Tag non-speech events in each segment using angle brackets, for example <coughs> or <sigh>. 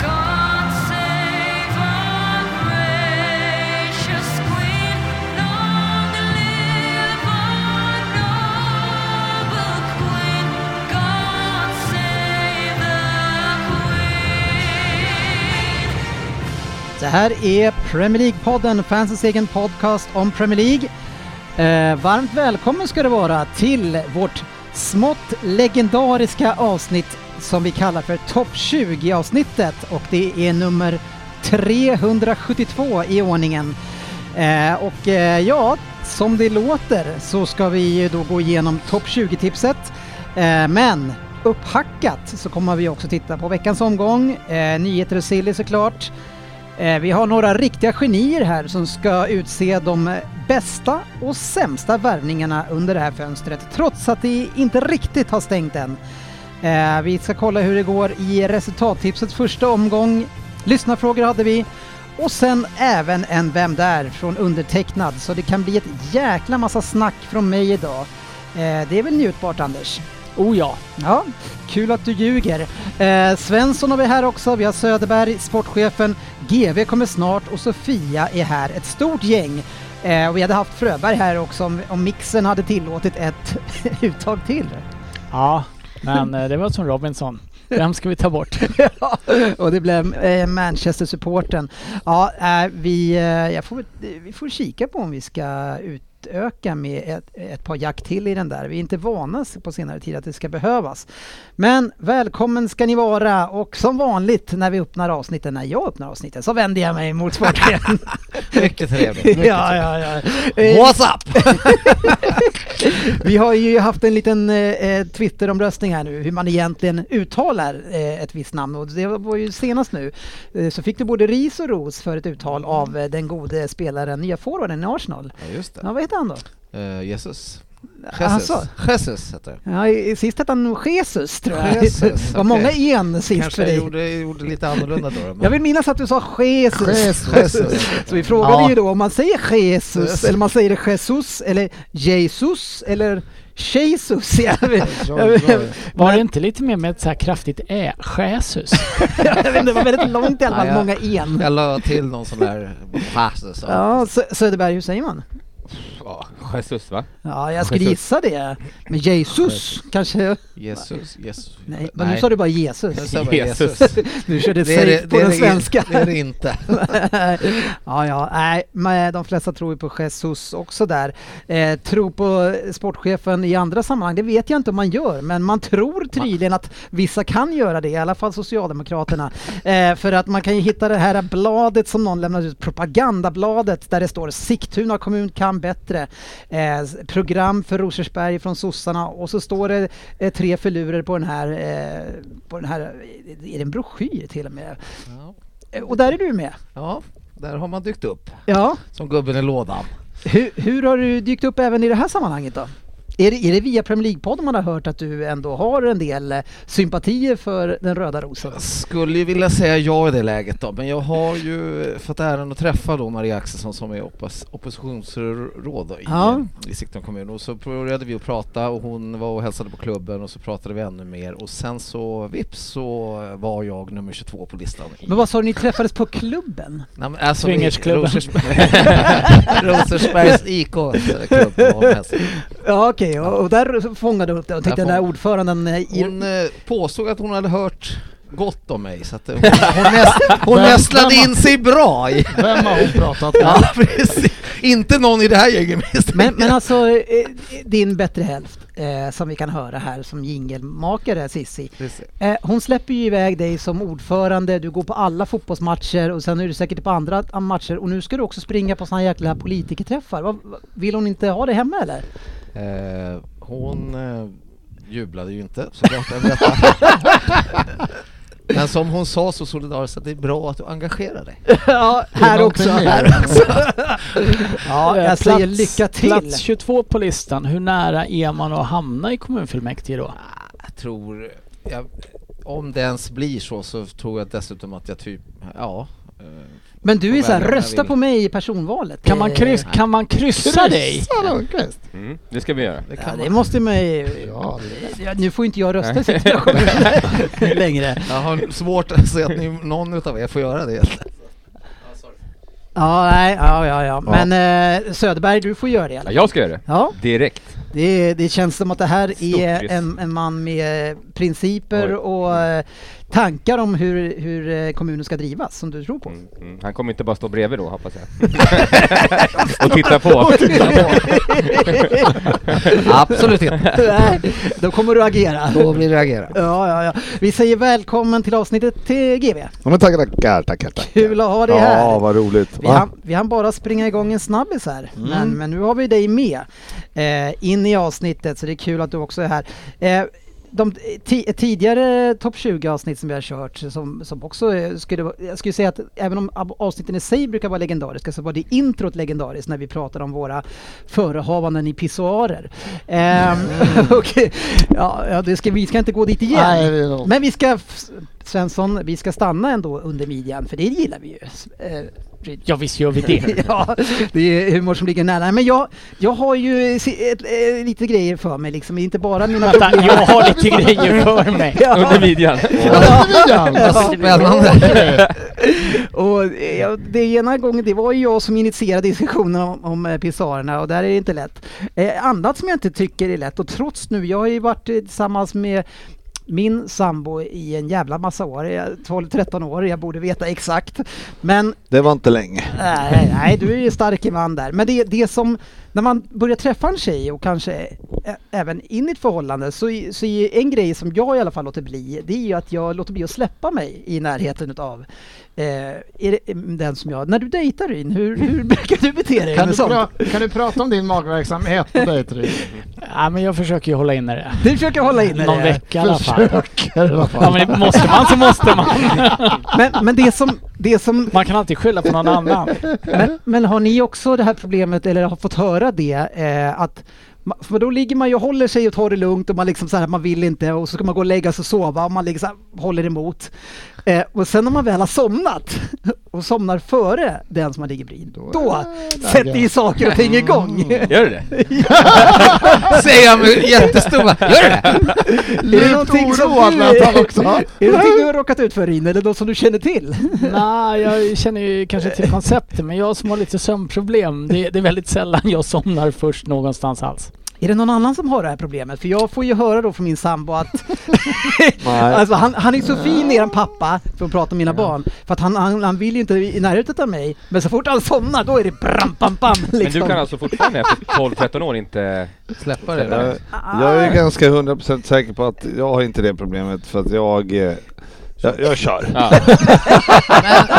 God save our gracious Queen. Long live our noble Queen. God save the Queen. Det här är Premier League-podden, fansens egen podcast om Premier League. Eh, varmt välkommen ska du vara till vårt smått legendariska avsnitt som vi kallar för Topp 20-avsnittet och det är nummer 372 i ordningen. Eh, och eh, ja, som det låter så ska vi ju då gå igenom Topp 20-tipset. Eh, men upphackat så kommer vi också titta på veckans omgång, eh, nyheter och silly såklart. Eh, Vi har några riktiga genier här som ska utse de bästa och sämsta värvningarna under det här fönstret, trots att det inte riktigt har stängt än. Eh, Vi ska kolla hur det går i resultattipsets första omgång. Lyssnarfrågor hade vi. Och sen även en Vem där? från undertecknad, så det kan bli ett jäkla massa snack från mig idag. Eh, Det är väl njutbart Anders? Oh ja. Ja, kul att du ljuger. Eh, Svensson har vi här också, vi har Söderberg, sportchefen, GV kommer snart och Sofia är här. Ett stort gäng. Eh, och vi hade haft Fröberg här också om, om mixen hade tillåtit ett <laughs> uttag till. Ja, men eh, det var som <laughs> Robinson. Vem ska vi ta bort? <laughs> Ja, och det blev eh, Manchester-supporten. Ja, eh, vi, eh, jag får, väl- vi får kika på om vi ska utöka med ett, ett par jack till i den där. Vi är inte vana s- på senare tid att det ska behövas. Men välkommen ska ni vara och som vanligt när vi öppnar avsnitten, när jag öppnar avsnitten, så vänder jag mig mot sporten. Mycket trevligt. <laughs> ja, ja, ja. Eh, What's up? Vi har ju haft en liten eh, eh, Twitter-omröstning här nu, hur man egentligen uttalar eh, ett visst namn. Och det var ju senast nu, eh, så fick du både ris och ros för ett uttal av eh, den gode spelaren, nya forwarden i Arsenal. Ja, just det. Ja, vad heter han då? Eh, Jesus. Jesus. Alltså. Jesus heter det. Ja, i- i- sist hette han nog Jesus, tror jag. Jesus, det var okej. många en sist för Kanske jag dig. gjorde, gjorde lite annorlunda då. men- Jag vill minnas att du sa Jesus. Jesus. Så vi frågade Ja. ju då om man säger Jesus, eller man säger det Jesus, eller Jesus, eller Jesus. <laughs> Jag vet, jag vet, Var det inte lite mer med ett så här kraftigt ä? Jesus? jag vet, det var väldigt långt i alla fall, Ja, ja. många en. Jag la till någon sån där Jesus. Ja, Sö- Söderberg, hur säger man? Ja. Jesus va? Ja, jag skulle Jesus. gissa det. Men Jesus kanske? Jesus, Jesus. Nej, men nu sa du bara Jesus. <laughs> sa jag bara Jesus. Du körde Det är safe det- på det är den det- svenska. Det är <laughs> det inte. ja, ja, nej, men de flesta tror ju på Jesus också där. Eh, tro på sportchefen i andra sammanhang, det vet jag inte om man gör, men man tror tydligen att vissa kan göra det, i alla fall Socialdemokraterna. <laughs> Eh, för att man kan ju hitta det här bladet som någon lämnade ut, propagandabladet, där det står Sigtuna kommun kan bättre. Eh, s- program för Rosersberg från sossarna och så står det eh, tre filurer på den här, eh, på den här, är det en broschyr till och med? Ja. Eh, Och där är du med. Ja, där har man dykt upp. Ja, Som gubben i lådan. hur, hur har du dykt upp även i det här sammanhanget då? Är det, är det via Premier League-podden man har hört att du ändå har en del eh, sympatier för den röda rosen? Jag skulle ju vilja säga ja i det läget då, men jag har ju fått äran att träffa då Maria Axelsson som är oppos- oppositionsråd då i, Ja. i Sigtuna kommun och så började vi att prata och hon var och hälsade på klubben och så pratade vi ännu mer och sen så vips så var jag nummer 22 på listan. i- Men vad sa du, ni träffades på klubben? Nej, men alltså, Swingersklubben. Rosersberg- Rosersbergs IKs klubb. vad hon hälsade. Ja okej, och, och där fångade du upp det och tänkte Där den där fång- ordföranden eh, i... Hon eh, påstod att hon hade hört gott om mig så att eh, hon, hon, näst, hon nästlade in sig bra i Vem har hon pratat med? Ja, precis. Inte någon i det här gänget misstänker Men, men jag. alltså, eh, din bättre hälft eh, som vi kan höra här som jingelmakare Sissi. Precis. Eh, hon släpper ju iväg dig som ordförande, du går på alla fotbollsmatcher och sen är du säkert på andra t- matcher och nu ska du också springa på såna här jäkla politikerträffar. Vad- vad- vill hon inte ha det hemma eller? Eh, hon eh, jublade ju inte såklart över detta. Men som hon sa så solidariskt att det är bra att du engagerar dig. <laughs> ja, här också. Här också. <laughs> <laughs> ja, jag säger lycka till. Ah. Plats 22 på listan. Hur nära är man att hamna i kommunfullmäktige då? tror, jag, om det ens blir så, så tror jag dessutom att jag typ, ja. eh, Men du är Och såhär, väljarna rösta vill- Eh, på mig i personvalet. Kan man, kryss, nej. kan man kryssa dig? Lundqvist? Mm, det ska vi göra. det Ja, kan det man. måste man ju... Ja, nu får inte jag rösta i <laughs> situationen längre. Jag har svårt att se att ni, någon utav er får göra det. Ja, nej, ja, ja, ja. Men eh, Söderberg, du får göra det i alla Ja, fall. jag ska göra det. Ja, Direkt. det, det känns som att det här är risk. en, en man med eh, principer Oj. och eh, tankar om hur, hur eh, kommunen ska drivas, som du tror på. Mm, <laughs> mm. Han kommer inte bara stå bredvid då, hoppas jag. <laughs> och titta på. <laughs> Absolut inte. Nej, Då kommer du agera. Då blir det reagera. Ja, ja, ja. Vi säger välkommen till avsnittet till GB. Ja, men tackar, tackar, tackar, tackar. Kul att ha dig ja, här. Ja, vad roligt. Vi Va? Mm. hann, vi hann bara springa igång en snabbis här, men, men nu har vi dig med eh, in i avsnittet så det är kul att du också är här. Eh, de ti- tidigare topp 20-avsnitt som vi har kört, som, som också eh, skulle, vara- jag skulle säga att även om ab- avsnitten i sig brukar vara legendariska så var det introt legendariskt när vi pratade om våra förehavanden i pissoarer. Ehm, <laughs> och, ja, ja, det ska, vi ska inte gå dit igen. Mm. Nej, det är nog- Men vi ska, f- Svensson, vi ska stanna ändå under midjan för det gillar vi ju. S- eh, Ryd- Ja, visst gör vi det. <laughs> ja, det är humor som ligger nära. Men jag, jag har ju se- ett, eh, lite grejer för mig liksom, inte bara mina Vänta, jag har lite grejer för <laughs> mig. Under midjan. Spännande. <laughs> Och eh, ja, det ena gången, det var ju jag som initierade diskussionen om, om eh, pisarerna och där är det inte lätt. Eh, annat som jag inte tycker är lätt och trots nu, jag har ju varit eh, tillsammans med min sambo i en jävla massa år, Jag är 12-13 år, jag borde veta exakt. Men Det var inte länge. Nej, nej, du är ju stark i man där. Men det, det som, när man börjar träffa en tjej och kanske ä- även in i ett förhållande så, är- så är ju en grej som jag i alla fall låter bli, det är ju att jag låter bli att släppa mig i närheten av eh, är det, mm, den som jag... När du dejtar Ryn, hur, hur brukar du bete dig? Kan med du, sånt? pra- kan du prata om din magverksamhet på dejtryd? Ja, men jag försöker ju hålla inne det. Du försöker hålla inne Någon det. vecka i alla fall. I alla Ja, fall. men måste man så måste man. Men, men det som... Det som Man kan alltid skylla på <laughs> någon annan. men, men har ni också det här problemet, eller har fått höra det, eh, att ma- för då ligger man ju och håller sig och tar det lugnt och man liksom så här, man vill inte och så ska man gå och lägga sig och sova och man ligger så här, håller emot. Eh, och sen när man väl har somnat och somnar före den som man ligger bredvid, då, sätter ju saker och ting igång. Gör <laughs> du det? Mm. <laughs> Säger jag med jättestora. Gör det? är det någonting som oroad du, lät han också. <laughs> är det någonting du har råkat ut för Rin, eller något som du känner till? Nej, Ah, jag känner ju kanske till konceptet, men jag som har lite sömnproblem, det, det är väldigt sällan jag somnar först någonstans alls. <laughs> Är det någon annan som har det här problemet? För jag får ju höra då från min sambo att Nej. Alltså han, han är så fin eran pappa, för att prata om mina barn, för att han, han, han vill ju inte i närheten av mig, men så fort han somnar då är det bram, bam, bam liksom. Men du kan alltså fortfarande efter 12-13 år inte... Släppa Jag, det. Ah, jag Ah. är ganska 100% säker på att jag har inte det problemet för att jag... eh, Jag, jag kör. <laughs>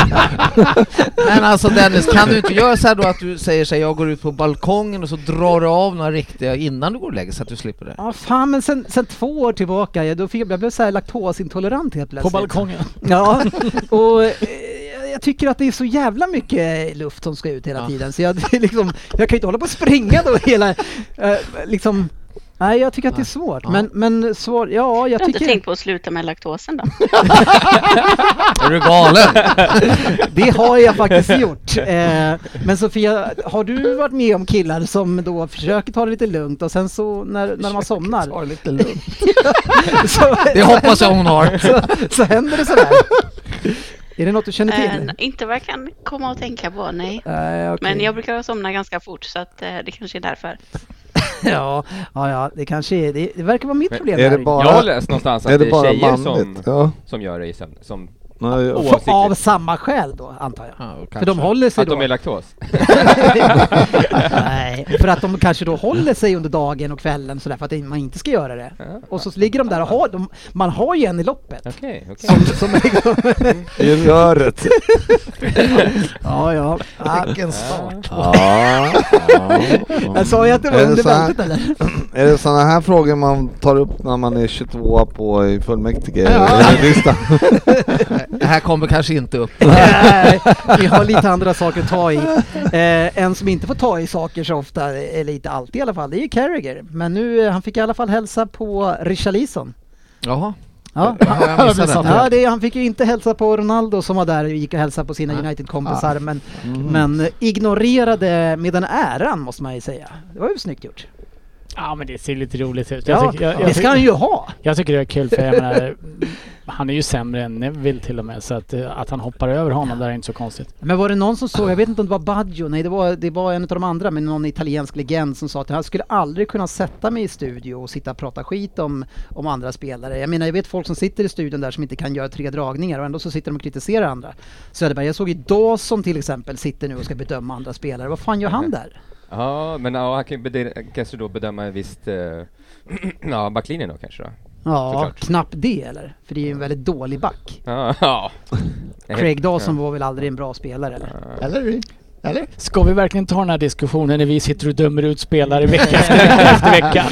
Ja. Men alltså Dennis, kan du inte göra så här då att du säger så här, jag går ut på balkongen och så drar du av några riktiga innan du går och lägger så att du slipper det? Ja fan men sen, sen två år tillbaka, jag, då fick, jag jag blev så här laktosintolerant helt På plötsligt. balkongen. Ja, och eh, jag- jag tycker att det är så jävla mycket luft som ska ut hela Ja. tiden så jag, det är liksom, jag kan ju inte hålla på och springa då hela, eh, liksom Nej jag tycker att det är svårt, Ja. men, men svår, ja jag Har du inte tycker tänkt på att sluta med laktosen då? Är <laughs> du galen? Det har jag faktiskt gjort. Eh, men Sofia, har du varit med om killar som då försöker ta det lite lugnt och sen så när, när man somnar Ta det lite lugnt. <laughs> så, Det hoppas jag hon har. så, så händer det sådär? Är det något du känner Eh, till? n- inte vad jag kan komma att tänka på, nej. Nej, okej. Men jag brukar somna ganska fort så att eh, det kanske är därför. ja, ja, ja, det kanske är, det, det verkar vara mitt problem. Är där. det bara, Jag har läst någonstans är att det det är bara tjejer som, manligt? Ja. som gör det i sömn. Som Nej, jag- Åh. F- Av samma skäl då, antar jag. För de håller sig att då. de är <laughs> laktos. Nej, för att de kanske då håller sig under dagen och kvällen sådär för att man inte ska göra det. Och så ligger de där och har, de, man har ju en i loppet. Okej, okej. Som, som liksom, <laughs> I röret. <laughs> ja, ja. Ah, ja. Vilken start. Ja. Jag sa ju att det var Är det under så här? bältet eller? <clears throat> Är det sådana här frågor man tar upp när man är 22 på i fullmäktige? Eller listan? <laughs> Det här kommer kanske inte upp. Nej, vi har lite andra saker att ta i. Eh, en som inte får ta i saker så ofta, eh, eller inte alltid i alla fall, det är ju Carragher. Men nu, eh, han fick i alla fall hälsa på Richarlison. Jaha. <laughs> Ja. Ja, jag missade missat den. Ja, det, han fick ju inte hälsa på Ronaldo som var där och gick och hälsade på sina Nej. United-kompisar men, Mm. men eh, ignorerade med den äran måste man ju säga. Det var ju snyggt gjort. Ja men det ser lite roligt ut. Jag Ja, tycker- jag- jag det ska tycker- han ju ha! Jag tycker det är kul för jag menar, han är ju sämre än Neville till och med så att, eh, att han hoppar över honom där är inte så konstigt. Men var det någon som såg, jag vet inte om det var Baggio, nej det var, det var en av de andra, men någon italiensk legend som sa att jag skulle aldrig kunna sätta mig i studio och sitta och prata skit om, om andra spelare. Jag menar jag vet folk som sitter i studion där som inte kan göra tre dragningar och ändå så sitter de och kritiserar andra. Söderberg, jag såg ju Dawson till exempel sitter nu och ska bedöma andra spelare, vad fan gör han där? Ja, men ja, han kan ju bede- kanske då bedöma en visst... eh, <clears throat> ja, backlinjen då kanske då. Ja, Såklart. knappt det eller? För det är ju en väldigt dålig back. Ja, ja. Craig Dawson var väl aldrig en bra spelare eller? Eller? Eller? Ska vi verkligen ta den här diskussionen när vi sitter och dömer ut spelare <laughs> vecka efter, efter vecka?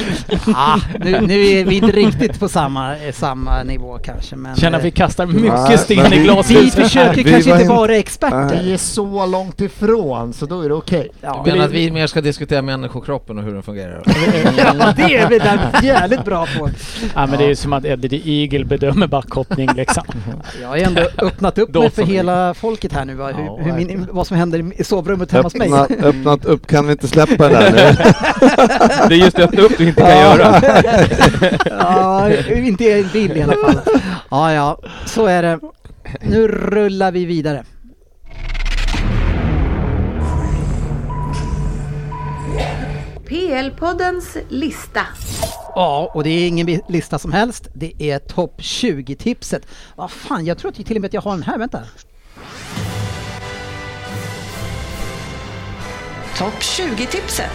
Ah, nu, nu är vi inte riktigt på samma, eh, samma nivå kanske men... Känner eh, att vi kastar Nej, mycket men sten i vi- Vi glashuset. försöker Vi kanske var inte inte- vara Nej. experter. Vi är så långt ifrån så då är det okej. Ja, Du menar att vi mer ska diskutera människokroppen och hur den fungerar? <laughs> <laughs> ja, det är vi där jävligt bra på. Ja men det är ju som att Eddie the Eagle bedömer backhoppning liksom. Jag har ju ändå öppnat upp Då mig för får vi- hela folket här nu, va? hur, Ja, hur min, verkligen. vad som händer i sovrummet hemma hos mig. Öppna, öppnat upp, kan vi inte släppa den här nu? Det är just det öppna upp du inte kan göra. <laughs> ja, inte i en bild i alla fall. Ja, ja, så är det. Nu rullar vi vidare. PL-poddens lista. Ja, och det är ingen bi- lista som helst. Det är topp 20-tipset. Vad fan, jag tror att jag till och med att jag har den här. Vänta. Topp 20-tipset.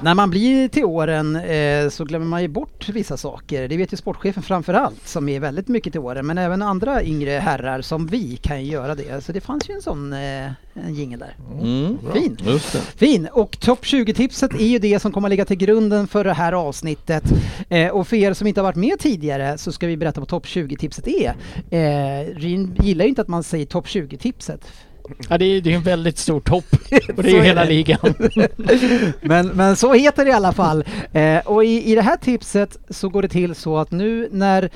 När man blir till åren eh, så glömmer man ju bort vissa saker. Det vet ju sportchefen framför allt som är väldigt mycket till åren. Men även andra yngre herrar som vi kan ju göra det. Så det fanns ju en sån eh, en jingel där. Mm. fin! Just det. Fin! Och topp 20-tipset är ju det som kommer att ligga till grunden för det här avsnittet. Eh, och för er som inte har varit med tidigare så ska vi berätta vad topp 20-tipset är. Eh, Ryn gillar ju inte att man säger topp 20-tipset. Ja det är ju det är en väldigt stor topp. <laughs> Och det är Så ju är hela det. ligan. <laughs> men, men så heter det i alla fall. Eh, och i, i det här tipset så går det till så att nu när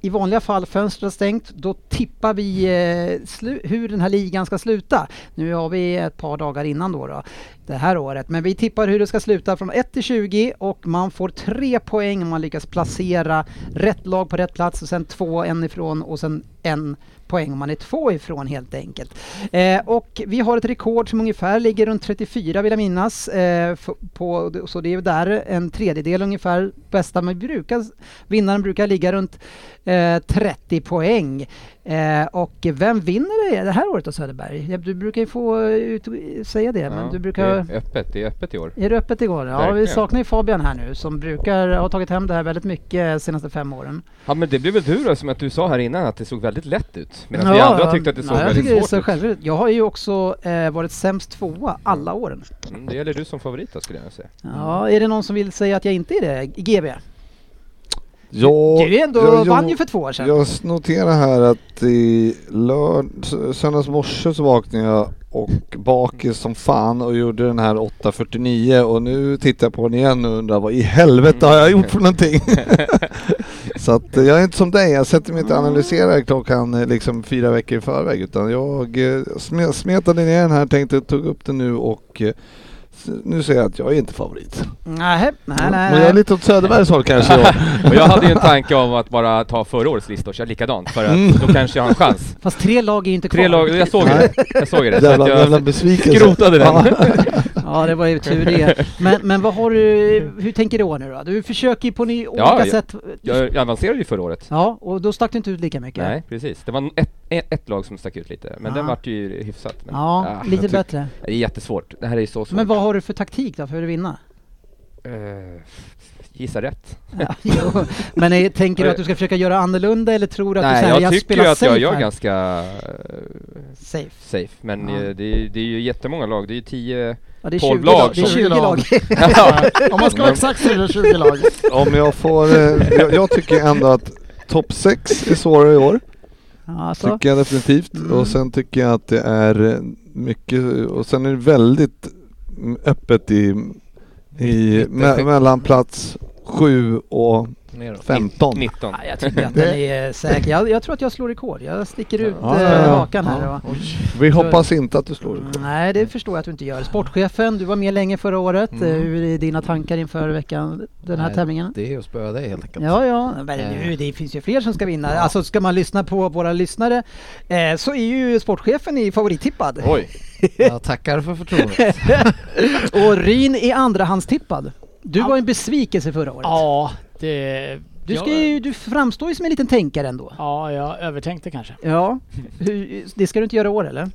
i vanliga fall fönstret är stängt, då tippar vi eh, slu- hur den här ligan ska sluta. Nu har vi ett par dagar innan då, då, det här året. Men vi tippar hur det ska sluta från 1 till 20 och man får tre poäng om man lyckas placera rätt lag på rätt plats och sen två, en ifrån och sen en poäng om man är två ifrån helt enkelt. Eh, och vi har ett rekord som ungefär ligger runt 34 vill jag minnas. Eh, f- på, så det är där en tredjedel ungefär bästa. Men vi brukar, vinnaren brukar ligga runt eh, 30 poäng. Eh, och vem vinner det, det här året då Söderberg? Ja, Du brukar ju få eh, ut, säga det. men du brukar... Det är öppet, det är öppet i år. Är det öppet igår? Ja, vi Verkligen. saknar ju Fabian här nu som brukar ha tagit hem det här väldigt mycket de senaste fem åren. Ja men det blev väl du då, som att du sa här innan att det såg väldigt lätt ut. Medan vi Ja, andra ja. tyckte att det såg Nej, jag tycker väldigt det svårt såg ut. självklart. Jag har ju också eh, varit sämst tvåa alla åren. Mm, det gäller du som favorit då skulle jag säga. Ja, är det någon som vill säga att jag inte är det? GB? Ja, Du är ändå, jag- jag- vann ju för två år sedan. Jag noterar här att i lörd, s- söndags morse så vaknade jag och bakis som fan och gjorde den här 8.49 och nu tittar jag på den igen och undrar vad i helvete har jag Mm. gjort för <laughs> någonting? så att eh, jag är inte som dig, jag sätter mig inte och analyserar klockan eh, liksom fyra veckor i förväg utan jag eh, sme- smetade ner den här, tänkte tog upp den nu och eh, s- nu säger jag att jag är inte favorit. Nej, nej, Mm. Men jag nej. är lite åt Söderbergs håll kanske. <laughs> jag. <laughs> Och jag hade ju en tanke om att bara ta förra årets lista och köra likadant för Mm. att då kanske jag har en chans. Fast tre lag är ju inte kvar. Tre lag, jag såg det. Jag såg det. Så Jävla, att jävla jag besvikelse. skrotade Ja. den. <laughs> Ja, det var ju tur det. Men, men vad har du, hur tänker du år nu då? Du försöker ju på ny, olika <laughs> Ja, jag- sätt. Jag avancerade ju förra året. Ja, och då stack du inte ut lika mycket. Nej, precis. Det var ett, ett, ett lag som stack ut lite, men Ja. den vart ju hyfsat. Men, Ja, ah, lite jag tyck- bättre. Det är jättesvårt. Det här är ju så svårt. Men vad har du för taktik då för att vinna? Eh, gissa rätt. <laughs> Ja, jo. Men är, tänker du att du ska försöka göra annorlunda eller tror du att du Nej, säger jag tycker ju spelar att jag safe gör här"? ganska eh, Safe. safe, men Ja. eh, det, är, ju- det är ju jättemånga lag. Det är ju tio... Ja, det är 12 20 lag lag. Det är som- 20 <laughs> lag. <laughs> Om man ska vara exakt så är det 20 lag. Om jag får, eh, jag, jag tycker ändå att topp 6 är svårare i år. ja, så. Mm. Tycker jag definitivt. Och sen tycker jag att det är eh, mycket och sen är det väldigt mm, öppet i, i me, mellan plats 7 och Neråt. 15. 19. Ja, jag tycker att den är eh, säker. Jag, jag tror att jag slår rekord. Jag sticker ut Ja, eh, ja, ja. hakan här. Mm. va? Vi hoppas inte att du slår rekord. Nej, det förstår jag att du inte gör. Sportchefen, du var med länge förra året. Eh, Hur är dina tankar inför veckan, den här Mm. Nej, tävlingen? Det är Eh. att spöa dig helt enkelt. Ja, ja, men nu, det finns ju fler som ska vinna. Alltså ska man lyssna på våra lyssnare eh, så är ju sportchefen i favorittippad. Oj! <laughs> Jag tackar för förtroendet. <laughs> Och Ryn är andrahandstippad. Du var en besvikelse förra året. Ja, det... Du, ska jag- ju, du framstår ju som en liten tänkare ändå. eh. Ja, jag övertänkte kanske. Ja, hur, det ska du inte göra i år eller?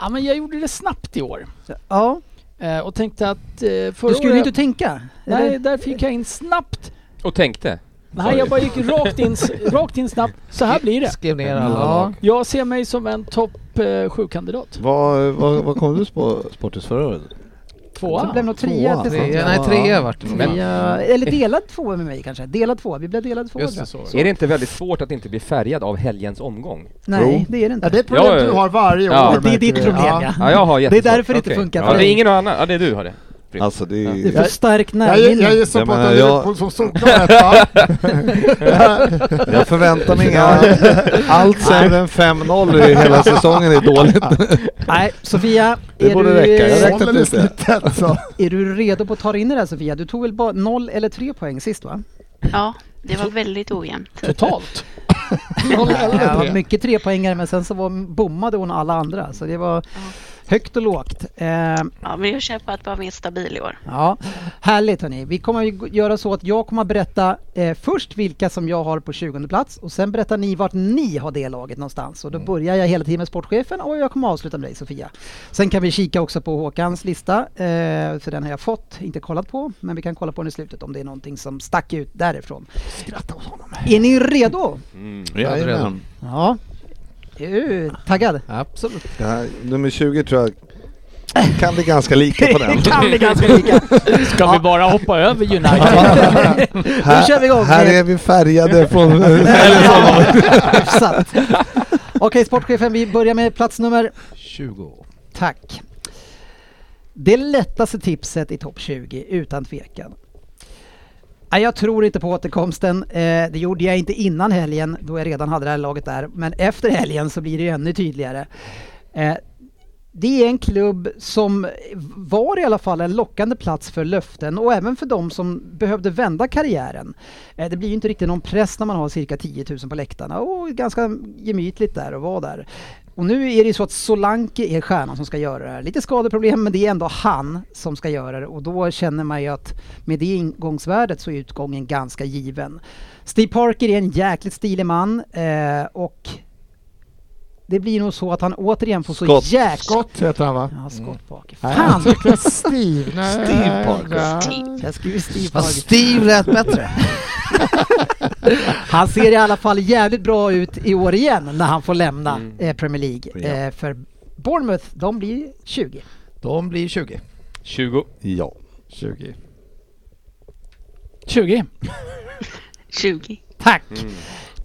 Ja, men jag gjorde det snabbt i år. Ja, Eh, och tänkte att eh, förra då skulle du året... inte tänka. Nej, eller? där fick jag in snabbt. <laughs> Och tänkte. Nej, jag bara gick <laughs> rakt in, <laughs> rakt in snabbt. Så här blir det. Skrev ner alla Ja. lag. Jag ser mig som en topp eh, sju-kandidat. Vad, vad, vad kom du på Sportis förra året? Så blev Tvåa. nog trea Tvåa. till slut. Tre, nej, tre vart det nog. Men- Trea, eller delad tvåa med mig kanske. Delad tvåa, vi blev delad tvåa Just tror det, jag. så. Är det inte väldigt svårt att inte bli färgad av helgens omgång? Nej, Jo. det är det inte. Ja, det är ett problem Ja, ja. du har varje Ja. år. Det är märker ditt vi. problem, ja. Ja, jag har Det är jättesvårt. därför det inte Okej. funkar Ja, för det dig. är ingen annan. Ja, det är du har det. Alltså det Det är är... för stark Jag, gi- närminne. jag gissar Ja, på att men du är jag- på som solklar etta. <laughs> Jag förväntar mig inga... Allt sämre än 5-0 i <laughs> hela säsongen är dåligt. Nej, Sofia. Det är borde du, räcka. Jag Är, räknar- Håller i snittet så. du redo på att ta in det där Sofia? Du tog väl bara noll eller tre poäng sist va? Ja, det var väldigt ojämnt. Totalt. Det var mycket trepoängare men sen så var, bommade hon alla andra. Så det var högt och lågt. Eh, <laughs> Ja, men jag kör på att vara mer stabil i år. Ja, härligt hörni. Vi kommer ju göra så att jag kommer att berätta eh, först vilka som jag har på 20 plats och sen berättar ni vart ni har det laget någonstans. Och då börjar jag hela tiden med sportchefen och jag kommer att avsluta med dig Sofia. Sen kan vi kika också på Håkans lista, eh, för den har jag fått, inte kollat på, men vi kan kolla på den i slutet om det är någonting som stack ut därifrån. Skratta åt honom. Är ni redo? Mm. Jag Mm. hade redan. Ja. Är du taggad? Absolut. Ja, nummer 20 tror jag kan bli ganska lika <laughs> på den. Kan bli ganska lika. Ska vi bara hoppa <laughs> över United? Här, kör vi igång här med- är vi färgade <laughs> från... Hyfsat. Okej sportchefen, vi börjar med plats nummer 20. Tack. Det lättaste tipset i topp 20, utan tvekan. Nej, jag tror inte på återkomsten. Eh, det gjorde jag inte innan helgen, då jag redan hade det här laget där. Men efter helgen så blir det ju ännu tydligare. Eh, det är en klubb som var i alla fall en lockande plats för löften och även för de som behövde vända karriären. Eh, Det blir ju inte riktigt någon press när man har cirka 10 000 på läktarna och ganska gemytligt där och vara där. Och nu är det ju så att Solanke är stjärnan som ska göra det här. Lite skadeproblem men det är ändå han som ska göra det och då känner man ju att med det ingångsvärdet så är utgången ganska given. Steve Parker är en jäkligt stilig man eh, och det blir nog så att han återigen får Scott. så jäkla... Skott heter han va? Ja, skott bak. Nej, Fan! jag tycker <laughs> Steve. Nej, Steve Parker. nej. Jag skriver Steve Fast Parker. Steve lät bättre. <laughs> Han ser i alla fall jävligt bra ut i år igen när han får lämna eh, Premier League. Eh, för Bournemouth, de blir 20. De blir 20. 20. Ja. 20. 20. 20. Tack!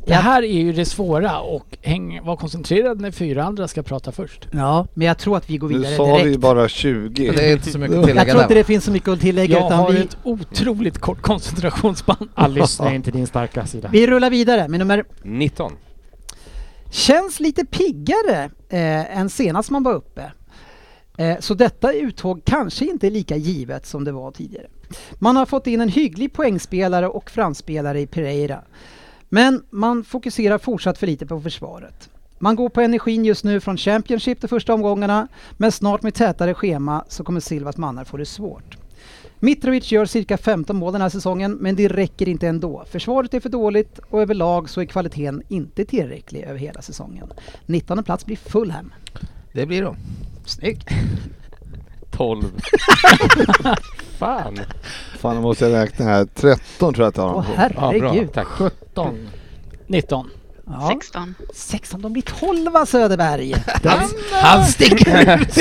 Det här är ju det svåra och häng, var koncentrerad när fyra andra ska prata först. Ja, men jag tror att vi går Du vidare sa vi ju direkt. bara Det 20. är inte så mycket Jag att tillägga tror inte där. det finns så mycket att tillägga Jag utan har vi, ett otroligt kort koncentrationsspann. Alice, det är inte din starka sida. vi rullar vidare med nummer... 19. Känns lite piggare eh, än senast man var uppe. Eh, Så detta uttåg kanske inte är lika givet som det var tidigare. Man har fått in en hygglig poängspelare och framspelare i Pereira. Men man fokuserar fortsatt för lite på försvaret. Man går på energin just nu från Championship de första omgångarna, men snart med tätare schema så kommer Silvas mannar få det svårt. Mitrovic gör cirka 15 mål den här säsongen, men det räcker inte ändå. Försvaret är för dåligt och överlag så är kvaliteten inte tillräcklig över hela säsongen. 19 plats blir Fulham. Det blir de. <laughs> Snyggt! 12. Fan. Fan, nu måste jag räkna här. 13 tror jag att jag har Åh honom på. Ja, bra. herregud! Tack. 17. 19. Ja. 16. 16, de blir 12 Söderberg. Han <laughs> sticker ut!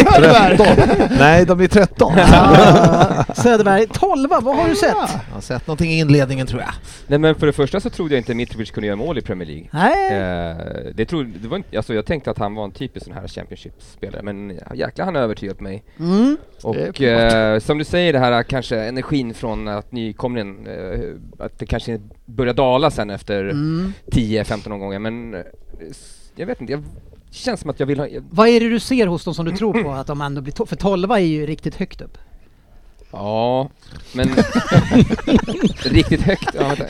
Nej, de blir 13. Ah, Söderberg, 12 vad har du sett? Jag har sett någonting i inledningen tror jag. <laughs> Nej men för det första så trodde jag inte Mitrovic kunde göra mål i Premier League. Nej, Eh, det trodde, det var inte, alltså jag tänkte att han var en typisk sån här Championship-spelare, men jäklar han har övertygat mig. mm. Och Det eh, som du säger, det här kanske energin från att nykomlingen, eh, att det kanske börjar dala sen efter Mm. 10-15 omgångar, men eh, s- jag vet inte, jag det känns som att jag vill ha... jag- Vad är det du ser hos dem som du tror på att de ändå blir to- För 12 är ju riktigt högt upp. Ja, <laughs> men... riktigt högt, ja vänta.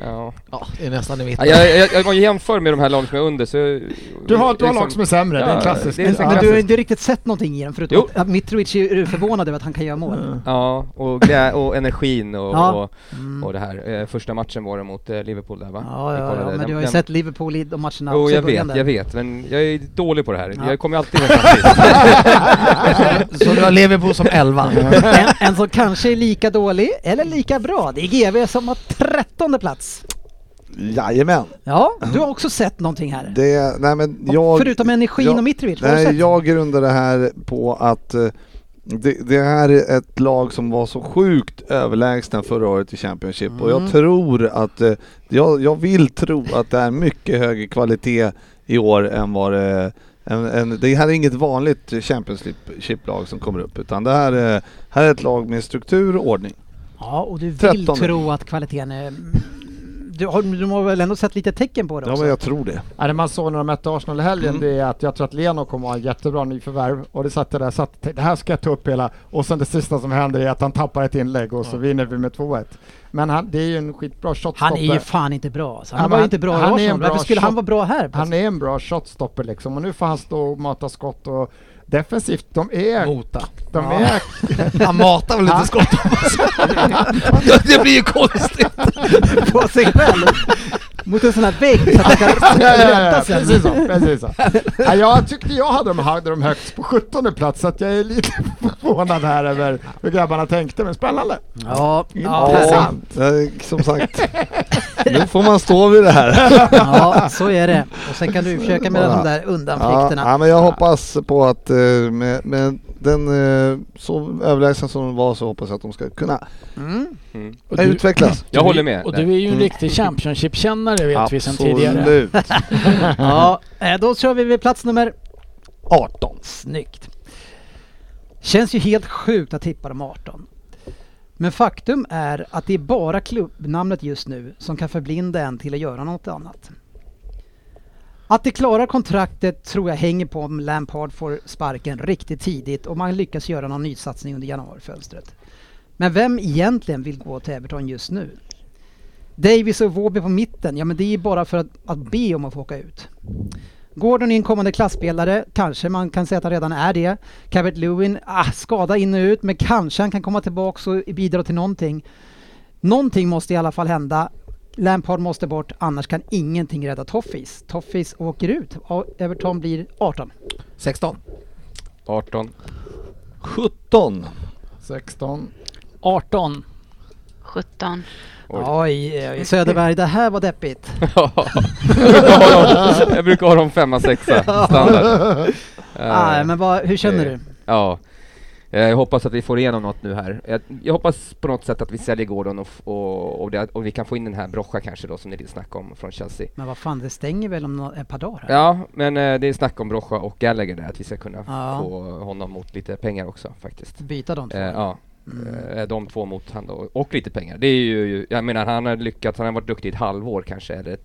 Ja. Ja, det är nästan i Ja, mitten. Jag, jag, jag, om jag jämför med de här lagen som är under så... eh, liksom- Du har, du har lag som är sämre, det är en Ja, klassisk. det är en sån Ja. Men klassisk- du har inte riktigt sett någonting i den förutom Jo. Mm. att Mitrovic är ju förvånad över att han kan göra <laughs> mål. Ja, och, glä- och energin och, Ja. Mm. och, och det här. Eh, första matchen var det mot eh, Liverpool där va? Ja, Vi ja, kollade ja, men den- du har ju den- sett Liverpool i de matcherna Jo, också i jag början vet, där. jag vet, men jag är dålig på det här. Ja. Jag kommer <laughs> alltid ihåg samtidigt. Så du har Liverpool som <laughs> elva? <laughs> En, en som kanske är lika dålig eller lika bra, det är GV som har trettonde plats. Jajamän. Ja, du har också sett någonting här. Det, nej men jag, Förutom energin jag- och Mitrovic, vad har du Nej, sett? jag grundar det här på att eh, det, det här är ett lag som var så sjukt överlägsna förra året i Championship och jag tror att, eh, jag, jag vill tro att det är mycket högre kvalitet i år än vad det än, än, det här är inget vanligt Championship-lag som kommer upp utan det här, är- här är ett lag med struktur och ordning. Ja, och du vill Trettonde. tro att kvaliteten är... Du har, du har väl ändå sett lite tecken på det Ja också? men jag tror det. Ja, det man såg när de mötte Arsenal i helgen, Mm. det är att jag tror att Leno kommer att ha en jättebra nyförvärv och det satt jag där satt, tänkte, det här ska jag ta upp hela och sen det sista som händer är att han tappar ett inlägg och så vinner vi med 2-1. Men han, det är ju en skitbra shotstopper. Han är ju fan inte bra alltså. Han Ja, men var ju han- inte bra i han är en Arsenal. bra Varför skulle han shot. vara bra här? Han är en bra shotstopper liksom och nu får han stå och mata skott och defensivt, de är... Mota. De Ja. är <laughs> Han matar väl Ja. inte <laughs> skott Det blir ju konstigt! på sig själv. Mot en sån här vägg så att han kan <laughs> ja, ja, ja, rätta sig. precis så. Precis så. Ja, jag tyckte jag hade dem, hade dem högst på 17 plats så att jag är lite <laughs> förvånad här över hur grabbarna tänkte, men spännande. Ja, ja, Ja. eh, som sagt, <laughs> nu får man stå vid det här. ja, så är det. Och sen kan du försöka med de där Ja, undanflykterna. ja, men jag hoppas på att eh, med, med den eh, så överlägsen som de var så hoppas jag att de ska kunna Mm. Och du- utvecklas. Jag du- håller med. Och där. du är ju en Mm. riktig Championship-kännare vet vi sedan tidigare. Absolut. <laughs> Ja, eh, då kör vi vid plats nummer 18. Snyggt. Känns ju helt sjukt att tippa de 18. Men faktum är att det är bara klubbnamnet just nu som kan förblinda en till att göra något annat. Att de klarar kontraktet tror jag hänger på om Lampard får sparken riktigt tidigt och man lyckas göra någon nysatsning under januarifönstret. Men vem egentligen vill gå till Everton just nu? Davis och Wåby på mitten, ja men det är bara för att, att be om att få åka ut. Gordon är en kommande klassspelare, kanske man kan säga att han redan är det. Cabert Lewin, ah, skada in och ut, men kanske han kan komma tillbaka och bidra till någonting. Någonting måste i alla fall hända. Lampard måste bort, annars kan ingenting rädda Toffis. Toffis åker ut och Everton blir 18. 16. 18. 17. 16. 18. 17. Oj. Oj, oj, Söderberg, det här <laughs> var deppigt. jag, brukar ha dem, <laughs> jag brukar ha dem femma, <laughs> sexa, standard. Ah, Eh, men vad, hur känner du? Ja. Eh, Jag hoppas att vi får igenom något nu här. Jag, jag hoppas på något sätt att vi säljer Gordon och, f- och, och, det, och vi kan få in den här Brocha kanske då som ni vill snacka om från Chelsea. Men vad fan, det stänger väl om nå- ett par dagar? Här. Ja, men eh, det är snack om Brocha och Gallagher där, att vi ska kunna Ja. få honom mot lite pengar också faktiskt. Byta de två. Mm. Eh, ja. Eh, De två mot han då, och lite pengar. Det är ju, jag menar han har lyckats, han har varit duktig i ett halvår kanske, eller ett,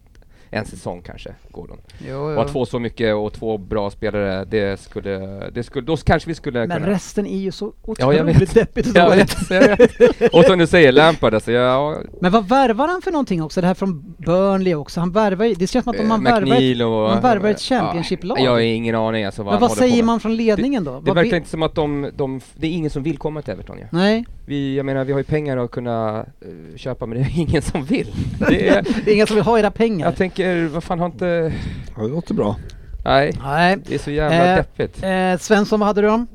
en säsong kanske, Gordon. Jo, Och att jo. få så mycket och två bra spelare, det skulle, det skulle, då kanske vi skulle Men kunna... resten är ju så Ja, jag vet. otroligt deppigt och Jag dåligt. vet, jag vet. Och som du säger, Lampard alltså, ja, Men vad värvar han för någonting också? Det här från Burnley också. Han värvar ju, det känns som att om man eh, värvar ett, McNeil och... man värvar ett ja, Championship-lag. jag har ingen aning alltså vad Men han vad håller på säger med. man från ledningen då? Det Vad verkar vi, inte som att de, de, det är ingen som vill komma till Everton ja. nej, Vi, jag menar vi har ju pengar att kunna eh, köpa men det är <laughs> ingen som vill. Det är, <laughs> det är inga som vill ha era pengar. jag tänker, vad fan har inte... Ja, det låter bra. Nej, Nej. det är så jävla Eh, deppigt. Eh, Svensson, vad hade du om?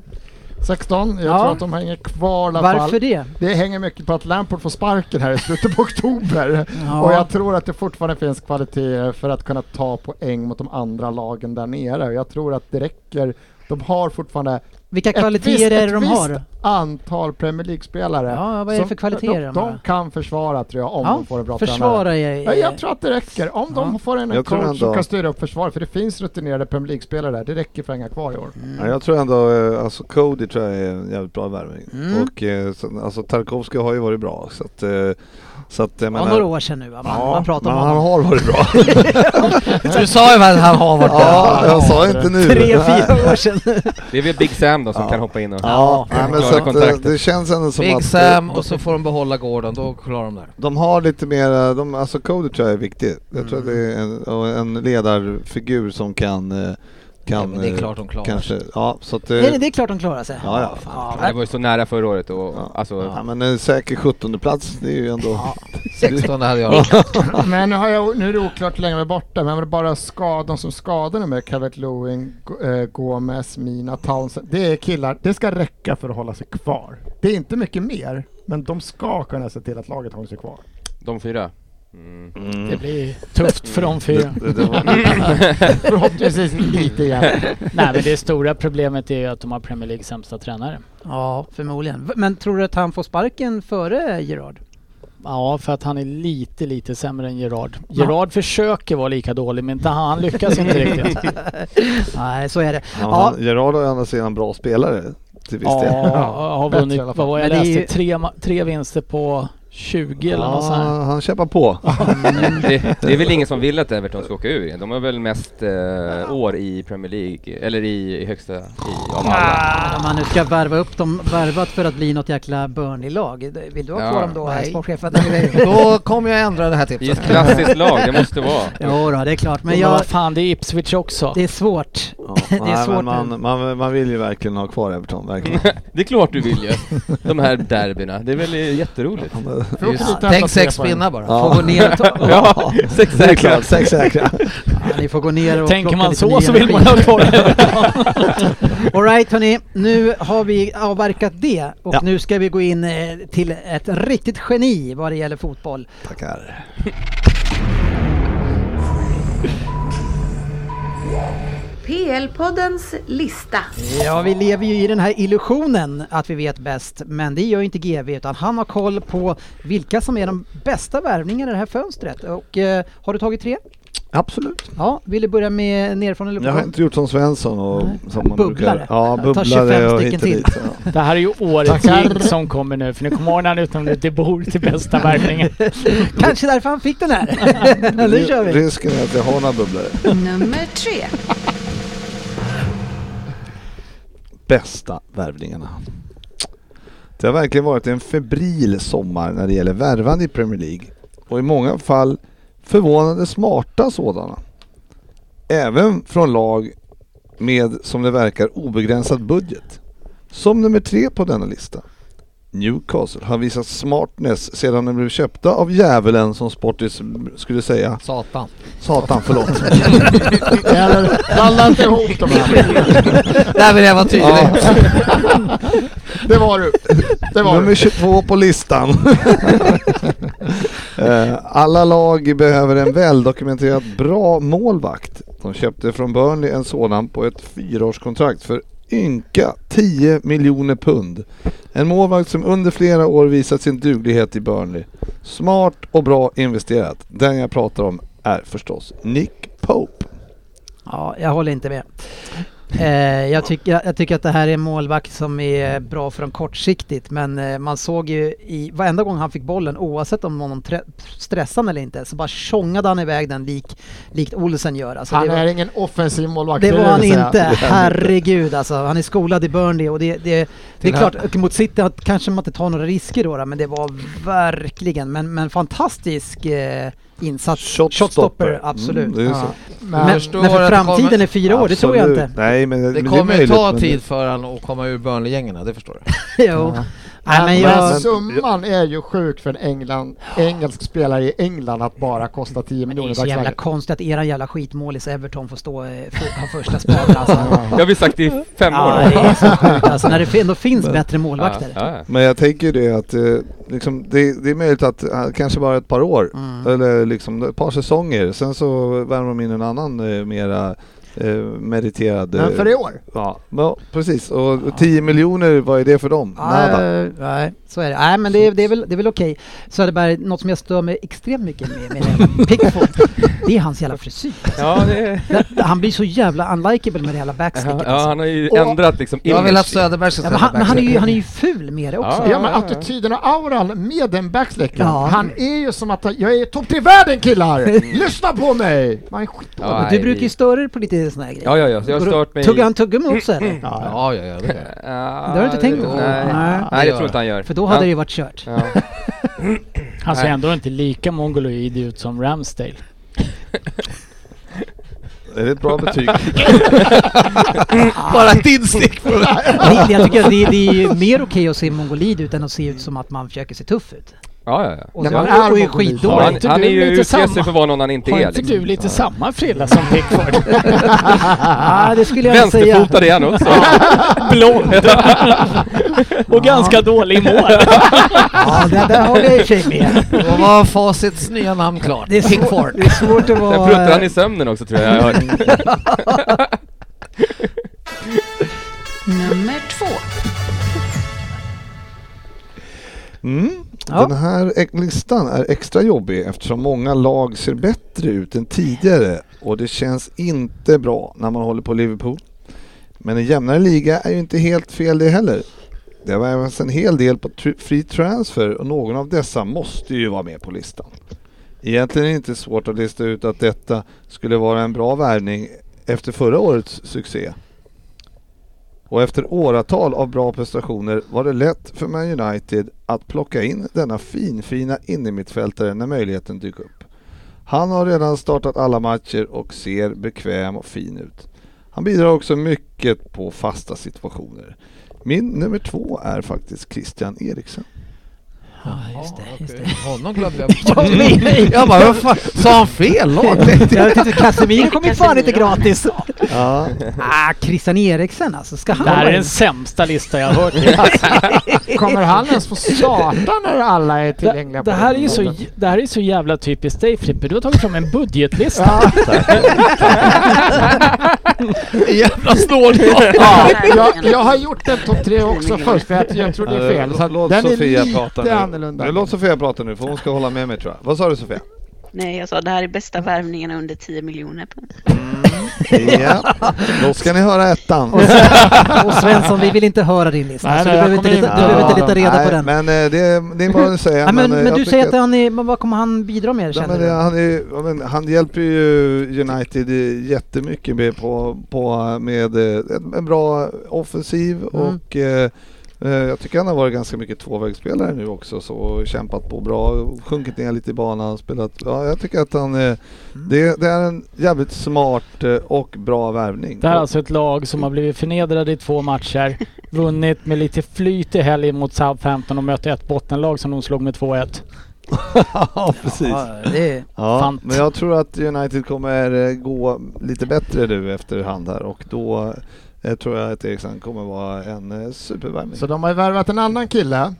16. Jag Ja. tror att de hänger kvar i alla Varför fall. det? Det hänger mycket på att Lampard får sparken här i slutet på oktober. <laughs> Ja. Och jag tror att det fortfarande finns kvalitet för att kunna ta poäng mot de andra lagen där nere. Och Jag tror att det räcker. De har fortfarande Vilka ett visst- kvaliteter är det de ett visst har? antal Premier League-spelare. Ja, vad är det som- för kvaliteter de, de de har? kan försvara tror jag om Ja, de får en bra tränare. Försvara er. Ja, jag tror att det räcker. Om de får en Jag tror coach som ändå- kan styra upp försvaret, för det finns rutinerade Premier League-spelare där. Det räcker för att hänga kvar i år. Ja, jag tror ändå, eh, alltså Cody tror jag är en jävligt bra värvning. Mm. Och eh, sen, alltså Tarkovsky har ju varit bra så att, eh, så att jag Ja, några år sedan nu va? Man, man pratar om men han har honom. varit bra. <laughs> Du sa ju väl att han har varit ja, jag sa inte nu. Tre, Nej. <laughs> fyra år sedan. Det är väl Big Sam då som Ja. kan hoppa in och... Ja, Ja, nej, men klara så att, eh, kontraktet. det känns ändå som Big att Sam eh, och så får de behålla Gordon, då klarar de det. de har lite mer, de, alltså Cody tror jag är viktig. Jag tror att det är en, och en ledarfigur som kan, eh, kan Ja, men det är eh, klart de klarar sig. kanske, ja så att, eh, Nej, nej, det är klart de klarar sig. Ja, ja. Ja, det Fan. var ju så nära förra året och Ja. alltså... ja, men en säker 17 plats det är ju ändå, <laughs> 16 hade jag. <laughs> Men nu, har jag, nu är det oklart hur länge vi är borta, men var det bara skad, de som skadar nu med Calvert Lewin, G- eh, Gomez, Mina, Townsend. Det är killar, det ska räcka för att hålla sig kvar. Det är inte mycket mer, men de ska kunna se till att laget håller sig kvar. <laughs> De fyra. Mm. Det blir tufft för de fyra. det, det var, <laughs> Förhoppningsvis lite igen. Nej men det stora problemet är ju att de har Premier League sämsta tränare. Ja, förmodligen. V- Men tror du att han får sparken före Gerard? Ja, för att han är lite, lite sämre än Gerard. Gerard försöker vara lika dålig men inte han lyckas inte <laughs> riktigt. Nej, så är det. Ja, Ja. Han, Gerard är å andra sidan bra spelare till viss del. Ja, har bättre vunnit, i alla vad fall. var jag Men det är läste, ju- tre, ma- tre vinster på 20 eller något sånt här. Ja, han kämpar <laughs> på. Det, det är väl ingen som vill att Everton ska åka ur? De har väl mest eh, år i Premier League, eller i, i högsta... I, av alla. Om man nu ska värva upp dem, värvat för att bli något jäkla Burnley-lag. Det- Vill du ha Ja. kvar dem då, Nej. sportchefen? Då kommer jag ändra det här Det är ett tipset. klassiskt lag, det måste <laughs> vara. Jo då, det är klart. Men Men jag, vad fan, det är Ipswich också. det är svårt. <laughs> Ja, Det är nej, svårt men man, man, man vill ju verkligen ha kvar Everton, verkligen. <laughs> Det är klart du vill ju. De här derbyna. Det är väl eh, jätteroligt. Får åka dit och hämta Tänk sex tre poäng. pinnar bara. Får gå ner och ta... <laughs> Ja, sex Det är säkra. klart, sex säkra. Ja, ni får gå ner och Tänker plocka man lite så ny så vill man energi. ha kvar <laughs> Alright hörni, nu har vi avverkat det och nu ska vi gå in eh, till ett riktigt geni vad det gäller fotboll. Tackar. PL-poddens lista. Ja, vi lever ju i den här illusionen att vi vet bäst, men det gör ju inte GV utan han har koll på vilka som är de bästa värvningarna i det här fönstret. Och eh, har du tagit tre? Absolut. Ja, vill du börja med nerifrån eller Jag har uppifrån? inte gjort som Svensson och som man Bubblare. brukar. Ja, Ta bubblare 25 och stycken hit och till. dit. Ja. Det här är ju årets Tackar. gig som kommer nu, för nu kommer ordna ut om det bor till bästa värvningen. <laughs> Kanske därför han fick den här. <laughs> nu <laughs> kör vi! Risken är att jag har några bubblare. Nummer tre. Bästa värvningarna. Det har verkligen varit en febril sommar när det gäller värvande i Premier League och i många fall förvånande smarta sådana. Även från lag med, som det verkar, obegränsad budget. Som nummer tre på denna lista. Newcastle har visat smartness sedan de blev köpta av djävulen som Sportis skulle säga. Satan. Satan, förlåt. <laughs> Eller, blanda inte ihop dem <laughs> här. Där vill jag vara tydlig. Ja. Det var du. Det var Nummer du. 22 på <laughs> listan. Eh, Alla lag behöver en väldokumenterad bra målvakt. De köpte från Burnley en sådan på ett fyraårskontrakt för ynka 10 miljoner pund. En målvakt som under flera år visat sin duglighet i Burnley. Smart och bra investerat. Den jag pratar om är förstås Nick Pope. Ja, jag håller inte med. Eh, jag, tycker, jag, jag tycker att det här är en målvakt som är bra för dem kortsiktigt men eh, man såg ju i varenda gång han fick bollen oavsett om någon tre- stressade han eller inte så bara tjongade han iväg den lik, likt Olsen gör. Alltså, Han det var, är ingen offensiv målvakt. det är var han vi säger. <laughs> inte. Herregud alltså. Han är skolad i Burnley och det, det, det är Till klart, och mot City har- kanske man inte tar några risker då, då men det var verkligen, men, men fantastisk eh, insats. absolut. Mm, det är så. Ja. Men, Men, men förstår för att det kommer- framtiden är fyra år, det tror jag Absolut. inte. Nej, men Det men kommer är möjligt, ta men- tid för han att komma ur Burnley-gängen, det förstår jag. <laughs> jo. Nej, men jag, men summan är ju sjuk för en England, engelsk spelare i England att bara kosta 10 men det miljoner är i så jävla dagsläget. konstigt att era jävla skitmålis Everton får stå eh, för, ha första spaden alltså. Jag har vi sagt i fem Ja, år. det är så sjukt alltså, när det ändå finns bättre Ja, målvakter. ja, ja. Men jag tänker ju det att eh, liksom, det, det är möjligt att eh, kanske bara ett par år Mm. eller liksom ett par säsonger. Sen så värmer de in en annan eh, mera eh, meriterad. eh, Men för i år? Ja, ja precis. Och 10 miljoner, vad är det för dem? Nada. Nej, nej, så är det. Nej, men det är, det är väl, det är väl okej. Söderberg, något som jag stör mig extremt mycket med, <laughs> med Pickford, det är hans jävla frisyr. Ja, det, Det- Han blir så jävla unlikable med det jävla backsticket. ja, alltså. han har ju Och- ändrat liksom Jag vill att image. Söderberg ska ja, men han, men han, är ju, backstreet. han är ju ful med det också. Ja men ja. attityden och auran med den backslicken. Ja. Han är ju som att jag är topp tre i världen killar! Lyssna på mig! Man är skit... Ja, Du nej, brukar ju vi- störa dig på lite sådana här grejer. Ja, ja, ja. så Jag har Och då stört mig... Tuggar han <laughs> tuggummi också eller? Ja, ja, ja, det är Det har du inte tänkt på? Nej, Nej. nej jag tror inte han gör. För då hade han, det ju varit kört. <laughs> Ja. Han ser Nej. Alltså, ändå inte lika mongoloid ut som Ramsdale. <laughs> Är det ett bra <laughs> betyg? Bara ett instick på det här. Det, jag tycker att det, det är ju mer okej att se mongolid utan att se ut som att man försöker se tuff ut. Ja, ja, ja. Och, När så, man och, är och är mongolid. Ja, Har han, skitdålig. inte han du är ju lite utger sig samma- för vad någon han inte Har är inte du liksom. lite samma frilla som Pickford? <laughs> Ja, det skulle jag inte säga. Vänsterfotad är han <laughs> också. <laughs> Blond. Och ganska dålig i mål. <laughs> Ja, där, där håller jag i och för sig med. Då var facits nya namn klart. Det är, svår, det är svårt att Sen vara... pruttade han i sömnen också tror jag. jag hörde. <laughs> Nummer två. Mm. Ja. Den här ex- listan är extra jobbig eftersom många lag ser bättre ut än tidigare och det känns inte bra när man håller på Liverpool. Men en jämnare liga är ju inte helt fel det heller. Det var även en hel del på tr- free transfer och någon av dessa måste ju vara med på listan. Egentligen är det inte svårt att lista ut att detta skulle vara en bra värvning efter förra årets succé. Och efter åratal av bra prestationer var det lätt för Man United att plocka in denna finfina innermittfältare när möjligheten dyker upp. Han har redan startat alla matcher och ser bekväm och fin ut. Han bidrar också mycket på fasta situationer. Min nummer två är faktiskt Christian Eriksen. Ja, just det. Just det. Honom glömde <laughs> jag bort. Ja, nej, nej. Jag bara, vad fan, sa han fel lag? <laughs> Jag tyckte Casemiro kom ju fan inte gratis. Ja. Ah, Christian Eriksen alltså. Ska han Det här vara är den in- sämsta lista jag har hört. <laughs> Kommer han ens få starta när alla är tillgängliga? Det, det, på här är ju så, planen? j- det här är så jävla typiskt dig Frippe. Du har tagit fram en budgetlista. Jävla snålgubbe. Ja, jag, jag har gjort en topp tre också först för att jag tror det är fel. Så att Eh, Låt den är Sofia lite prata nu. annorlunda. Nu, Låt Sofia prata nu för hon ska hålla med mig tror jag. Vad sa du Sofia? Nej, jag sa det här är bästa värvningen under 10 miljoner. Ja. Då ska ni höra ettan. <laughs> Mm. Och Svensson, vi vill inte höra din lista. Nej, så nej, du jag behöver inte, kommer leta, inte du behöver inte leta reda höra Nej, på den. Men eh, det, det är bara att säga. Nej, Mm. eh, men, men, jag du tycker säger att han är, men vad kommer han bidra med Ja, känner men du? det, han, är, ju- ja, men han hjälper ju United eh, jättemycket med, på, på, med eh, en, en bra offensiv Mm. och eh, eh, jag tycker han har varit ganska mycket tvåvägsspelare nu också så och kämpat på bra, sjunkit ner lite i banan, spelat. Ja, jag tycker att han, Mm. eh, det, det är en jävligt smart eh, och bra värvning. Det här är alltså ett lag som har blivit förnedrade i två matcher. Vunnit med lite flyt i helgen mot Southampton och mötte ett bottenlag som de slog med 2-1. <laughs> ja, precis. Ja, det är, Ja, Fant. men jag tror att United kommer eh, gå lite bättre nu efterhand här och då eh, tror jag att Eriksson kommer vara en eh, supervärvning. Så de har ju värvat en annan kille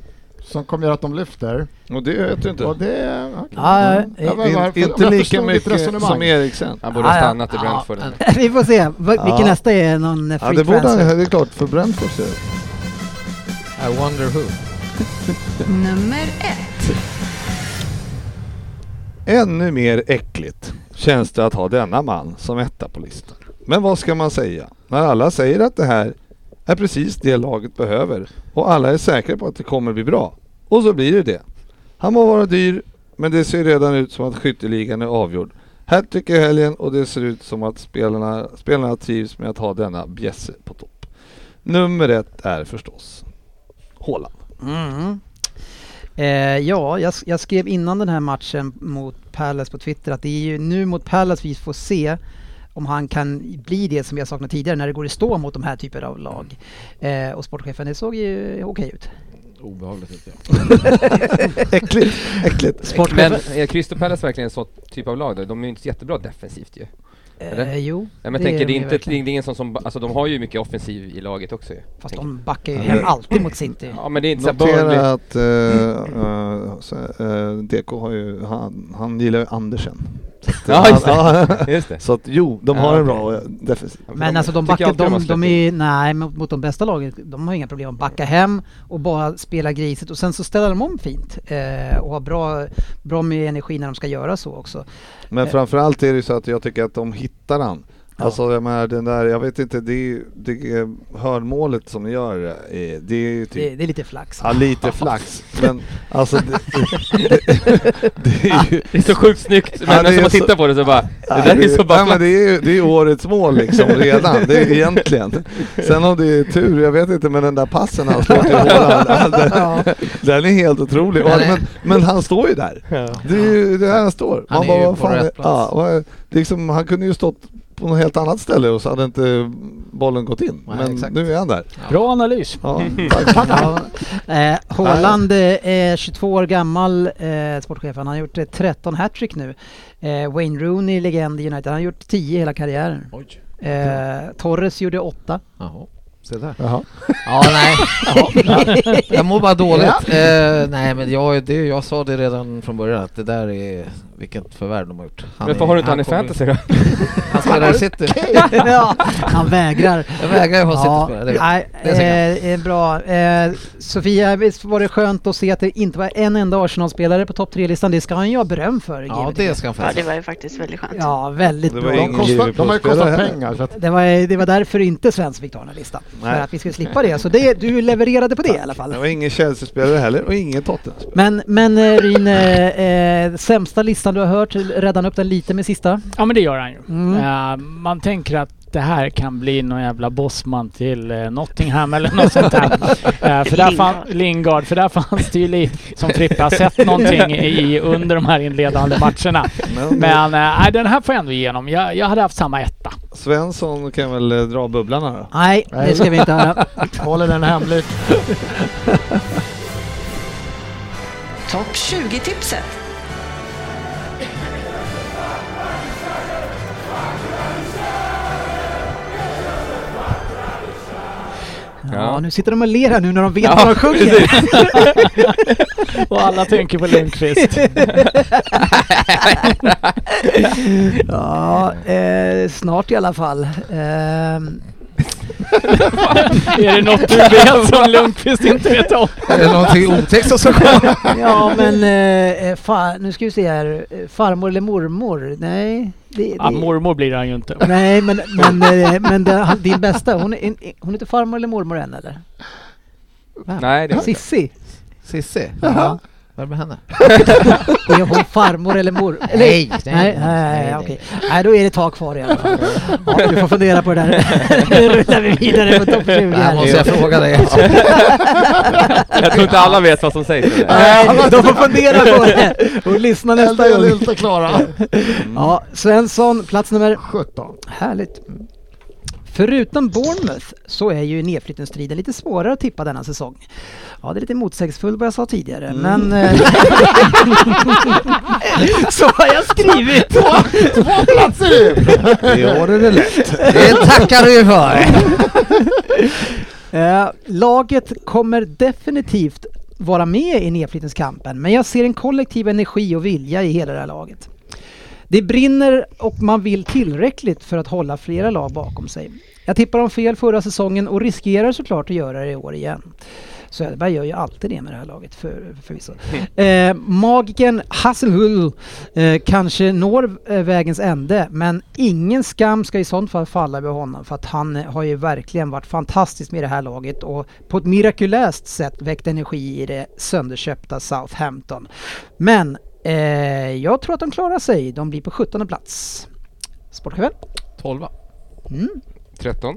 som kommer göra att de lyfter. Och det vet du inte. Och det... okej. Ja, Mm. eh, Jag var- jag In, förstod inte ditt lika mycket resonemang. som Eriksen. Han borde ha Ja, ja. stannat i Brentford. eller? vi får se. Va, Ja. Vilken nästa är någon eh, Ja free det borde han, transfer. det är klart för Brentford ser det. I wonder who. <laughs> Nummer ett. Ännu mer äckligt känns det att ha denna man som etta på listan. Men vad ska man säga? När alla säger att det här är precis det laget behöver och alla är säkra på att det kommer bli bra. Och så blir det det. Han må vara dyr, men det ser redan ut som att skytteligan är avgjord. Hattrick i helgen och det ser ut som att spelarna, spelarna trivs med att ha denna bjässe på topp. Nummer ett är förstås Haaland. Mm. Eh, ja, jag, s- jag skrev innan den här matchen mot Palace på Twitter att det är ju nu mot Palace vi får se om han kan bli det som vi har Mm. saknat tidigare när det går i stå mot de här typerna av lag. Eh, och sportchefen, det såg ju okej ut. Obehagligt tyckte <laughs> jag. Äckligt, äckligt. Men Sportchefen? är Crystal Palace verkligen en sån typ av lag då? De är ju inte så jättebra defensivt ju. eller? Eh, jo, Nej, men det Det tänker, är det är de inte, det är verkligen. ingen sån som, alltså de har ju mycket offensiv i laget också ju. fast tänker de backar ju Ja, hem men- alltid mot City. jag. Ja men det är inte så här Burnley. Notera att eh, eh, så, eh, DK har ju, han, han gillar ju Andersen. Så att, eh, Ja, just han- Just det. Så att jo, de Ja, har en okej. bra eh, defensiv. Men alltså de tycker backar, alltid har de, släppt de in. är, nej mot, mot de bästa lagen, de har inga problem att backa hem och bara spela griset och sen så ställer de om fint eh, och har bra, bra med energi när de ska göra så också. Men Eh. framförallt är det ju så att jag tycker att de hittar han. Ja. Alltså jag menar den där, jag vet inte, det, är- det är hörnmålet som ni gör, eh, det är ju Det, typ det är lite flax. Ja, lite flax, men alltså det, <laughs> det, det är ju... Det är så sjukt snyggt, men Ja, det när är man så- tittar på det så bara, det Nej, där är så nej, bara men det är ju det är årets mål liksom redan, det är egentligen. Sen om det är tur, jag vet inte, men den där passen han slår <laughs> till Håland, ja, den, den är helt otrolig. Och, men, men han står ju där. Det är ju det här han står. Han är ju vad på fan rätt är- plats. Ja, vad- det är liksom, han kunde ju stått på något helt annat ställe och så hade inte bollen gått in. Nej, men exakt. nu är han där. Bra analys. <laughs> <laughs> Ja, tack. Ja. Eh, Haaland eh, är 22 år gammal, eh, sportchef. Han har gjort eh, 13 hattrick nu. Eh, Wayne Rooney, legend i United, han har gjort 10 hela karriären. Oj. Eh, Torres gjorde 8. Jaha. Se där. Jaha. Ja, <laughs> nej. <laughs> Ja. Jag mår bara dåligt. Eh, nej, men jag, det, jag sa det redan från början att det där är vilket förvärv de har gjort. Han Men varför är- har du inte han i kommer- fantasy då? <laughs> Han spelar <laughs> i City. <laughs> ja, han vägrar. Jag vägrar ju ha City-spelare. det vet jag. nej, Det är så eh, eh, bra. Eh, Sofia, visst var det skönt att se att det inte var en enda Arsenal-spelare på topp tre-listan? Det ska han ju ha beröm för. Ja, givetvis. det ska han Ja, det faktiskt. var ju faktiskt väldigt skönt. ja väldigt Det var bra. ingen De, kostar, de har ju Liverpool-spelare kostat heller. pengar. Så att, Det var, det var därför inte Svens fick ta den här listan. För Nej. att vi skulle slippa det. Så det, du levererade på det i alla fall. Det var ingen Chelsea-spelare heller och ingen Tottenham-spelare. Men, men eh, Ryn, eh, eh, sämsta listan du har hört, räddan upp den lite med sista. Ja men det gör han ju. Mm. Eh, man tänker att det här kan bli någon jävla bossman till eh, Nottingham eller något sånt <laughs> där. Eh, för där fan, Lingard, för där fanns det ju lite som Frippe har sett någonting i under de här inledande matcherna. Mm. Men, Men eh, nej, den här får jag ändå igenom. Jag, jag hade haft samma etta. Svensson kan väl eh, dra bubblan här då? Nej, det ska vi inte höra. <laughs> håller den hemlig. Topp 20-tipset. Ja, nu sitter de och ler här nu när de vet Ja, vad de sjunger. <laughs> Och alla tänker på Lindqvist. <laughs> Ja, eh, snart i alla fall. Ehm, <laughs> Är det något du vet som Lundqvist inte vet om? Är det någonting otäckt som ska komma? <laughs> ja, men eh, fa- nu ska vi se här. Eh, Farmor eller mormor? Nej. Det, det, Ja, mormor blir han ju inte. Nej, men, men, eh, men det, din bästa, hon är, hon är inte farmor eller mormor än eller? Nej, det är eh, Sissi? Cissi? Vad är det med <laughs> henne? Är hon farmor eller mor? Eller, Nej, nej, nej, nej, nej, nej, okej. Nej, då är det ett tag kvar i alla fall. Ja, du får fundera på det där. <laughs> Nu rullar vi <laughs> vidare på topp 20 Här måste här. jag fråga dig. Jag tror inte alla vet vad som sägs. eller? Nej, de får fundera på det och lyssna nästa Elda gång. Mm. Lilta Klara. Ja, Svensson, plats nummer 17. Härligt. Förutom Bournemouth så är ju nedflyttningsstriden lite svårare att tippa denna säsong. Ja, det är lite motsägelsefullt vad jag sa tidigare, men... eh, <laughs> så har jag skrivit! Två platser in! Det år är det lätt. Det tackar du för. <laughs> Eh, laget kommer definitivt vara med i nedflyttningskampen, men jag ser en kollektiv energi och vilja i hela det här laget. Det brinner och man vill tillräckligt för att hålla flera lag bakom sig. Jag tippar om fel förra säsongen och riskerar såklart att göra det i år igen. Söderberg gör ju alltid det med det här laget för, förvisso. Eh, magiken Hasselhull eh, kanske når eh, vägens ände men ingen skam ska i sånt fall falla över honom för att han eh, har ju verkligen varit fantastisk med det här laget och på ett mirakulöst sätt väckt energi i det sönderköpta Southampton. Men eh, jag tror att de klarar sig. De blir på 17 plats. Sportchefen? 12 Mm. 13.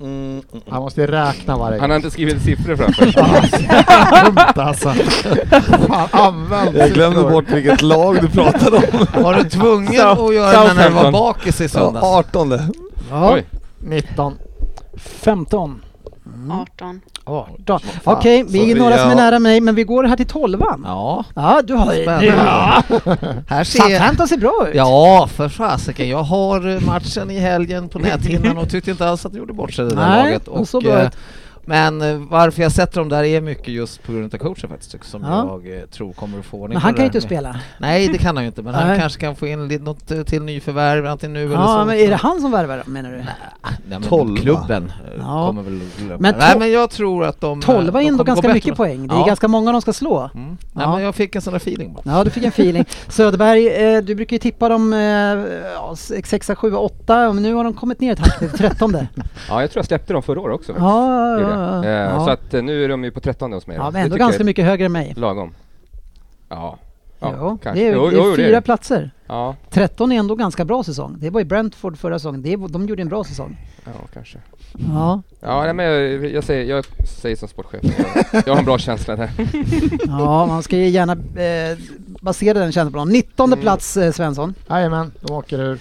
Mm, mm. Han måste ju räkna Han varje gång. har inte skrivit siffror <laughs> framför. Dumt alltså. Fan, använd Jag glömde siffror. bort vilket lag du pratade om. Var du tvungen att göra den när du var bakis i söndags? 18. Ja. Oj. 19. 15. 18. Fan, 18. Okej, så vi är vi- några som är ja. nära mig, men vi går här till 12 Ja, Ja, du har ju... Spännande. <laughs> här ser... Southampton ser bra ut. Ja, för fasiken. Jag har eh, matchen i helgen på näthinnan och tyckte inte alls att de gjorde bort sig det där Nej, laget. de såg bra eh, ut. men eh, varför jag sätter dem där är mycket just på grund av coachen faktiskt, som Ja. jag eh, tror kommer att få ordning Men han på kan ju det inte där. spela. Nej, det kan han ju inte, men han Nej. kanske kan få in lite, något eh, till nyförvärv, antingen nu eller Ja, så. men är det han som värvar menar du? Nej, men Tolva. Klubben eh, Ja. kommer väl att glömma. Men Nej, tol- men jag tror att de... eh, 12 är ändå de kommer gå ganska bättre mycket med- poäng. Det är Ja. ganska många de ska slå. Mm. Nej, Ja. men jag fick en sån där feeling bara. Ja, du fick en <laughs> feeling. Söderberg, eh, du brukar ju tippa dem 6, 7, 8, men nu har de kommit ner ett hack till 13. <laughs> Ja, Ja, jag tror jag släppte dem förra året också. faktiskt. ja, Gjorde jag. ja, Eh, ja. Så att eh, nu är de ju på 13 hos mig. då. ja Det men ändå tycker jag ganska är mycket högre än mig. Lagom. Ja. Ja, Jo, kanske. det är, Jo, det jo, är det är fyra det. platser. Ja, 13 är ändå ganska bra säsong. Det var ju Brentford förra säsongen. Det, var- de gjorde en bra säsong. ja kanske. Ja, Ja, nej, men jag, jag, säger, jag säger som sportchef. Jag, jag har en bra känsla där. <laughs> ja man ska ju gärna eh, basera den känslan på någon. 19 Mm. plats eh, Svensson. Jajamän, de åker ur.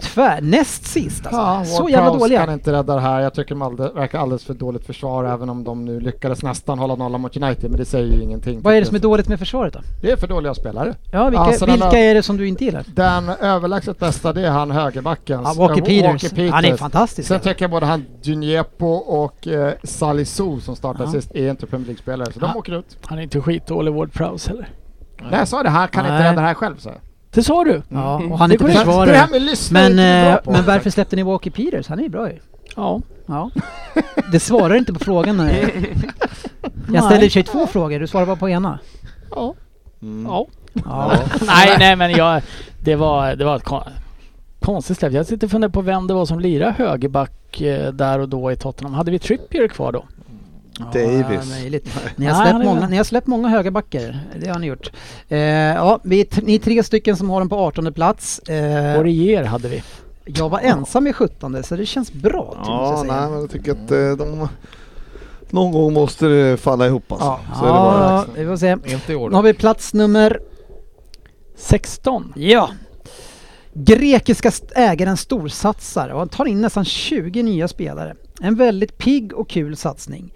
Tvär, näst sist alltså. Ja, Så Ward jävla Prowse kan dåliga. inte rädda det här. Jag tycker de allde, verkar alldeles för dåligt försvar även om de nu lyckades nästan hålla nollan mot United. Men det säger ju ingenting. Vad är det tycker som är jag. dåligt med försvaret då? Det är för dåliga spelare. Ja, vilka, Alltså, den vilka här- är det som du inte gillar? Den överlägset bästa det är han högerbacken. Ja, Walker, Äh, Peters. Han är fantastisk. Sen tycker jag både han Juniepo och eh, Salisu som startade Ja. sist är inte Premier League-spelare så de Ja. åker ut. Han är inte skitdålig Ward Prowse heller. Nej jag sa det, han kan Nej. inte rädda det här själv så. Det sa du? Ja, och han är Det inte går inte. Det här försvarare. med lyssna Men, är inte eh, bra på. men varför släppte ni Walker Peters? Han är ju bra ju. Ja. Ja. Det svarar inte på frågan. <laughs> Nej. Jag ställde i och för sig två frågor, du svarar bara på ena. <laughs> Ja. Mm. ja. Ja. nej, nej men jag... Det var, det var ett kon- konstigt släpp. Jag sitter och funderar på vem det var som lirade högerback eh, där och då i Tottenham. Hade vi Trippier kvar då? Davis. Ja, möjligt. Ni har Nej, släppt det är många, bra. ni har släppt många högerbackar. Det har ni gjort. Eh, ja, vi är t- ni är tre stycken som har dem på 18 plats. Eh, Orier hade vi. jag var ensam i 17 så det känns bra. måste jag Ja, säga. nej, men jag tycker att eh, de... Någon gång måste det falla ihop alltså. Ja. Så är det bara. Ja, vi får se. Inte i år Nu har vi plats nummer 16. Ja. Grekiska st- ägaren storsatsar och tar in nästan 20 nya spelare. En väldigt pigg och kul satsning.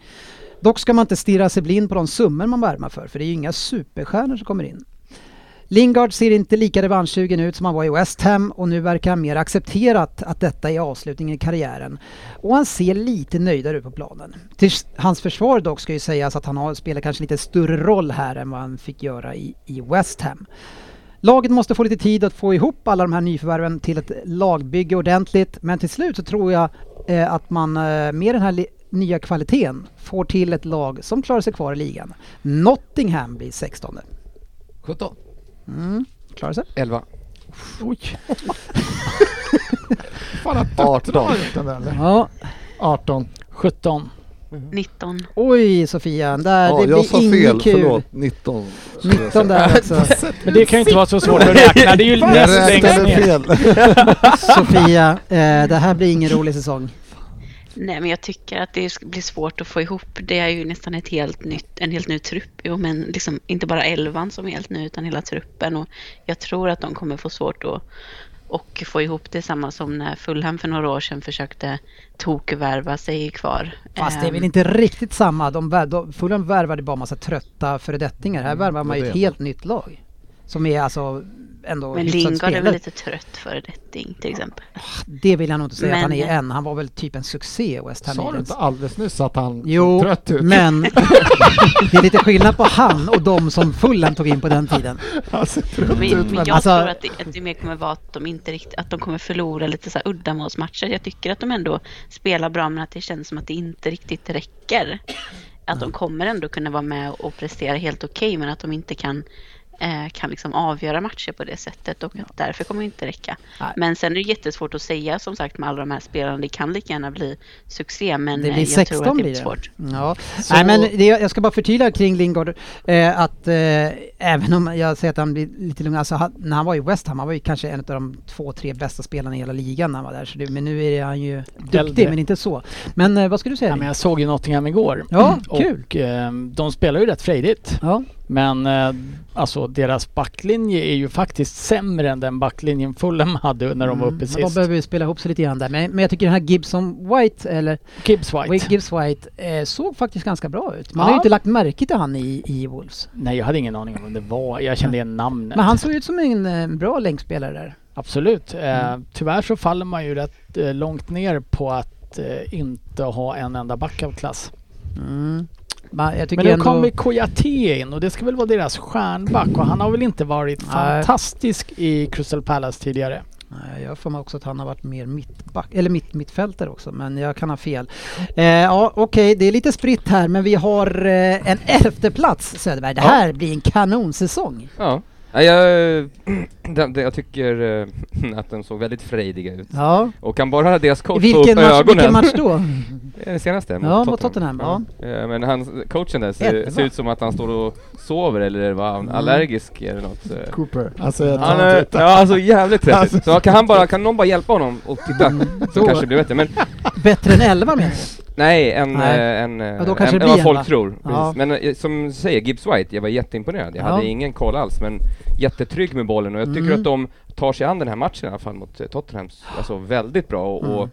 Dock ska man inte stirra sig blind på de summor man värmar för, för det är ju inga superstjärnor som kommer in. Lingard ser inte lika revanschsugen ut som han var i West Ham och nu verkar han mer accepterat att detta är avslutningen i karriären. Och han ser lite nöjdare ut på planen. Till s- hans försvar dock ska ju sägas att han har spelat kanske lite större roll här än vad han fick göra i, i West Ham. Laget måste få lite tid att få ihop alla de här nyförvärven till ett lagbygge ordentligt. Men till slut så tror jag eh, att man eh, med den här li- nya kvaliteten får till ett lag som klarar sig kvar i ligan. Nottingham blir 16. 17. Klarar sig. 11. Oj. Fan att Tottenham har gjort den där eller? Ja. 18. 17. 19. Oj Sofia, där, Ja, det jag sa blir fel, inget kul. förlåt. 19. skulle jag 19 säga. där alltså. <laughs> också. <laughs> Men det kan ju inte vara så svårt att räkna. Det är ju Jag näst längst räknade ner. fel. <laughs> Sofia, eh, det här blir ingen rolig säsong. Nej, men jag tycker att det sk- blir svårt att få ihop. Det är ju nästan ett helt nytt, en helt ny trupp. Jo, men liksom inte bara elvan som är helt ny, utan hela truppen. Och jag tror att de kommer få svårt att och få ihop det samma som när Fulham för några år sedan försökte tokvärva sig kvar. Fast det är Ehm, väl inte riktigt samma. De, vär- de, Fulham värvade bara massa trötta föredettingar. Mm, Här värvar man ju det ett är helt nytt lag. Som är alltså ändå Men hyfsat Lingard är spelare. väl lite trött för detting till exempel. Det vill jag nog inte säga att han Men- är än. Han var väl typ en succé i West Ham. Sa du Midlands. inte alldeles nyss att han Jo, såg trött ut? <laughs> men det är lite skillnad på han och de som Fulham tog in på den tiden. Han ser trött Men, ut men men... jag Alltså- tror att det, att det mer kommer vara att de inte riktigt, att de kommer förlora lite så här uddamålsmatcher. Jag tycker att de ändå spelar bra men att det känns som att det inte riktigt räcker. Att de kommer ändå kunna vara med och prestera helt okej men att de inte kan eh, kan liksom avgöra matcher på det sättet och att därför kommer det inte räcka. Nej. Men sen är det jättesvårt att säga som sagt med alla de här spelarna. Det kan lika gärna bli succé men Det eh, blir jag 16 tror att det blir blir det. svårt. Ja. Nej, men det, jag ska bara förtydliga kring Lingard eh, att eh, även om jag säger att han blir lite lugn, alltså han, när han var i West Ham, han var ju kanske en av de två, tre bästa spelarna i hela ligan när han var där. Så det, men nu är han ju duktig, Äldre. men inte så. Men eh, vad ska du säga? Ja, Nick? men jag såg ju Nottingham igår. Mm. Ja, och kul. eh, de spelar ju rätt frejdigt. Ja, Men eh, alltså deras backlinje är ju faktiskt sämre än den backlinjen Fulham hade när de var uppe Mm, sist. De behöver ju spela ihop sig lite grann där. Men, men jag tycker den här Gibson White, eller Gibbs White. Wade Gibbs White, eh, såg faktiskt ganska bra ut. Man har Ja. ju inte lagt märke till han i, i Wolves. Nej, jag hade ingen aning om vem det var. Jag kände igen namnet. Men han såg ut som en eh, bra länkspelare där. Absolut. Eh, Mm. tyvärr så faller man ju rätt eh, långt ner på att eh, inte ha en enda back av klass. Mm. Man, jag tycker Men nu ändå... kommer Kouyaté in och det ska väl vara deras stjärnback och han har väl inte varit Nej. fantastisk i Crystal Palace tidigare. Nej, Jag får mig också att han har varit mer mittback, eller mitt, mittfältare också, men jag kan ha fel. Eh, ja, Okej, det är lite spritt här, men vi har eh, en elfte plats Söderberg. Det Ja. här blir en kanonsäsong. Ja. Nej, Jag, <clears throat> den, den, jag tycker eh, <clears throat> att de såg väldigt frejdiga ut. Ja. Och kan bara deras coach få Vilken upp match, ögonen. vilken match <laughs> då? Den senaste? Ja, mot Tottenham, Eh, Men han, coachen där ser, Jättebra. Mm. ser ut som att han står och sover eller var han allergisk eller något. eh. Cooper. Alltså, jag Han tar är, inte ut. ja, alltså jävligt Alltså, svettigt. Så kan, han bara, kan någon bara hjälpa honom och titta så Mm. då- kanske det blir bättre. Men Bättre än 11 menar du? nej, en, Nej. eh, en, eh, Ja, då kanske en, det en blir vad en, folk va? tror. Precis. Ja. Men eh, som du säger, Gibbs White, jag var jätteimponerad. Jag Ja. hade ingen koll alls men jättetrygg med bollen och jag tycker Mm. att de tar sig an den här matchen i alla fall mot eh, Tottenham alltså, väldigt bra. Och, Mm. och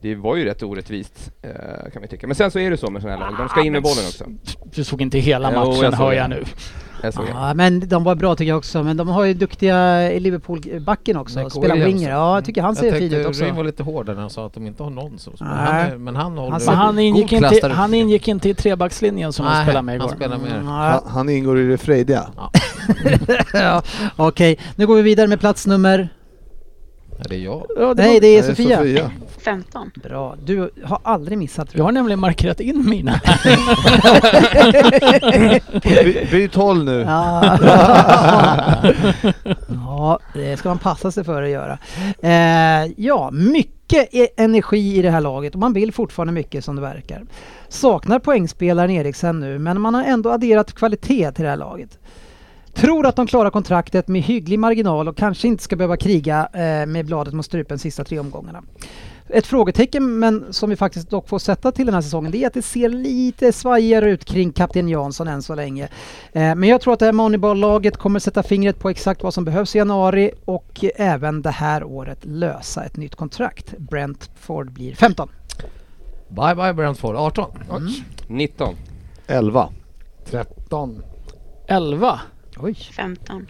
det var ju rätt orättvist eh, kan vi tycka. Men sen så är det så med sådana här lag, de ska in med bollen också. Du såg inte hela Jo, matchen jag såg hör det. jag nu. Jag såg det. Ja, men de var bra tycker jag också, men de har ju duktiga eh, Liverpool-backen också, Nick spelar Williams. winger. Ja, jag tycker han alltså- Mm. jag ser fin tänkte ut också. Ryn var lite hårdare när han sa att de inte har någon som spelar. Nej. Han är- Men han håller Han Men Alltså, sa- han god ingick, klass inte, där uppe. han ingick inte i trebackslinjen som de Nej, spelade med han igår. Mm, spelar med. Ja, Han, han ingår i det frejdiga. <laughs> ja, Okej, nu går vi vidare med plats nummer... Ja, det är jag. Nej, det är Nej, Sofia. 15. Bra, du har aldrig missat tror Jag jag. har nämligen markerat in mina. By, byt håll nu. <laughs> Ja. ja, det ska man passa sig för att göra. Eh, ja, mycket e- energi i det här laget och man vill fortfarande mycket som det verkar. Saknar poängspelaren Eriksen nu, men man har ändå adderat kvalitet till det här laget. Tror att de klarar kontraktet med hygglig marginal och kanske inte ska behöva kriga eh, med bladet mot strupen sista tre omgångarna. Ett frågetecken, men som vi faktiskt dock får sätta till den här säsongen, det är att det ser lite svajigare ut kring kapten Jansson än så länge. Eh, Men jag tror att det här Moneyball-laget kommer sätta fingret på exakt vad som behövs i januari och även det här året lösa ett nytt kontrakt. Brentford blir 15. Bye bye Brentford, 18. Oj, 19. 11. 13. 11. Oj. 15.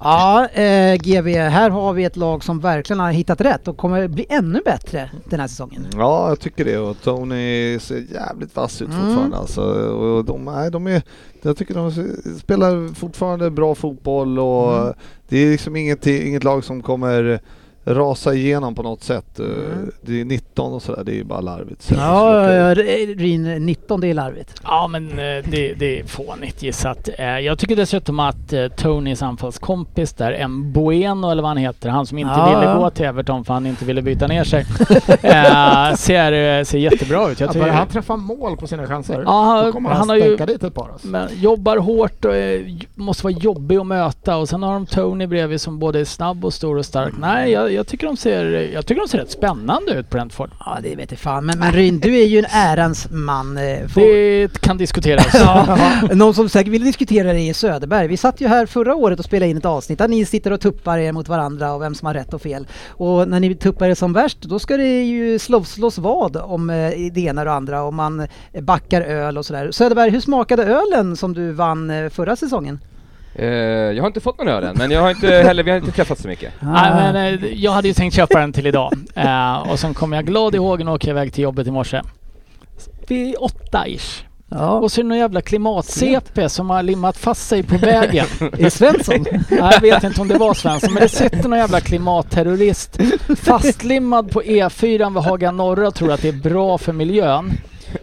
Ja, eh, GB, här har vi ett lag som verkligen har hittat rätt och kommer bli ännu bättre den här säsongen. Ja, jag tycker det. Och Tony ser jävligt vass ut Mm. fortfarande. Alltså, och de, nej, de är, jag tycker de s- spelar fortfarande bra fotboll och Mm. det är liksom inget, inget lag som kommer rasa igenom på något sätt. Eh, Mm. Det är 19 och sådär, det är bara <laughs> larvigt. Så Ja, så- ja, Ryn, 19 det är larvigt. Ja men eh, det, det är fånigt gissat. Eh, Jag tycker dessutom att eh, Tonys anfallskompis där, Mbueno eller vad han heter, han som inte Ja, ville ja. gå till Everton för han inte ville byta ner <laughs> sig, eh, ser, eh, ser jättebra ut. Jag Att tycker, bara han träffar mål på sina chanser, Ja, han- då kommer han, han har ju- stänka dit ett par. Alltså. men jobbar hårt och eh, j- måste vara jobbig att möta och sen har de Tony bredvid som både är snabb och stor och Mm. stark. Nej, jag, jag, tycker, de ser, jag tycker de ser rätt spännande ut Brentford. Ja, det vet jag fan. Men, men Ryn, du är ju en ärans man. eh, får- Det kan diskuteras. Ja, <laughs> någon som säkert vill diskutera det är Söderberg. Vi satt ju här förra året och spelade in ett avsnitt där ni sitter och tuppar er mot varandra och vem som har rätt och fel. Och när ni tuppar er som värst då ska det ju slås, slås vad om eh, det ena och det andra och man eh, backar öl och sådär. Söderberg, hur smakade ölen som du vann eh, förra säsongen? Eh, jag har inte fått någon öl än, men jag har inte heller, vi har inte träffats så mycket. Ah. Ah. Nej, men, eh, jag hade ju tänkt köpa den till idag. Eh, och sen kom jag glad ihåg när jag åker iväg till jobbet i morse. Vid åtta ish. Ja, Och så är det någon jävla klimat-CP som har limmat fast sig på vägen. <laughs> är det Svensson? Nej, jag vet inte om det var Svensson, men det sitter någon jävla klimatterrorist fastlimmad på E4 vid Haga Norra och tror att det är bra för miljön.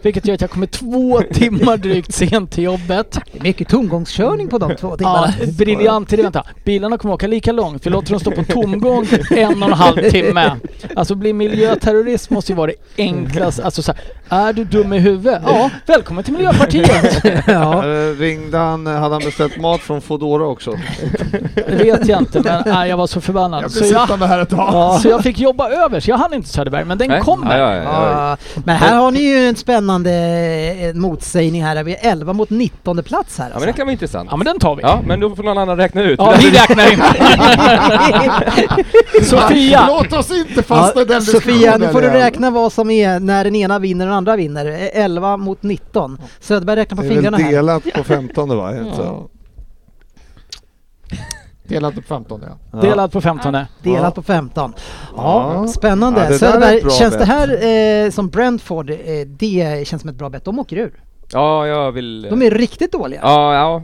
Vilket gör att jag kommer två timmar drygt sent till jobbet. Det är mycket tomgångskörning på de två Ja, timmarna. briljant idé. Vänta, bilarna kommer åka lika långt. Vi låter dem stå på tomgång en och en halv timme. Alltså bli miljöterrorist måste ju vara det enklaste. Alltså så här, är du dum i huvudet? Ja, välkommen till Miljöpartiet. <laughs> Ja. Eh, Ringde han, hade han beställt mat från Foodora <laughs> också? Det vet jag inte, men nej, jag var så förbannad. Jag Så blir jag, sittande här ett tag. så jag fick jobba över, så jag hann inte Söderberg, men den Nej? kommer. Ja, ja, ja, ja. Ja, men här har ni ju en spännande eh, motsägning här. Vi är 11 mot 19 plats här Ja men det alltså. kan vara intressant. Ja men den tar vi. Ja, men då får någon annan räkna ut. Ja, vi räknar <laughs> inte. Sofia! Låt oss inte fastna i den Sofia, nu diskussionen får du igen. räkna vad som är när den ena vinner och den andra vinner. Eh, 11 mot 19. Söderberg räknar på Det är fingrarna väl här. delat på 15 va? Ja. <laughs> Delat på 15 ja. Delat på 15. Delat på 15. Ja, Ja. spännande. Ja, det där är Söderberg, ett bra känns det bett. här eh, som Brentford, eh, det känns som ett bra bett. De åker ur. <laughs> Ja, jag vill... De är riktigt dåliga. Ja, ja.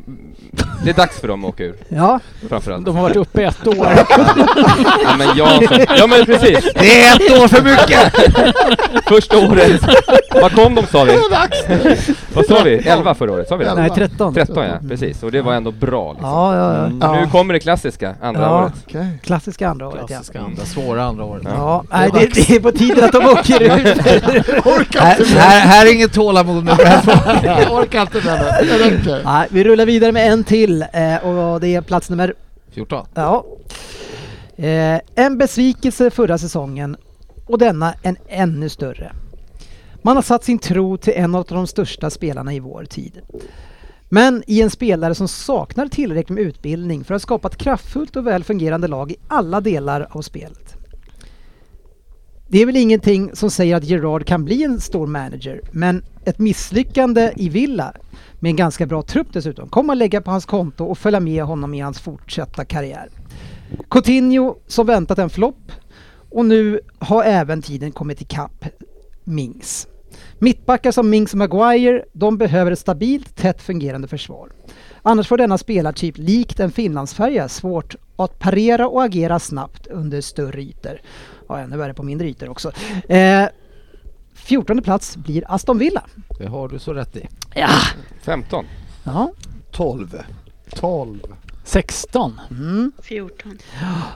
Det är dags för dem att åka ur, Ja. framförallt. De har varit uppe i ett år. Ja, men jag... Ja, men precis. Det är ett år för mycket! <laughs> Första året. Vad kom de sa vi? Vad sa vi? 11 förra året, sa vi det? Nej, 13. 13 ja, precis. Och det var ändå bra liksom. Ja, ja, ja. Mm. Nu kommer det klassiska, andra Ja. året. Okej. Klassiska andra året, ja. andra, svåra andra året. Ja, nej, det, det är på tiden att de åker ur. Här, här, här är inget tålamod med Brentford. Jag orkar inte med det. Det räcker. nej, vi rullar vidare med en till eh, och det är plats nummer... 14. Ja. Eh, En besvikelse förra säsongen och denna en ännu större. Man har satt sin tro till en av de största spelarna i vår tid. Men i en spelare som saknar tillräckligt med utbildning för att skapa ett kraftfullt och väl fungerande lag i alla delar av spelet. Det är väl ingenting som säger att Gerard kan bli en stor manager, men ett misslyckande i Villa, med en ganska bra trupp dessutom, kommer att lägga på hans konto och följa med honom i hans fortsatta karriär. Coutinho som väntat en flopp och nu har även tiden kommit ikapp Mings. Mittbackar som Mings och Maguire, de behöver ett stabilt, tätt fungerande försvar. Annars får denna spelartyp, likt en finlandsfärja, svårt att parera och agera snabbt under större ytor. Ja, ännu värre på mindre ytor också. Eh, 14 plats blir Aston Villa. Det har du så rätt i. 15. Ja. 12. 12. 16. Mm. 14.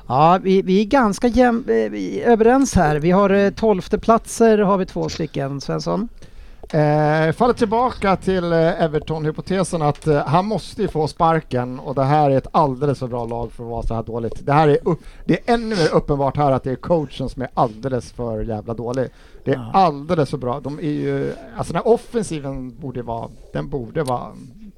Ja, vi, vi är ganska jäm, eh, vi är överens här. Vi har eh, tolfteplatser, har vi två stycken, Svensson. Eh, faller tillbaka till eh, Everton-hypotesen att eh, han måste ju få sparken och det här är ett alldeles för bra lag för att vara så här dåligt. Det här är, upp, det är ännu mer uppenbart här att det är coachen som är alldeles för jävla dålig. Det är alldeles för bra. De är ju, alltså den här offensiven borde vara, den borde vara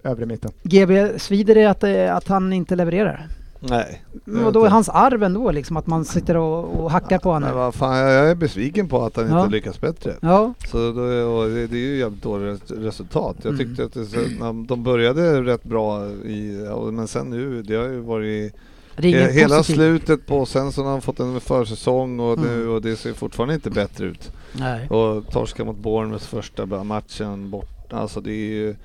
övre mitten. GB, svider det att, eh, att han inte levererar? Nej. Och då är hans arv ändå liksom, att man sitter och, och hackar på Men honom. vad fan, jag jag är besviken på att han Ja. inte lyckas bättre. Ja, Så då, och det, det är ju jävligt dåligt resultat. Jag Mm. tyckte att det, så, när de började rätt bra, i, och- men sen nu, det har ju varit det är he, inget hela positivt. slutet på, sen så har han fått en försäsong och, nu, Mm. och det ser fortfarande inte bättre ut. Nej. Och torska mot Bournemouth första bra- matchen bort. Alltså det är ju...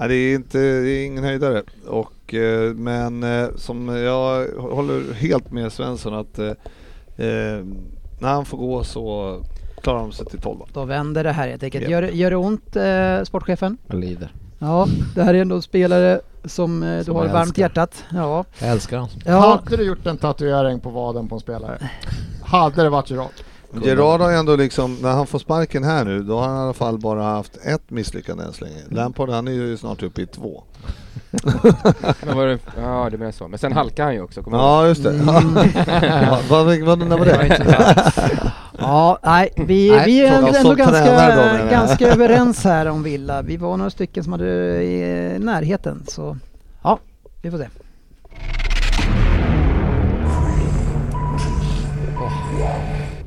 Nej, det är, inte, det är ingen höjdare. Och, eh, men eh, som jag håller helt med Svensson att eh, eh, när han får gå så klarar de sig till 12. Då vänder det här helt enkelt. Japp. Gör, gör det ont, eh, sportchefen? Jag lider. Ja, det här är ändå en spelare som eh, du Som har jag varmt älskar. hjärtat. Ja. Jag älskar honom. ja. Hade du gjort en tatuering på vaden på en spelare? Hade det varit Gerard? Gerard har ju ändå liksom, när han får sparken här nu, då har han i alla fall bara haft ett misslyckande än så länge. Mm. Lampard han är ju snart uppe i två. Men var det... Ja, det menar jag så. Men sen halkar han ju också, kommer Ja just det. Mm. <laughs> Ja, vad, vad, vad, när var jag ihåg. det? <laughs> ja, nej, vi, Nej, vi är fråga oss ändå som tränare då, menar ganska, jag. ganska överens här om Villa. Vi var några stycken som hade i närheten, så ja, vi får se.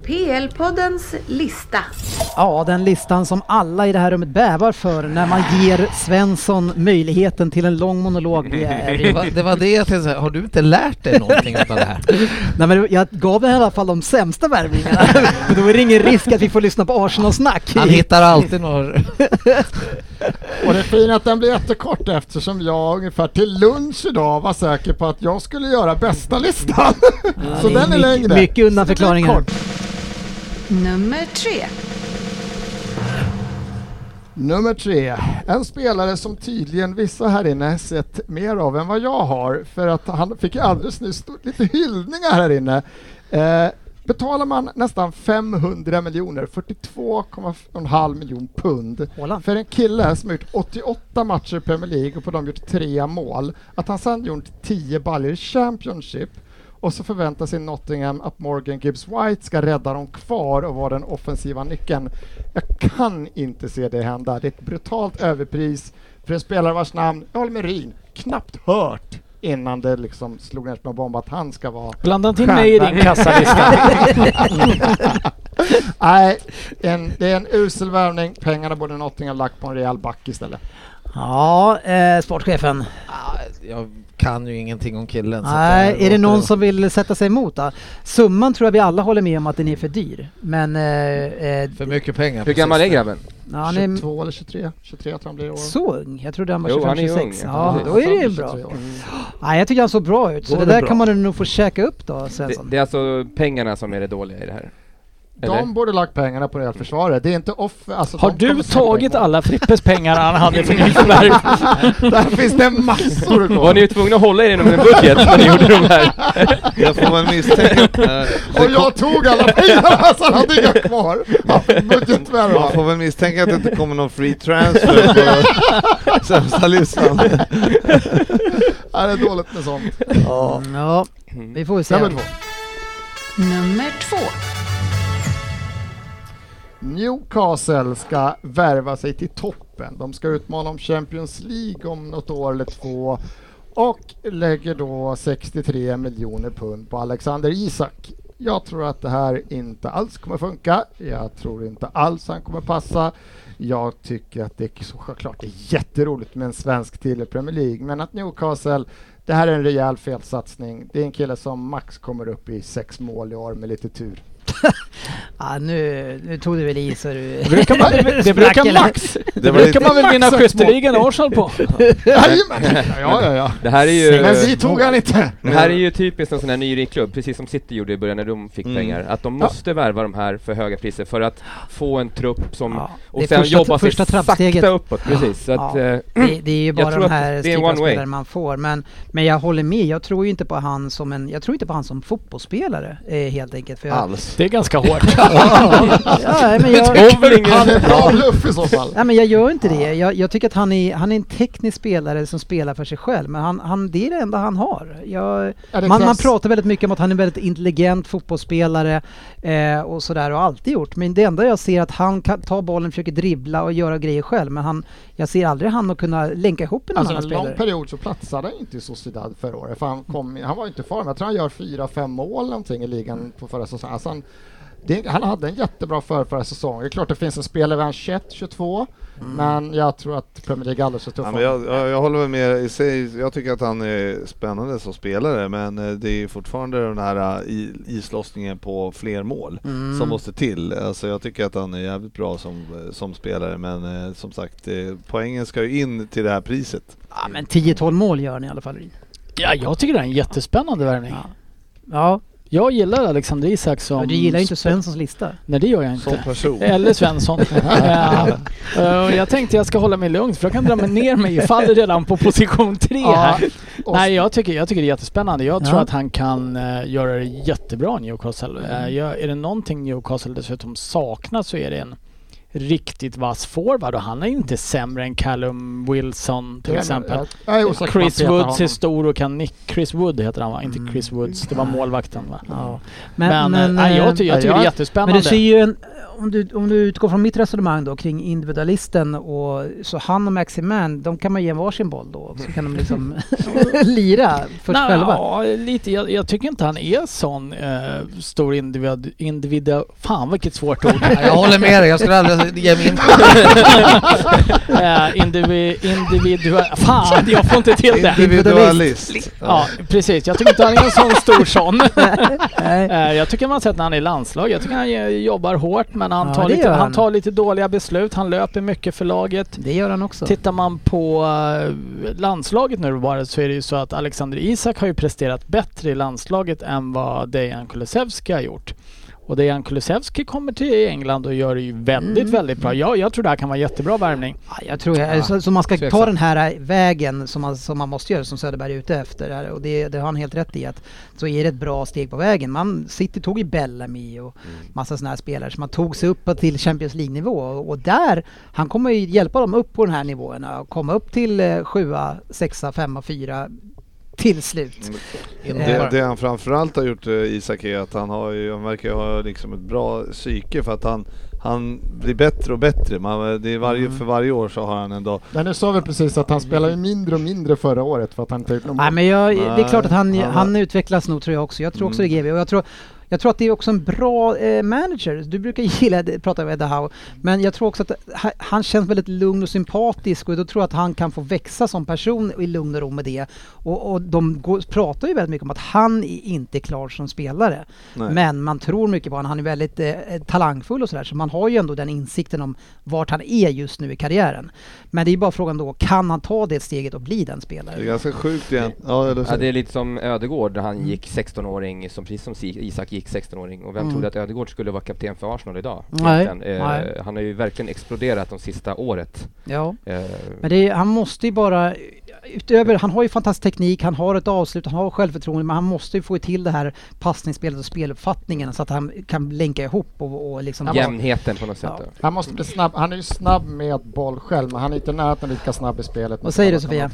PL-poddens lista. Ja, den listan som alla i det här rummet bävar för när man ger Svensson möjligheten till en lång monolog. Det är <laughs> Det var, det var det jag tänkte säga. Har du inte lärt dig någonting av det här? <laughs> Nej men jag gav i alla fall de sämsta värvningarna. <laughs> För då är det ingen risk att vi får lyssna på Arsenal-snack. Han hittar alltid några... Och det är fint att den blir jättekort eftersom jag ungefär till lunch idag var säker på att jag skulle göra bästa listan. <laughs> Så det den är mycket- längre. Mycket undanförklaringar. Kort. Nummer tre. Nummer tre. En spelare som tydligen vissa här inne sett mer av än vad jag har för att han fick ju alldeles nyss stort- lite hyllningar här inne. Eh, betalar man nästan 500 miljoner, 42,5 miljon pund Haaland. för en kille som har gjort 88 matcher i Premier League och på dem gjort tre mål, att han sedan gjort 10 baller i Championship och så förväntar sig Nottingham att Morgan Gibbs White ska rädda dem kvar och vara den offensiva nyckeln. Jag kan inte se det hända. Det är ett brutalt överpris för en spelare vars namn, jag håller med Ryn, knappt hört innan det liksom slog ner som en bomb att han ska vara Blanda inte in mig i din Stjärnberg. kassalista. <laughs> Nej, en, det är en usel värvning. Pengarna borde Nottingham lagt på en rejäl back istället. Ja, eh, sportchefen. Ah, jag kan ju ingenting om killen. så att jag Nej, är det låter någon dem- som vill sätta sig emot? Då? Summan tror jag vi alla håller med om att den är för dyr. Men... Eh, eh, För mycket pengar. Hur precis. gammal är grabben? ja, han är 22 eller 23? 23 tror jag han blir i år. så ung. Jag trodde han var Jo, 25, han är ju 26. ung, Ja, precis. då är det ju Han bra. Mm. 23 år. Nej, jag tycker han såg bra ut. Så Då det är det där bra. kan man nog få käka upp då, <laughs> Det, Svensson. det är alltså pengarna som är det dåliga i det här? Eller? De borde lagt pengarna på rejält försvarare. Det är inte off... Alltså Har de kommer du släppa in tagit mål. alla Frippes pengar han hade för nyförvärv? <laughs> Där finns det massor att gå. <laughs> Var ni ju tvungna att hålla er inom en budget när ni gjorde de här? Jag får väl <laughs> misstänka... eh, Och jag tog alla pengarna så han hade inga kvar. Ja, Man Budgetvärvar. får väl misstänka att det inte kommer någon free transfer på <laughs> sämsta listan. Ja, Det är dåligt med sånt. Ja. Mm, ja, vi får väl se. Nummer två. Nummer två. Newcastle ska värva sig till toppen. De ska utmana om Champions League om något år eller två och lägger då 63 miljoner pund på Alexander Isak. Jag tror att det här inte alls kommer funka. Jag tror inte alls han kommer passa. Jag tycker att det är såklart det är jätteroligt med en svensk till i Premier League, men att Newcastle det här är en rejäl felsatsning. Det är en kille som max kommer upp i sex mål i år med lite tur. Ja, nu, nu tog du väl i så du... Det brukar man, det brukar max. Det var brukar lite- man väl vinna Max sex mål. skytteligan och Arsenal på. Jajamän! Ja, ja, ja. <laughs> Det här är ju... Men vi tog han inte. Det här är ju typiskt en sån här nyrik klubb, precis som City gjorde i början när de fick Mm. pengar, att de måste värva de här för höga priser för att få en trupp som... Ja, och det är sen första- jobba sig första trappsteget. sakta uppåt, precis. Så att, Ja. eh, Det, det är <clears throat> ju bara tror de att här det är en typen av one way. spelare man får. Men, men jag håller med, jag tror ju inte på han som en, jag tror inte på han som fotbollsspelare eh, helt enkelt. För jag, Alls. Det är ganska <laughs> hårt. ja, men jag, bowling Han är bra bluff i så fall. Nej men jag gör inte det. Jag, jag tycker att han är, han är en teknisk spelare som spelar för sig själv. Men han, han, det är det enda han har. Jag, Ja, det man, man krävs- pratar väldigt mycket om att han är en väldigt intelligent fotbollsspelare eh, och sådär och alltid gjort. Men det enda jag ser är att han kan ta bollen, försöker dribbla och göra grejer själv. Men han, jag ser aldrig han att kunna länka ihop en Alltså annan en lång spelare. period så platsade han inte i Sociedad förra året. För han, kom, han var inte i form. Jag tror han gör fyra, fem mål någonting i ligan på förra säsongen. Alltså han, det, han hade en jättebra förra, förra säsong. Det är klart det finns en spelare vid han 21, 22. Men jag tror att Premier League är alldeles för tuff. Mm. Ja, men jag, jag, jag håller väl med i sig. Jag tycker att han är spännande som spelare men eh, det är fortfarande den här eh, i- islossningen på fler mål Mm. som måste till. Alltså jag tycker att han är jävligt bra som, eh, som spelare men eh, som sagt eh, poängen ska ju in till det här priset. Ja, men 10-12 mål gör han i alla fall. Ja, jag tycker det är en jättespännande värvning. Ja. Ja, Jag gillar Alexander Isak som... men du gillar ju inte Svenssons lista. Nej, det gör jag Som inte. person. <laughs> Eller Svensson. Eh, eh, och jag tänkte jag ska hålla mig lugn för jag kan dra mig ner mig. Jag faller redan på position tre här. och- Nej, jag tycker, jag tycker det är jättespännande. Jag Ja. tror att han kan eh, göra det jättebra i Newcastle. Eh, Mm. jag, är det någonting Newcastle dessutom saknar så är det en riktigt vass forward och han är inte sämre än Callum Wilson till exempel. Jag är osäker på om Chris han Mm. petar Woods är honom. stor och kan nick... Chris Wood heter han va? Inte Chris Woods, det var målvakten va? Ja. Men, eh, nej, jag, ty- jag tycker eh, det jag- är Men du jättespännande. ser ju en, om, du, om du utgår från mitt resonemang då kring individualisten och så han och Maximan, de kan man ge en varsin boll då så kan de liksom <laughs> lira först Nej, själva. Ja, lite. Jag, jag tycker inte han är sån eh, stor individ, individ... Fan vilket svårt ord. Nej, Jag håller med dig, jag skulle aldrig ge mig in på <laughs> eh, indivi, individuell... Fan, jag får inte till det. Individualist. Ja, precis. Jag tycker inte han är en sån stor sån. <laughs> Nej. Eh, jag tycker man har sett när han är i landslag. Jag tycker han eh, jobbar hårt men han, Ja, tar det lite, gör han. han. tar lite dåliga beslut. Han löper mycket för laget. Det gör han också. Tittar man på eh, landslaget nu bara så är det ju så att Alexander Isak har ju presterat bättre i landslaget än vad Dejan Kulusevski har gjort. Och Dejan Kulusevski kommer till England och gör det ju väldigt, väldigt bra. Jag, jag tror det här kan vara jättebra värvning. Mm. Ja, jag tror jag, alltså, så, så man ska tveksam. ta den här eh, vägen som man, som man måste göra som Söderberg är ute efter här, och det, det har han helt rätt i att så är det ett bra steg på vägen. Man, City tog ju Bellamy och massa sådana här spelare så man tog sig upp till Champions League-nivå och, och där, han kommer ju hjälpa dem upp på den här nivåerna och komma upp till eh, sjua, sexa, femma, fyra till slut. Det, det han framförallt har gjort eh, Isak är att han, har ju, han verkar ju ha liksom ett bra psyke för att han, han blir bättre och bättre. Man, det är varje, För varje år så har han en dag. Men du sa väl precis att han spelar ju mindre och mindre förra året för att han inte har gjort någon Nej, men jag, det är Nej, Mm. klart att han, han- han utvecklas nog tror jag också. Jag tror också det GB och jag tror, jag tror att det är också en bra eh, manager. Du brukar <laughs> gilla att prata med Edda Howe. Men jag tror också att ha- han känns väldigt lugn och sympatisk och då tror jag att han kan få växa som person i lugn och ro med det. Och, och de går, pratar ju väldigt mycket om att han är inte är klar som spelare. Nej. Men man tror mycket på honom. Han är väldigt eh, talangfull och sådär. Så man har ju ändå den insikten om vart han är just nu i karriären. Men det är bara frågan då, kan han ta det steget och bli den spelaren? Det är ganska sjukt igen. Ja, eller så. Ja, det är lite som Ödegård, där han gick 16-åring, som, precis som Si- Isak gick 16-åring. Och vem Mm. trodde att Ödegård skulle vara kapten för Arsenal idag? Nej, egentligen? Eh, nej. Han har ju verkligen exploderat de sista året. Ja. Eh, Men det är, han måste ju bara, utöver, han har ju fantastisk teknik, han har ett avslut, han har självförtroende, men han måste ju få till det här passningsspelet och speluppfattningen så att han kan länka ihop och, och liksom... jämnheten på något sätt. Ja. då. Han måste bli snabb. Han är ju snabb med boll själv, men han är inte nära den lika snabb i spelet. Vad säger du, Sofia?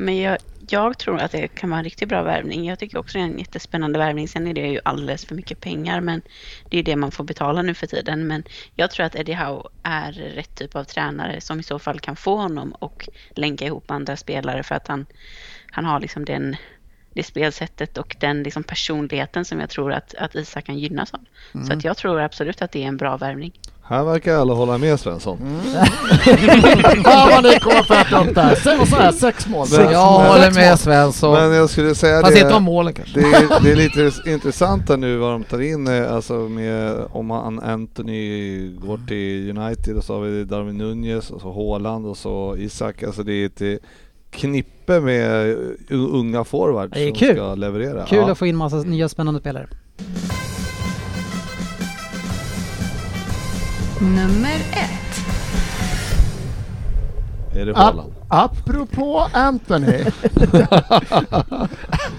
Men jag, jag tror att det kan vara en riktigt bra värvning. Jag tycker också det är en jättespännande värvning. Sen är det ju alldeles för mycket pengar, men det är ju det man får betala nu för tiden. Men jag tror att Eddie Howe är rätt typ av tränare som i så fall kan få honom och länka ihop andra spelare för att han, han har liksom den, det spelsättet och den liksom personligheten som jag tror att, att Isak kan gynnas av. Så Mm. att jag tror absolut att det är en bra värvning. Här verkar alla hålla med Svensson. Mm. Fan vad ni kommer för att ta upp det här. Säg vad så här, sex mål. Men- Jag men- håller med Svensson. Men jag skulle säga Fast det. inte om målen kanske. Det är, det är lite intressant här nu vad de tar in, eh, alltså med, om han Anthony går till United och så har vi Darwin Nunez och så Haaland och så Isak. Alltså det är ett knippe med eh, u- unga forwards Det är som kul. ska leverera. Kul ja. att få in massa nya spännande spelare. Nummer ett. Är det Ap Haaland? apropå Anthony. <laughs>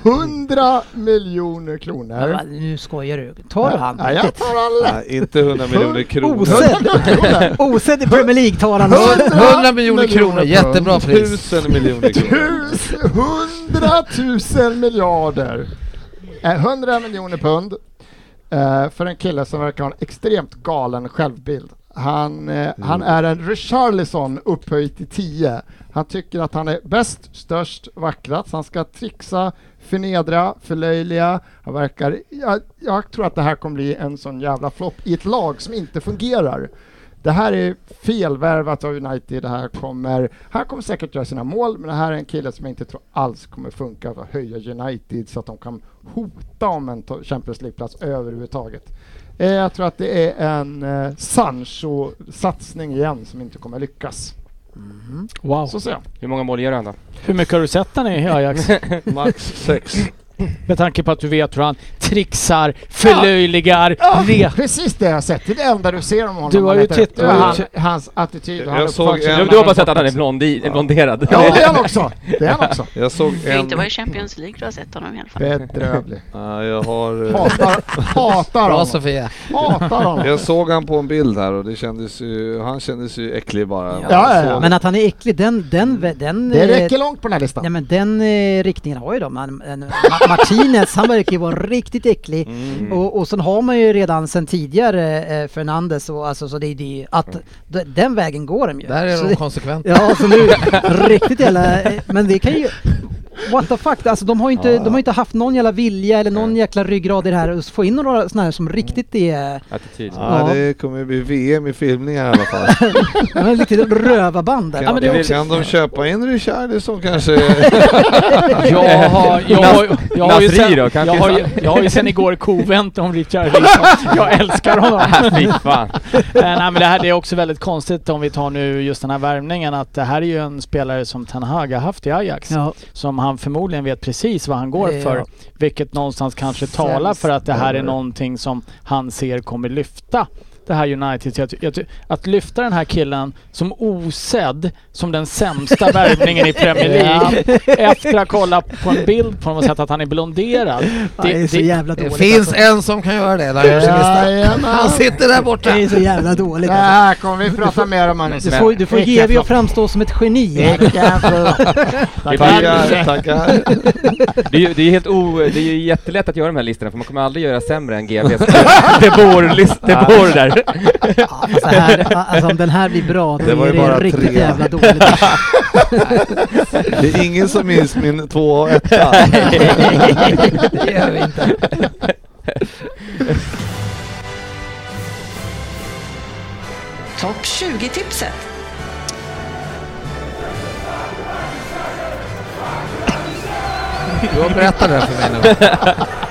100 miljoner kronor. Ja, nu skojar du. Tar du han? Ja, jag tar alla. Nej, inte 100 miljoner kronor. Osedd! Osedd i Premier League tar han. 100 miljoner kronor, jättebra pris. Tusen miljoner kronor. Tus, hundratusen miljarder. Eh, 100 miljoner pund eh, för en kille som verkar ha en extremt galen självbild. Han, eh, han är en Richarlison upphöjt till 10. Han tycker att han är bäst, störst, vackrast. Han ska trixa, förnedra, förlöjliga. Han verkar, jag, jag tror att det här kommer bli en sån jävla flopp i ett lag som inte fungerar. Det här är felvärvat av United. Det här kommer, han kommer säkert göra sina mål, men det här är en kille som jag inte tror alls kommer funka för att höja United så att de kan hota om en to- Champions League-plats överhuvudtaget. Eh, jag tror att det är en eh, Sancho-satsning igen som inte kommer lyckas. Wow. Så ser jag. Hur många mål gör han då? Hur mycket har du sett han i Ajax? <laughs> Max sex. Med tanke på att du vet hur han trixar, förlöjligar, re... Precis det jag har sett. Det är det enda du ser om honom. Du har ju Han heter- tittat- Det var han, Jag- hans attityd och Jag hans såg uppfattning. en- Du, du har bara sett att han är blondi, blonderad? Ja, det är han också! Det är han också. Jag såg Det har inte en... varit Champions League du har sett honom i alla fall. Bedrövlig. <laughs> Ja, jag har... eh, Hatar, hatar Bra honom. Sofia. Hatar honom. Jag såg han på en bild här och det kändes ju, han kändes ju äcklig bara. Ja, ja, ja. Men att han är äcklig, den... den, Mm. den Det eh, räcker långt på den här listan. Nej men den eh, riktningen har ju de. Man, en, Ma- Martinez, han verkar ju vara riktigt äcklig. Mm. Och, och sen har man ju redan sen tidigare eh, Fernandes och alltså så det är det att Mm. d- den vägen går de ju. Där så är de det, konsekventa. Ja, så <laughs> nu, riktigt jävla, eh, men det kan ju What the fuck, alltså de har ju inte, de har inte haft någon jävla vilja eller någon jäkla ryggrad i det här och få in några sådana här som riktigt är, Attityd. Ja, Ja. det kommer ju bli VM i filmningar i alla <laughs> fall. ja, men riktigt rövarband där. Kan, Ja, men det är kan, också- de köpa in Richarlison kanske? <laughs> <laughs> Jag har, jag har, jag har, ju, Nasri sen, då, jag kan har, ju, <laughs> jag har ju sen igår kovänt om Richard Wilson. Jag älskar honom. <laughs> Fy fan. Eh, Nej men det här det är också väldigt konstigt om vi tar nu just den här värvningen att det här är ju en spelare som Ten Hag har haft i Ajax. Ja, Som han förmodligen vet precis vad han går Ja. för. Vilket någonstans kanske talar för att det här är någonting som han ser kommer lyfta det här United. Jag, ty- jag, ty- att lyfta den här killen som osedd som den <laughs> sämsta värvningen i Premier League efter att ha kollat på en bild på honom och sett att han är blonderad. Det, är så jävla Det dåligt. finns alltså. en som kan göra det. Där gör sin lista. Jajamän. Han sitter där borta. Det är så jävla dåligt. Det Alltså. här kommer vi prata mer om Magnus. Du får, du får Vilken ge vi flopp. att framstå som ett geni. här. <laughs> Vilken flopp. Tackar, tackar. Det är ju det är helt o, det är ju jättelätt att göra de här listorna för man kommer aldrig göra sämre än <laughs> GBs <laughs> Det bor list- det bor där. Ja, Alltså, här, alltså om den här blir bra, då Det var är ju det bara riktigt tre. jävla dåligt. Det är ingen som minns min två <laughs> och <laughs> etta. Det gör vi inte. <laughs> Topp 20-tipset. Du har berättat det där för mig nu.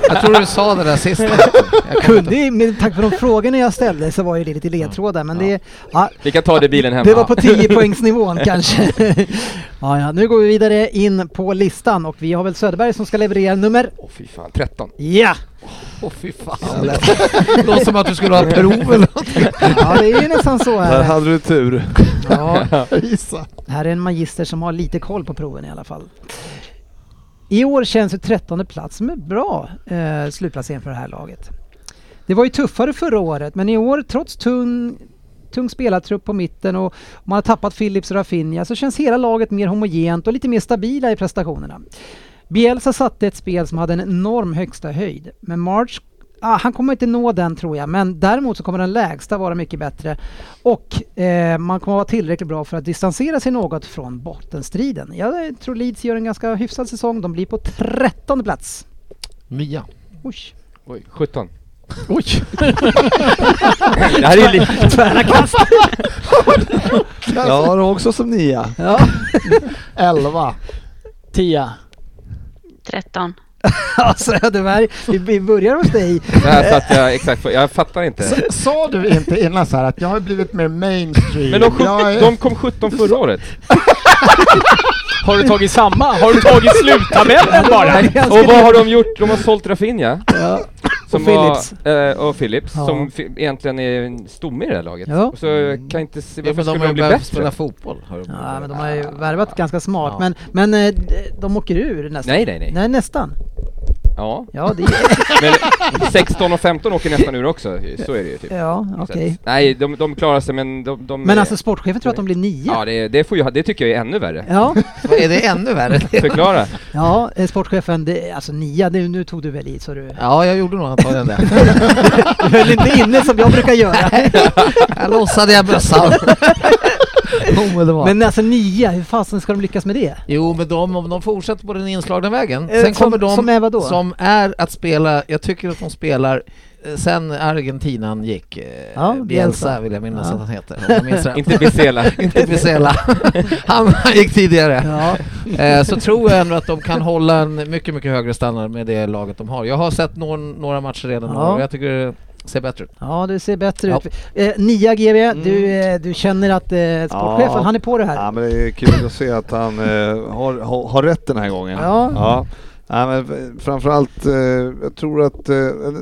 Jag tror du sa det där sist. Jag kommer <laughs> Kunde ju, men tack för de frågorna jag ställde så var ju det lite ledtrådar. Men det, ja, Vi kan ta det i bilen hemma. det var på <laughs> 10 poängsnivån kanske. Ja, ja, nu går vi vidare in på listan och vi har väl Söderberg som ska leverera nummer... Åh fy fan, 13. Ja! Åh fy fan. <laughs> Det låter som att du skulle ha prov eller någonting. Ja, det är ju nästan så Där här. hade du tur. Ja, Gissa. här är en magister som har lite koll på proven i alla fall. I år känns ju 13 plats som en bra eh, slutplacering för det här laget. Det var ju tuffare förra året, men i år trots tung, tung spelartrupp på mitten och man har tappat Philips och Rafinha så känns hela laget mer homogent och lite mer stabila i prestationerna. Bielsa satte ett spel som hade en enorm högsta höjd, men March Ah, han kommer inte nå den tror jag, men däremot så kommer den lägsta vara mycket bättre. Och eh, man kommer vara tillräckligt bra för att distansera sig något från bottenstriden. Jag tror Leeds gör en ganska hyfsad säsong. De blir på 13 plats. Mia. Oj. Oj, 17. Oj. Det här är ju li- Jag har också som nia. Ja. Elva. Tia. 13. <laughs> ja, Söderberg, vi- vi börjar hos dig. det här satt jag exakt för. Jag fattar inte. S- Sa du inte innan så här att jag har blivit mer mainstream? Men de, sjut- jag är- de kom 17 förra <laughs> året. Har du tagit samma? Har du tagit <laughs> sluttabellen bara? Och vad har de gjort? De har sålt Rafinha. Ja. Som Och Phillips. Var, eh, och Philips, Ja. som fi- egentligen är en stomme i det här laget. Ja. Så jag kan inte se Ja, varför men de skulle har de ju bli börjat bättre? spela fotboll. har de Ja, börjat. men de har ju värvat ganska smart. Ja. Men, men eh, d- de åker ur nästan. Nej, nej, nej. Nej, nästan. Ja. Ja, det är... Men 16 och 15 åker nästan ur också, så är det ju typ. Ja, Så okej. att- Nej, de, de klarar sig men de... de Men är- alltså sportchefen tror att de blir nio. Ja, det, det, får ju, ha- det tycker jag är ännu värre. <laughs> Ja, Vad Är det ännu värre? Förklara. ja eh, sportchefen, det, alltså nia, nu, nu tog du väl i så du... Ja, jag gjorde nog antagligen det. Du höll inte inne som jag brukar göra. Jag lossade jag bössan. Omedelbart. Men alltså nia, hur fasen ska de lyckas med det? Jo, men de, om de fortsätter på den inslagna vägen. Eh, sen som- kommer de som är vadå? som är att spela, jag tycker att de spelar eh, sen Argentinan gick, eh, Ja, Bielsa, Bielsa. vill jag minnas Ja. att han heter. om jag minns rätt. Inte Bizela. <laughs> Inte Bizela. han, han gick tidigare. Ja, <laughs> Eh, så tror jag ändå att de kan hålla en mycket, mycket högre standard med det laget de har. Jag har sett någon, några matcher redan Ja. och jag tycker det ser bättre ut. ja du ser bättre Ja. ut. Eh, nia GB, du, eh, du känner att eh, sportchefen, Ja. han är på det här. Ja, men det är kul att se att han eh, har, har, har rätt den här gången. Ja. ja. Nej, men f- framförallt, eh, jag tror att eh,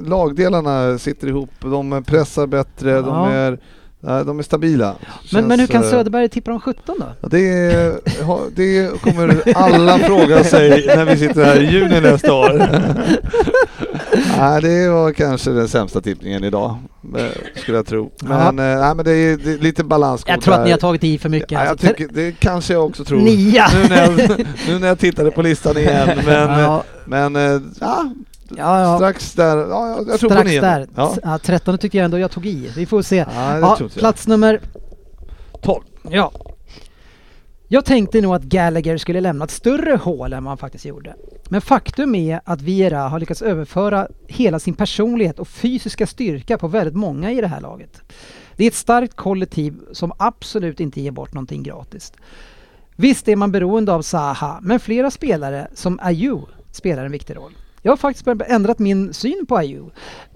lagdelarna sitter ihop. De pressar bättre, Ja. de, är, eh, de är stabila. men, Känns, men hur kan eh, Söderberg tippa om 17 då? Ja, Det, är- ha- det kommer alla fråga sig när vi sitter här i juni nästa <laughs> år. Nej, det var kanske den sämsta tippningen idag, eh, skulle jag tro. Men, eh, nej, men det, är, det är lite balans. Jag tror att ni har tagit i för mycket. Ja, jag alltså. tycker, det kanske jag också tror. Nia! Nu när, jag, nu när jag tittade på listan <laughs> igen. Men, ja, men eh, ja, ja, ja. strax där. Ja, jag, jag tror på strax nian. där. Ja. Ja. tretton tycker jag ändå jag tog i. Vi får se. Ja, det Ja, tror inte jag. plats nummer... 12. Ja. Jag tänkte nog att Gallagher skulle lämna ett större hål än vad han faktiskt gjorde. Men faktum är att Viera har lyckats överföra hela sin personlighet och fysiska styrka på väldigt många i det här laget. Det är ett starkt kollektiv som absolut inte ger bort någonting gratis. Visst är man beroende av Zaha, men flera spelare som Ayew spelar en viktig roll. Jag har faktiskt börjat ändrat min syn på Ayew.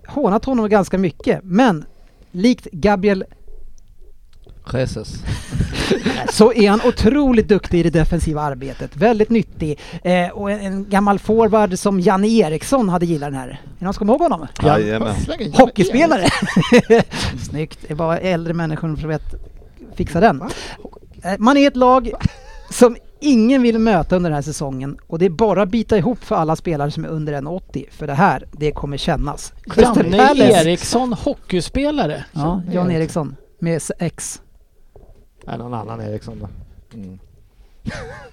Hånat honom ganska mycket, men likt Gabriel Jesus. så är han otroligt duktig i det defensiva arbetet. Väldigt nyttig. Eh, och en, en gammal forward som Janne Eriksson hade gillat den här. Är det någon som kommer ihåg honom? Jajamän. Släng in Hockeyspelare! <laughs> Snyggt, det är bara äldre människor som vet fixa den. Eh, Man är ett lag som ingen vill möta under den här säsongen och det är bara att bita ihop för alla spelare som är under 1,80 för det här, det kommer kännas. Crystal Janne Palace. Eriksson, hockeyspelare. Ja, Jan Eriksson med s- X. Nej, någon annan Eriksson då. <laughs>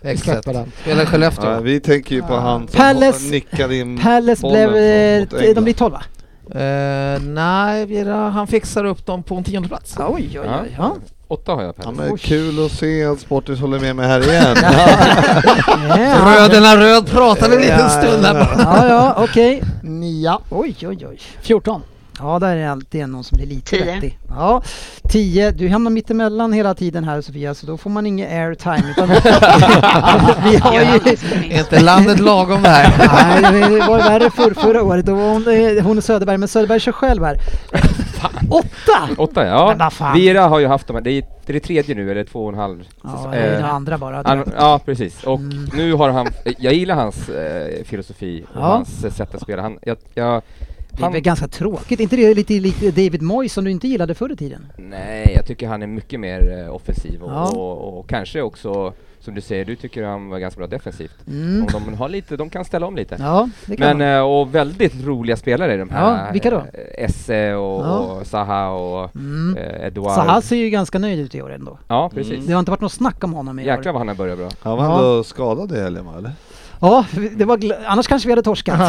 Exakt. släpper den. Spelar Mm, i Skellefteå. Ja, vi tänker ju på han som Palace- nickade in Palace bollen blev... eh, mot De England. blir 12 va? Eh, nej, Vera, han fixar upp dem på en tionde plats. Oj, oj, oj. Ja. Åtta har jag Ja, Pelle. men kul att se att Sportis håller med mig här igen. <laughs> Ja, Bröderna Röd pratade en liten Ja, stund där bara. ja, ja okej. Nia. Oj, oj, oj. 14. Ja, där är alltid någon som blir lite Tio. vettig. Ja, 10. Du hamnar mittemellan hela tiden här Sofia, så då får man ingen airtime. Utan <laughs> vi har ju... Är inte landet lagom där? Nej, det var värre för, förra året. Då var hon, eh, hon och Söderberg, men Söderberg kör själv här. Åtta! Åtta Men ja. vad fan. Vira har ju haft de här, det är, det är det tredje nu eller två och en halv. Ja, säsong. det är Eh, den andra bara. han- ja precis, och nu har han, eh, jag gillar hans eh, filosofi och Ja. hans eh, sätt att spela. Han, jag, jag, Det är han, väl ganska tråkigt? inte det lite likt David Moyes som du inte gillade förr i tiden? nej, jag tycker han är mycket mer eh, offensiv och, Ja. och, och kanske också, som du säger, du tycker han var ganska bra defensivt. Mm. Om de, har lite, de kan ställa om lite. Ja, det Men, kan man. eh, och väldigt roliga spelare i de här. Ja, vilka då? eh, Esse och, Ja. och Saha och Mm. eh, Edouard. Saha ser ju ganska nöjd ut i år ändå. Ja, precis. Det har inte varit något snack om honom i år. Jäklar vad han har börjat bra. Han var ändå skadad i helgen va, eller? Ja, det var gl- annars kanske vi hade torskat.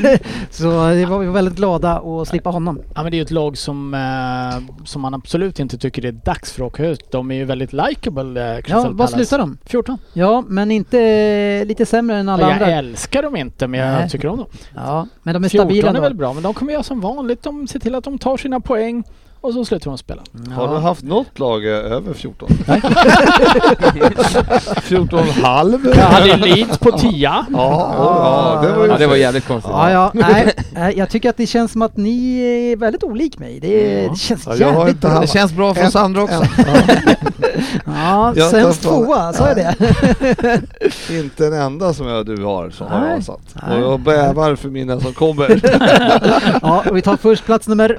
<laughs> så det var vi var väldigt glada att slippa honom. Ja men det är ju ett lag som, eh, som man absolut inte tycker det är dags för att åka ut. De är ju väldigt likeable, eh, Crystal Ja, vad Palace. slutar de? 14. Ja, men inte eh, lite sämre än alla jag andra. älskar dem inte men jag Nej. tycker om dem. Ja, men de är 14 stabila är ändå. väl bra men de kommer göra som vanligt. De ser till att de tar sina poäng och så slutar de spela. Har du haft något lag eh, över 14? <laughs> 14 halv? Jag hade Leeds på 10. Ja, ja, det var ju Ja, det var jävligt konstigt. Ja, ja, <laughs> nej, nej, jag tycker att det känns som att ni är väldigt olik mig. Det, det känns Ja, jävligt jag har inte bra. haft- Det känns bra för oss andra också. <laughs> Ja, Jag tar sämst fan- tvåa, sa jag det? <laughs> inte en enda som jag, du har som har Nej. avsatt. Och Nej. jag bävar för mina som kommer. <laughs> Ja, och vi tar först plats nummer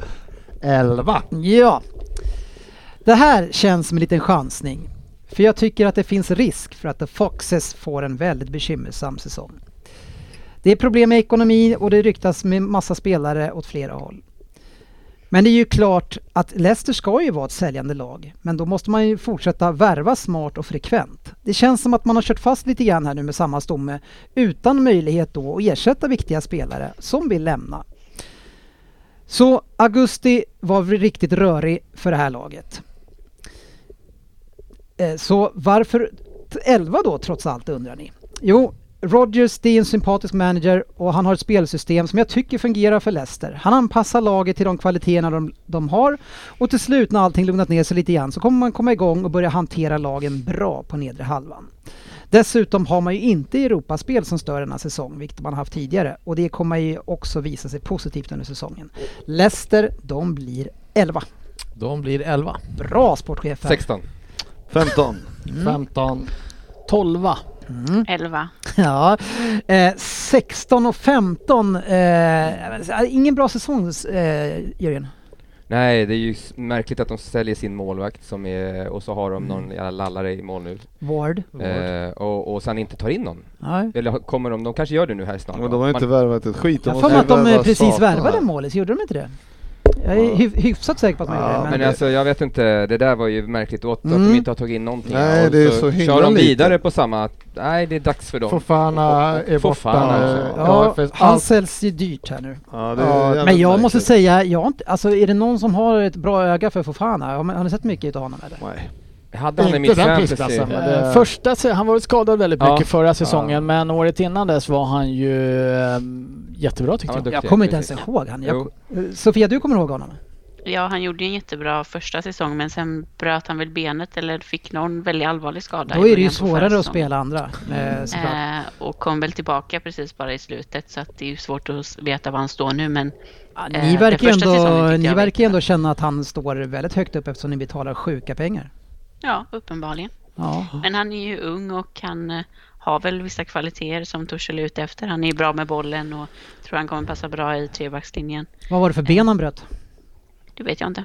Elva. Ja. Det här känns som en liten chansning. För jag tycker att det finns risk för att The Foxes får en väldigt bekymmersam säsong. Det är problem med ekonomi och det ryktas med massa spelare åt flera håll. Men det är ju klart att Leicester ska ju vara ett säljande lag. Men då måste man ju fortsätta värva smart och frekvent. Det känns som att man har kört fast lite grann här nu med samma stomme utan möjlighet då att ersätta viktiga spelare som vill lämna. Så augusti var vi riktigt rörig för det här laget. Eh, Så varför t- 11 då trots allt undrar ni? Jo, Rodgers det är en sympatisk manager och han har ett spelsystem som jag tycker fungerar för Leicester. Han anpassar laget till de kvaliteterna de, de har och till slut när allting lugnat ner sig lite grann så kommer man komma igång och börja hantera lagen bra på nedre halvan. Dessutom har man ju inte Europaspel som stör denna säsong, vilket man haft tidigare. Och det kommer ju också visa sig positivt under säsongen. Leicester, de blir 11. De blir elva. Bra Mm. sportchef! här. 16. 15. 15. 12. 11. Mm. Ja, eh, 16 och 15. Eh, ingen bra säsong, eh, Jörgen. Nej, det är ju s- märkligt att de säljer sin målvakt som är, och så har de någon jävla lallare i mål nu. Ward. Eh, och, och sen inte tar in någon. Nej. Eller har- kommer de, de kanske gör det nu här snart. Men va? de har ju inte Man- värvat ett skit. Jag har för mig att de eh, värva precis Satan här. värvade en målis, gjorde de inte det? Jag är hy- hyfsat säker på att man Ja, gjorde det. men Men, alltså jag vet inte, det där var ju märkligt åt att Mm. de inte har tagit in någonting. Nej, och det är så himla kör de lite. vidare på samma, nej det är dags för dem. Fofana eh, är borta Fofana nu. också. ja, Darfus- han allt- säljs ju dyrt här nu. Ja, det är Ja, jävligt Men jag måste märkligt. säga, jag har inte, alltså är det någon som har ett bra öga för Fofana? Har, man- har ni sett mycket utav honom eller? Nej. Hade han i Inte mitt den fantasy. prisklassen. Men det- Eh, Första, se- han var väl skadad <laughs> väldigt Ja. mycket förra säsongen men året innan dess var han ju eh, jättebra tyckte Han jag. var Jag duktig, kommer inte ens precis. ihåg han. Jo. Jag, Eh, Sofia, du kommer ihåg honom? Eh, Ja, han gjorde ju en jättebra första säsong men sen bröt han väl benet eller fick någon väldigt allvarlig skada. i Då är det början ju på förra svårare att säsongen. spela andra. eh, såklart. Eh, och kom väl tillbaka precis bara i slutet så att det är ju svårt att s- veta var han står nu men Ja, eh, Ni den verkar ju första ändå, säsongen tyckte ni jag verkar ju var- ändå känna att han står väldigt högt upp eftersom ni betalar sjuka pengar. Ja, uppenbarligen. Ja. Men han är ju ung och han eh, har väl vissa kvaliteter som Torshäll är ute efter. Han är bra med bollen och tror han kommer passa bra i trebackslinjen. Vad var det för ben han bröt? Det vet jag inte.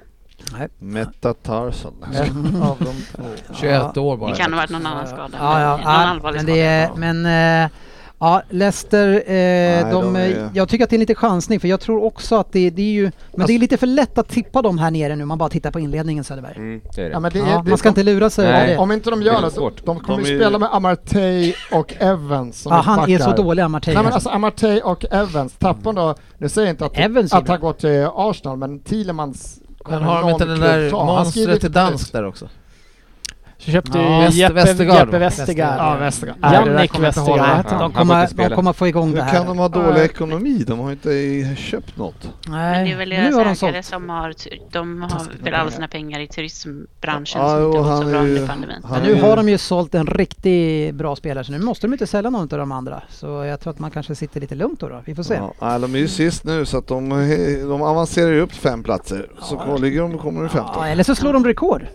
<laughs> Metatarsal. En av de två. 21 år bara. Det kan ha varit någon annan skada. Ja, ja, men någon ja, allvarlig men skada. det är, men eh, ja, Leicester, eh, de, de är- jag tycker att det är en liten chansning för jag tror också att det, det är ju, men Alltså- det är lite för lätt att tippa dem här nere nu, man bara tittar på inledningen Söderberg. Mm, det är det. Ja, men det är, Ja, det, man ska inte lura sig. Nej. över det. om inte de Det är gör något, svårt. de kommer De ju är- spela med Amartey och Evans som Ja, han är så mittbackar. dålig Amartey. Nej men alltså. alltså Amartey och Evans, tappar då, nu säger jag inte att, Evans är att bra. han går till Arsenal men Thielemans Men har de inte den där monstret till dans där också? Köpte Ja, ju West- Jeppe Westergaard, Jeppe va? Westergaard. Ja, Westergaard. Ja, Nej, det där Jannik kommer jag inte ihåg. Westergaard heter Ja, de, han han. får kommer, inte spela. de kommer få igång det Hur här. kan de ha dålig ekonomi? De har inte i- köpt något. Nej, Men det är väl nu har de deras ägare sålt. som har, tur- de har väl alla sina pengar i turismbranschen Ja, som inte har jo, gått så han är bra ju- under pandemin. han Men är nu ju- har de ju sålt en riktigt bra spelare så nu måste de inte sälja någon av de andra. Så jag tror att man kanske sitter lite lugnt då. då. Vi får se. Ja, nej, de är ju sist nu så att de, de avancerar ju upp fem platser. Så ligger de, kommer de <laughs> Ja, 15. eller så slår de rekord.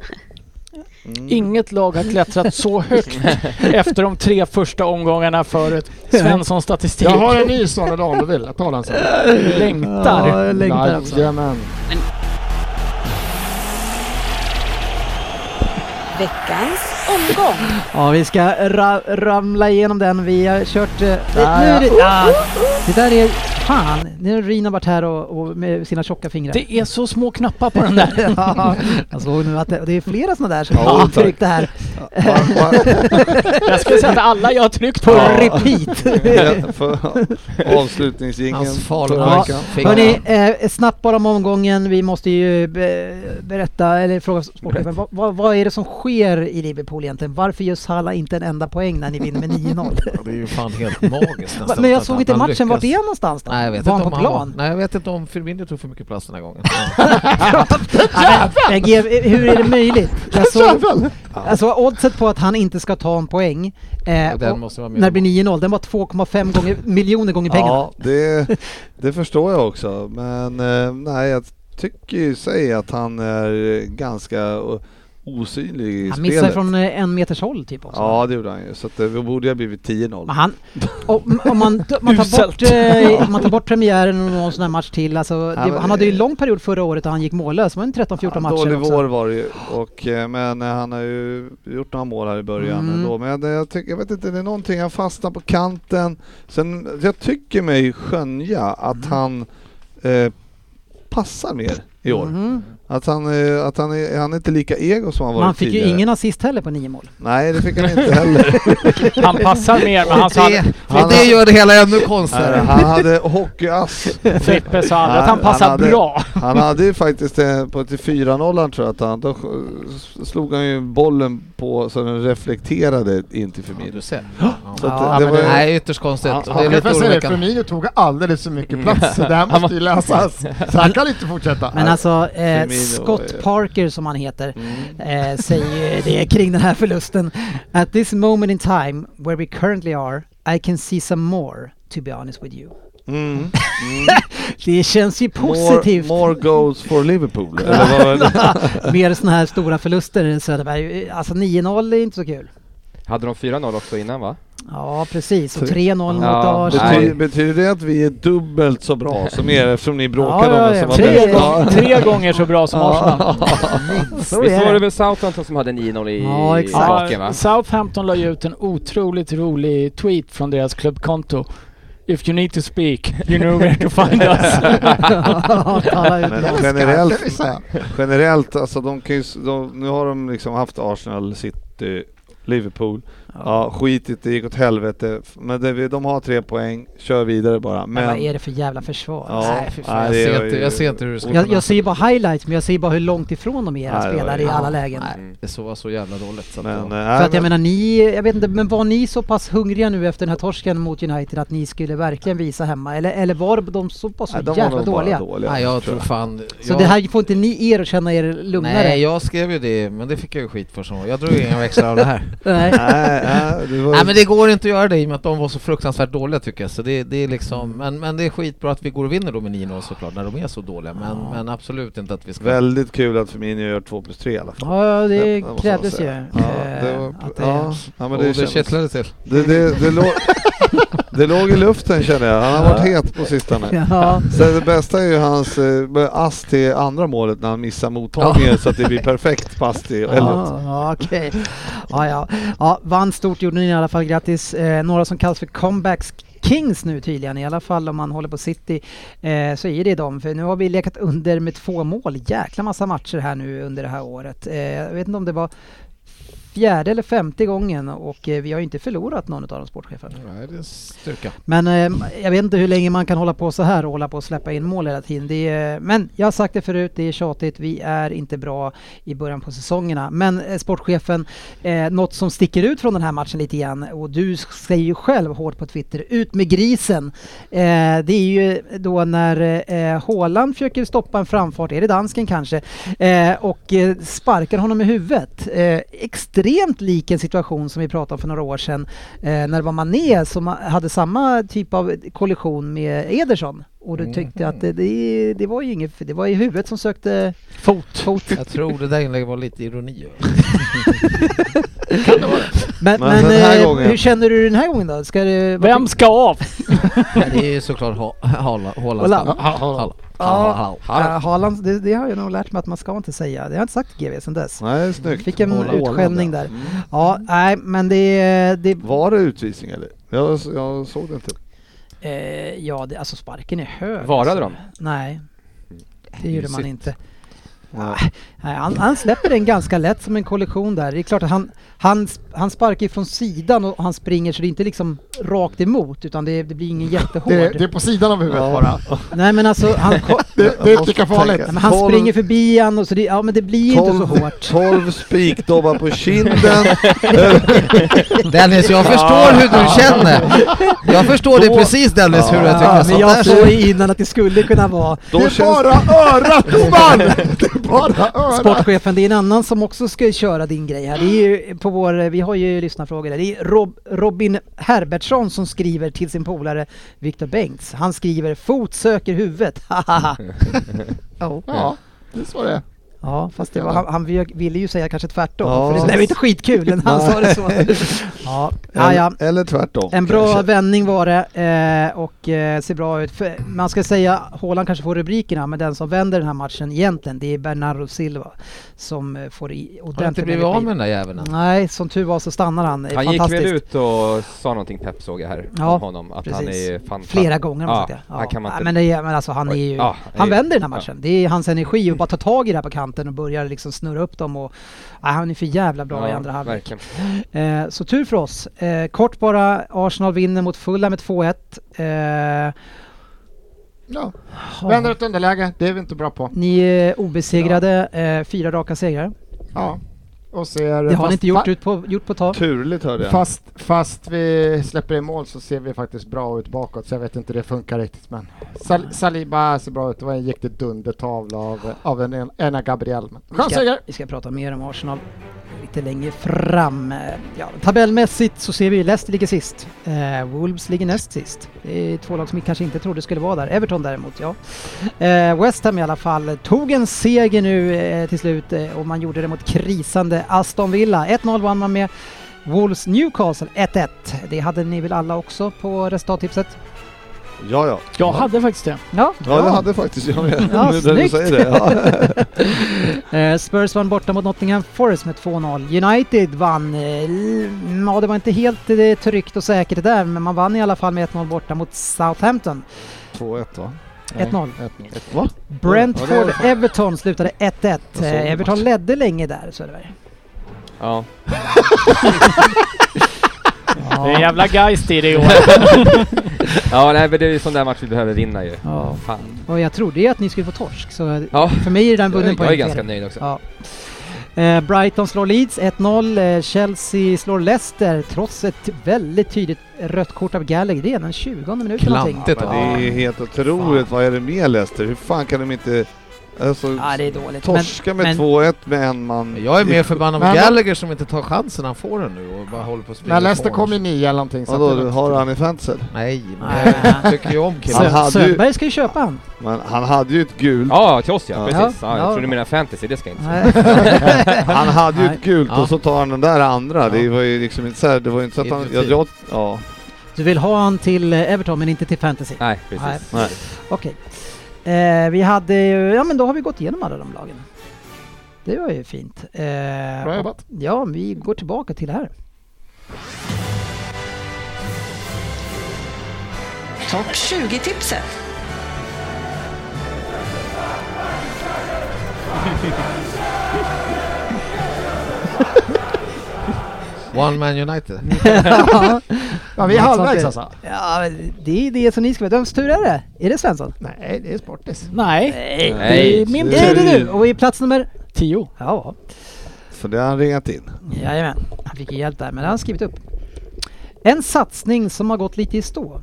Mm. Inget lag har klättrat så högt efter de tre första omgångarna förut. Svensson statistik. Jag har en ny sån idag om du vill, jag tar den sen. längtar. jag Jajamän. Veckans omgång. Ja, vi ska ra- ramla igenom den. Vi har kört... eh, nu är det, ah, det där är... Fan, nu har Rina varit här och, och med sina tjocka fingrar. Det är så små knappar på den där. <laughs> ja, jag såg nu att det, det är flera sådana där som Ja, har tack. tryckt det här Ja, Jag skulle säga att alla jag har tryckt på på den repeat. Ja, <laughs> för- Avslutningsjingeln. Hans Falukorv. förra Ja, veckan. hörni, eh, snabbt bara om omgången. Vi måste ju be, berätta, eller fråga sportchefen, vad, vad, vad är det som sker i Liverpool egentligen? Varför gör Salah inte en enda poäng när ni vinner med 9-0? Det är ju fan <laughs> helt magiskt nästan. Men jag att såg han inte matchen, lyckas. vart är han någonstans då? Nej, jag vet var inte han om på han var- plan? Nej, jag vet inte om Firmino tog för mycket plats den <laughs> här gången. <laughs> Ja, men, men G- hur är det möjligt? Jag såg, alltså oddset på att han inte ska ta en poäng, eh, Ja, den och måste vara med. när det blir 9-0, den var 2,5 gånger, miljoner gånger pengarna. Ja, det, det förstår jag också. Men eh, nej, jag tycker ju sig att han är eh, ganska eh, osynlig i han missar spelet. från eh, en meters håll typ också. Ja, det gjorde han ju. Så att det borde ju ha blivit Men 10-0. han, om, om man, man, tar bort, eh, om man tar bort premiären och någon sån här match till. Alltså, Ja, det, men- han hade ju en lång period förra året och han gick mållös. Det var en 13-14 Ja, matcher dålig vår också. var det ju. Och, eh, men eh, han har ju gjort några mål här i början Mm. ändå. Men eh, jag, tycker, jag vet inte, det är någonting. Han fastnar på kanten. Sen, jag tycker mig skönja att Mm. han eh, passar mer i år. Mhm. Att, han, eh, att han, är, han är inte lika ego som han Men varit han fick ju tidigare. ingen assist heller på nio mål. Nej, det fick han inte heller. <laughs> Han passar mer, men han sa, han- och det gör det hela ännu Nej, konstigare. han hade hockeyass. Frippe sa aldrig att han Han- han passar hade- bra. Han hade ju faktiskt eh, på till 4-0 tror jag att han, då s- slog han ju bollen på så den reflekterade in till Ja, Firmino. du ser. Så att Ja, det, men var ju, det- Nej, ytterst konstigt. Ja, Och det är Ja, jag lite får säga det, oroväckande. Firmino tog alldeles för <laughs> mycket plats, så <laughs> det här måste ju lösas. Så här kan det inte fortsätta. Men alltså, eh, Firmino Mm. Scott är- Parker som han heter, eh, säger ju det kring den här förlusten. At this moment in time, where we currently are, I can see some more, to be honest with you. mm, mm. <laughs> Det känns ju More, positivt. more goals for Liverpool. Eller vad var det? <laughs> Mer sådana här stora förluster, Söderberg. Alltså 9-0 är inte så kul. Hade de 4-0 också innan va? Ja, precis. Och Tre- 3-0 mot Ja, Arsenal. Bety, Nej. Typ. betyder det att vi är dubbelt så bra som er eftersom ni bråkade Ja, om Alltså, ja, vem som var ja. bäst? <laughs> Tre, Ja. gång, tre gånger så bra <laughs> som Arsenal. Så Visst var är det det. väl Southampton som hade 9-0 i Ja, exakt. baken va? Ja, Southampton la ju ut en otroligt rolig tweet från deras klubbkonto. If you need to speak, you know where to find us. <laughs> Ja, tala ut. Men Jag älskar generellt, det, så här. generellt alltså de kan ju, s- de, nu har de liksom haft Arsenal, City, Liverpool. Ja, skitigt, det gick ått helvete. F- Men det, vi- de har tre poäng, kör vidare bara. Men vad Men är det för jävla försvar? Ja. Nej, fy fan. Nej, Jag det ser var inte- ju- jag ser inte hur det ska Jag, kunna- jag ser ju bara highlights, men jag ser ju bara hur långt ifrån de är era Nej, det var spelare ju- i ja. alla lägen. Mm. Nej, det så var så jävla dåligt. Så att men, det var- För nej, att jag men, menar ni, jag vet inte, men var ni så pass hungriga nu efter den här torsken mot United att ni skulle verkligen visa hemma? Eller, eller var de så pass nej, så de var jävla nog bara dåliga? dåliga. Nej, jag tror tror jag. fan... Så jag- det här får inte ni er att känna er lugnare? <laughs> Nej, jag skrev ju det, men det fick jag ju skit för. Som. Jag drog ju inga växlar av det här. Nej. Nej, nej, det var... Nej men det går inte att göra det i och med att de var så fruktansvärt dåliga tycker jag. Så det, det är liksom, men, men det är skitbra att vi går och vinner då med 9-0 såklart när de är så dåliga. Men, men absolut inte att vi ska... Väldigt kul att Firmino gör 2 plus 3 i alla fall. Ja, det måste man krävdes ju. säga. eh, Ja, det var... att det- ja, ja, men men det, det, det kändes... kittlade till. det, det, det, låg... <laughs> det låg i luften känner jag. Han har varit het på sistone. <laughs> Ja. Sen det bästa är ju hans eh, ass till andra målet när han missar mottagningen så att det blir perfekt pass till Elliot. Ja, ja, okej. Ja, ja. ja, vann stort gjorde ni i alla fall, grattis. Eh, några som kallas för comebacks Kings nu tydligen, i alla fall om man håller på City, eh, så är det de. För nu har vi lekat under med två mål, jäkla massa matcher här nu under det här året. Eh, jag vet inte om det var fjärde eller femte gången och eh, vi har ju inte förlorat någon av de sportcheferna. Nej, det är en styrka. Men eh, jag vet inte hur länge man kan hålla på så här och hålla på och släppa in mål hela tiden. Det är, men jag har sagt det förut, det är tjatigt. Vi är inte bra i början på säsongerna. Men eh, sportchefen, eh, något som sticker ut från den här matchen lite grann och du säger ju själv hårt på Twitter, ut med grisen. Eh, det är ju då när eh, Haaland försöker stoppa en framfart, är det dansken kanske, eh, och eh, sparkar honom i huvudet. Eh, extremt lik en situation som vi pratade om för några år sedan eh, när det var Mané som hade samma typ av kollision med Ederson. Och Mm. du tyckte att det, det, det var ju inget, det var ju huvudet som sökte fot. Jag tror det där inlägget var lite <laughs> ironi. Men, Men men, den här eh, gången- hur känner du den här gången då? Ska det, vad Vem ska <laughs> av? Men det är ju såklart Ha- Haaland. Haaland. Haaland. Haaland. Ja, Haaland. ja, Haaland, det, det har jag nog lärt mig att man ska inte säga. Det har jag inte sagt till GV sedan dess. Nej, snyggt. Fick en Haaland. utskällning där. Mm. Ja, nej, men det... det Var det utvisning eller? Jag, jag såg det inte. eh, ja, det, alltså sparken är hög. Varade alltså. de? Nej, det gjorde man Mysigt. inte. Ah. Nej. Nej, han, han släpper den ganska lätt som en kollision där. Det är klart att han, han, han sparkar ju från sidan och han springer så det är inte liksom rakt emot utan det, det blir ingen jättehård. Det, det är på sidan av huvudet bara. Nej men alltså han, ko- <laughs> Det, det är lika farligt. Nej, men han Tolv- springer förbi han och så det, ja men det blir inte så 12, hårt. 12 spikdobbar på <laughs> kinden. Dennis, jag förstår hur du känner. Jag förstår det precis Dennis, hur du Ja, tycker. men Sånt jag där såg så- ju innan att det skulle kunna vara Då det är känns bara örat man! Det är bara örat! sportchefen. Det är en annan som också ska köra din grej här. Det är ju på vår, vi har ju lyssnarfrågor där. Det är Rob, Robin Herbertsson som skriver till sin polare Viktor Bengts. Han skriver fot söker huvudet. <laughs> Hahaha. oh. Ja, det är så det är. Ja, fast det var, han, han ville ju säga kanske tvärtom. Ja. För det blev inte skitkul när han sa det så. <laughs> Ja, ja, ja. Eller, eller tvärtom. En bra kanske. vändning var det eh, och eh, ser bra ut. För man ska säga, Haaland kanske får rubrikerna, men den som vänder den här matchen egentligen, det är Bernardo Silva som eh, får i ordentligt Har inte blivit med av rubrik. med den där jäveln än? Nej, som tur var så stannar han. Det är Han gick Fantastiskt. väl ut och sa någonting pepp såg jag här Ja, om honom. Att han precis. är fan, Flera gånger har man Ja, sagt det. han kan man Nej, inte- men, det är, men alltså han är ju... Ja, han det är- vänder den här matchen. Det är hans energi att bara ta tag i det här på kanten och börja liksom snurra upp dem och... Nej, han är för jävla bra i andra halvlek. verkligen. Eh, så tur för oss. Eh, kort bara, Arsenal vinner mot Fulham med 2-1. Eh, Ja. eh, Vänder ett underläge, det är vi inte bra på. Ni är obesegrade, eh, fyra raka segrar. Ja. Och ser, Det har ni fast- inte gjort, ut på, gjort på ett tag. Turligt hörde jag. Fast, fast vi släpper i mål så ser vi faktiskt bra ut bakåt, så jag vet inte hur det funkar riktigt. Men Sal- Saliba ser bra ut, det var en riktig dundertavla av, av en, en, Ena Gabriel. Men Vi ska, Chansseger! vi ska prata mer om Arsenal lite längre fram. Eh, Ja, tabellmässigt så ser vi ju Leicester ligger sist. Eh, Wolves ligger näst sist. Det är två lag som vi kanske inte trodde skulle vara där. Everton däremot, ja. Eh, West Ham i alla fall tog en seger nu eh, till slut eh, och man gjorde det mot krisande Aston Villa. 1-0 vann man med Wolves Newcastle 1-1. Det hade ni väl alla också på resultattipset? Ja, ja. Jag hade faktiskt det. Ja, Ja, det hade faktiskt jag med. Ja, Nu när du snyggt. säger det. Ja. <laughs> Eh, Spurs vann borta mot Nottingham Forest med 2-0. United vann, eh, mm, ja det var inte helt eh, tryggt och säkert det där, men man vann i alla fall med 1-0 borta mot Southampton. 2-1 va? 1-0. Va? Ja, det Brentford Everton slutade 1-1. såg Eh, den Everton matchen. ledde länge där Söderberg. <laughs> <laughs> Ja. Det är en jävla geist i det i år. <laughs> ja, nej men det är ju sån där match vi behöver vinna ju. Ja. Fan. Och jag trodde ju att ni skulle få torsk, så Ja, för mig är det den jag, vunnen jag är poäng. ganska nöjd också. Ja. Eh, Brighton slår Leeds 1-0. Eh, Chelsea slår Leicester trots ett väldigt tydligt rött kort av Gallagher. Det är den 20 minuten Klantigt, någonting. Men det är helt otroligt. Vad är det med Leicester? Hur fan kan de inte... Alltså, Ja, det är dåligt. torska med men, 2-1 med en man. Jag <laughs> är mer förbannad Men- med Gallagher som inte tar chansen han får den nu och bara håller på att springa Men Leicester på kom honom. ju nia eller någonting. så Vadå, att det du var- typ- har han i fantasy? Nej, Nej. men jag tycker ju men om Han killen. Ja. hade Sö- ju- Söderberg ska ju köpa han. Men han hade ju ett gult. Ja, till oss ja, Ja. precis. Ja, Ja. jag tror du menar fantasy, det ska jag inte säga. <laughs> Nej. <laughs> Han hade ju ett gult Ja. och så tar han den där andra. Det var ju liksom inte så här, det var ju inte så att han... Jag, jag, ja. Du vill ha han till eh, Everton men inte till fantasy? Nej, precis. Nej. Okej. Eh, vi hade ju, ja men då har vi gått igenom alla de lagen. Det var ju fint. Eh, Bra och, jobbat. ja, vi går tillbaka till det här. Topp 20-tipset. One <laughs> Man United. Ja, vi är Något sånt halvvägs där. alltså. Ja, men det är det som ni ska veta. Vems tur är det? Är det Svensson? Nej, det är Sportis. Nej, Nej. det är min Det är tur. det nu och i plats nummer... Tio. Ja, Så det har han ringat in. jajamän. Han fick ju hjälp där men han har skrivit upp. En satsning som har gått lite i stå.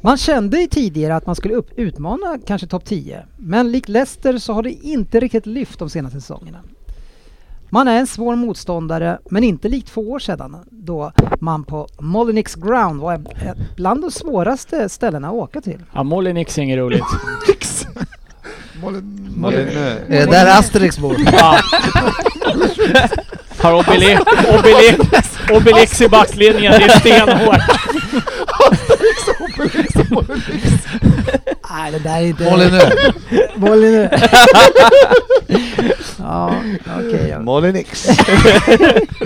Man kände ju tidigare att man skulle upp, utmana kanske topp 10. Men likt Leicester så har det inte riktigt lyft de senaste säsongerna. Man är en svår motståndare, men inte likt två år sedan då man på Molinix Ground var ett- bland de svåraste ställena att åka till. Ja, Molinix är inget <laughs> roligt. Molinö. Är det där Asterix bor? <laughs> Ja. Har Obelix, Obelix, Obelix i backlinjen, det är <laughs> stenhårt. Nej, det där är inte... <laughs> Molinö. <laughs> <laughs> Molinö. ja, okej. <laughs> ja. Molinix.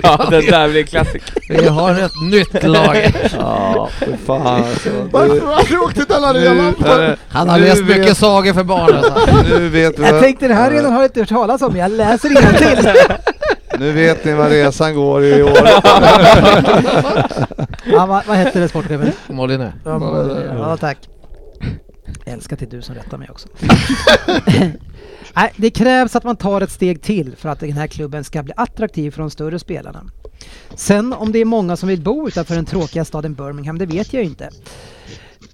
Ja, den där blir klassiker. Vi har ett nytt lag. <laughs> Ja, för fan alltså. Varför Nu, har du åkt till Dalarena? nu, äh, Han har Nu läst vet- mycket sagor för barn alltså. nu vet vi Jag vad- tänkte det här redan har jag inte hört talas om, jag läser innantill. Nu vet ni vad resan går i år. ja, vad, vad hette det sportchefen? Molinö. Ja, tack. Jag älskar att det är du som rättar mig också. <laughs> Nej, det krävs att man tar ett steg till för att den här klubben ska bli attraktiv för de större spelarna. Sen om det är många som vill bo utanför den tråkiga staden Birmingham, det vet jag ju inte.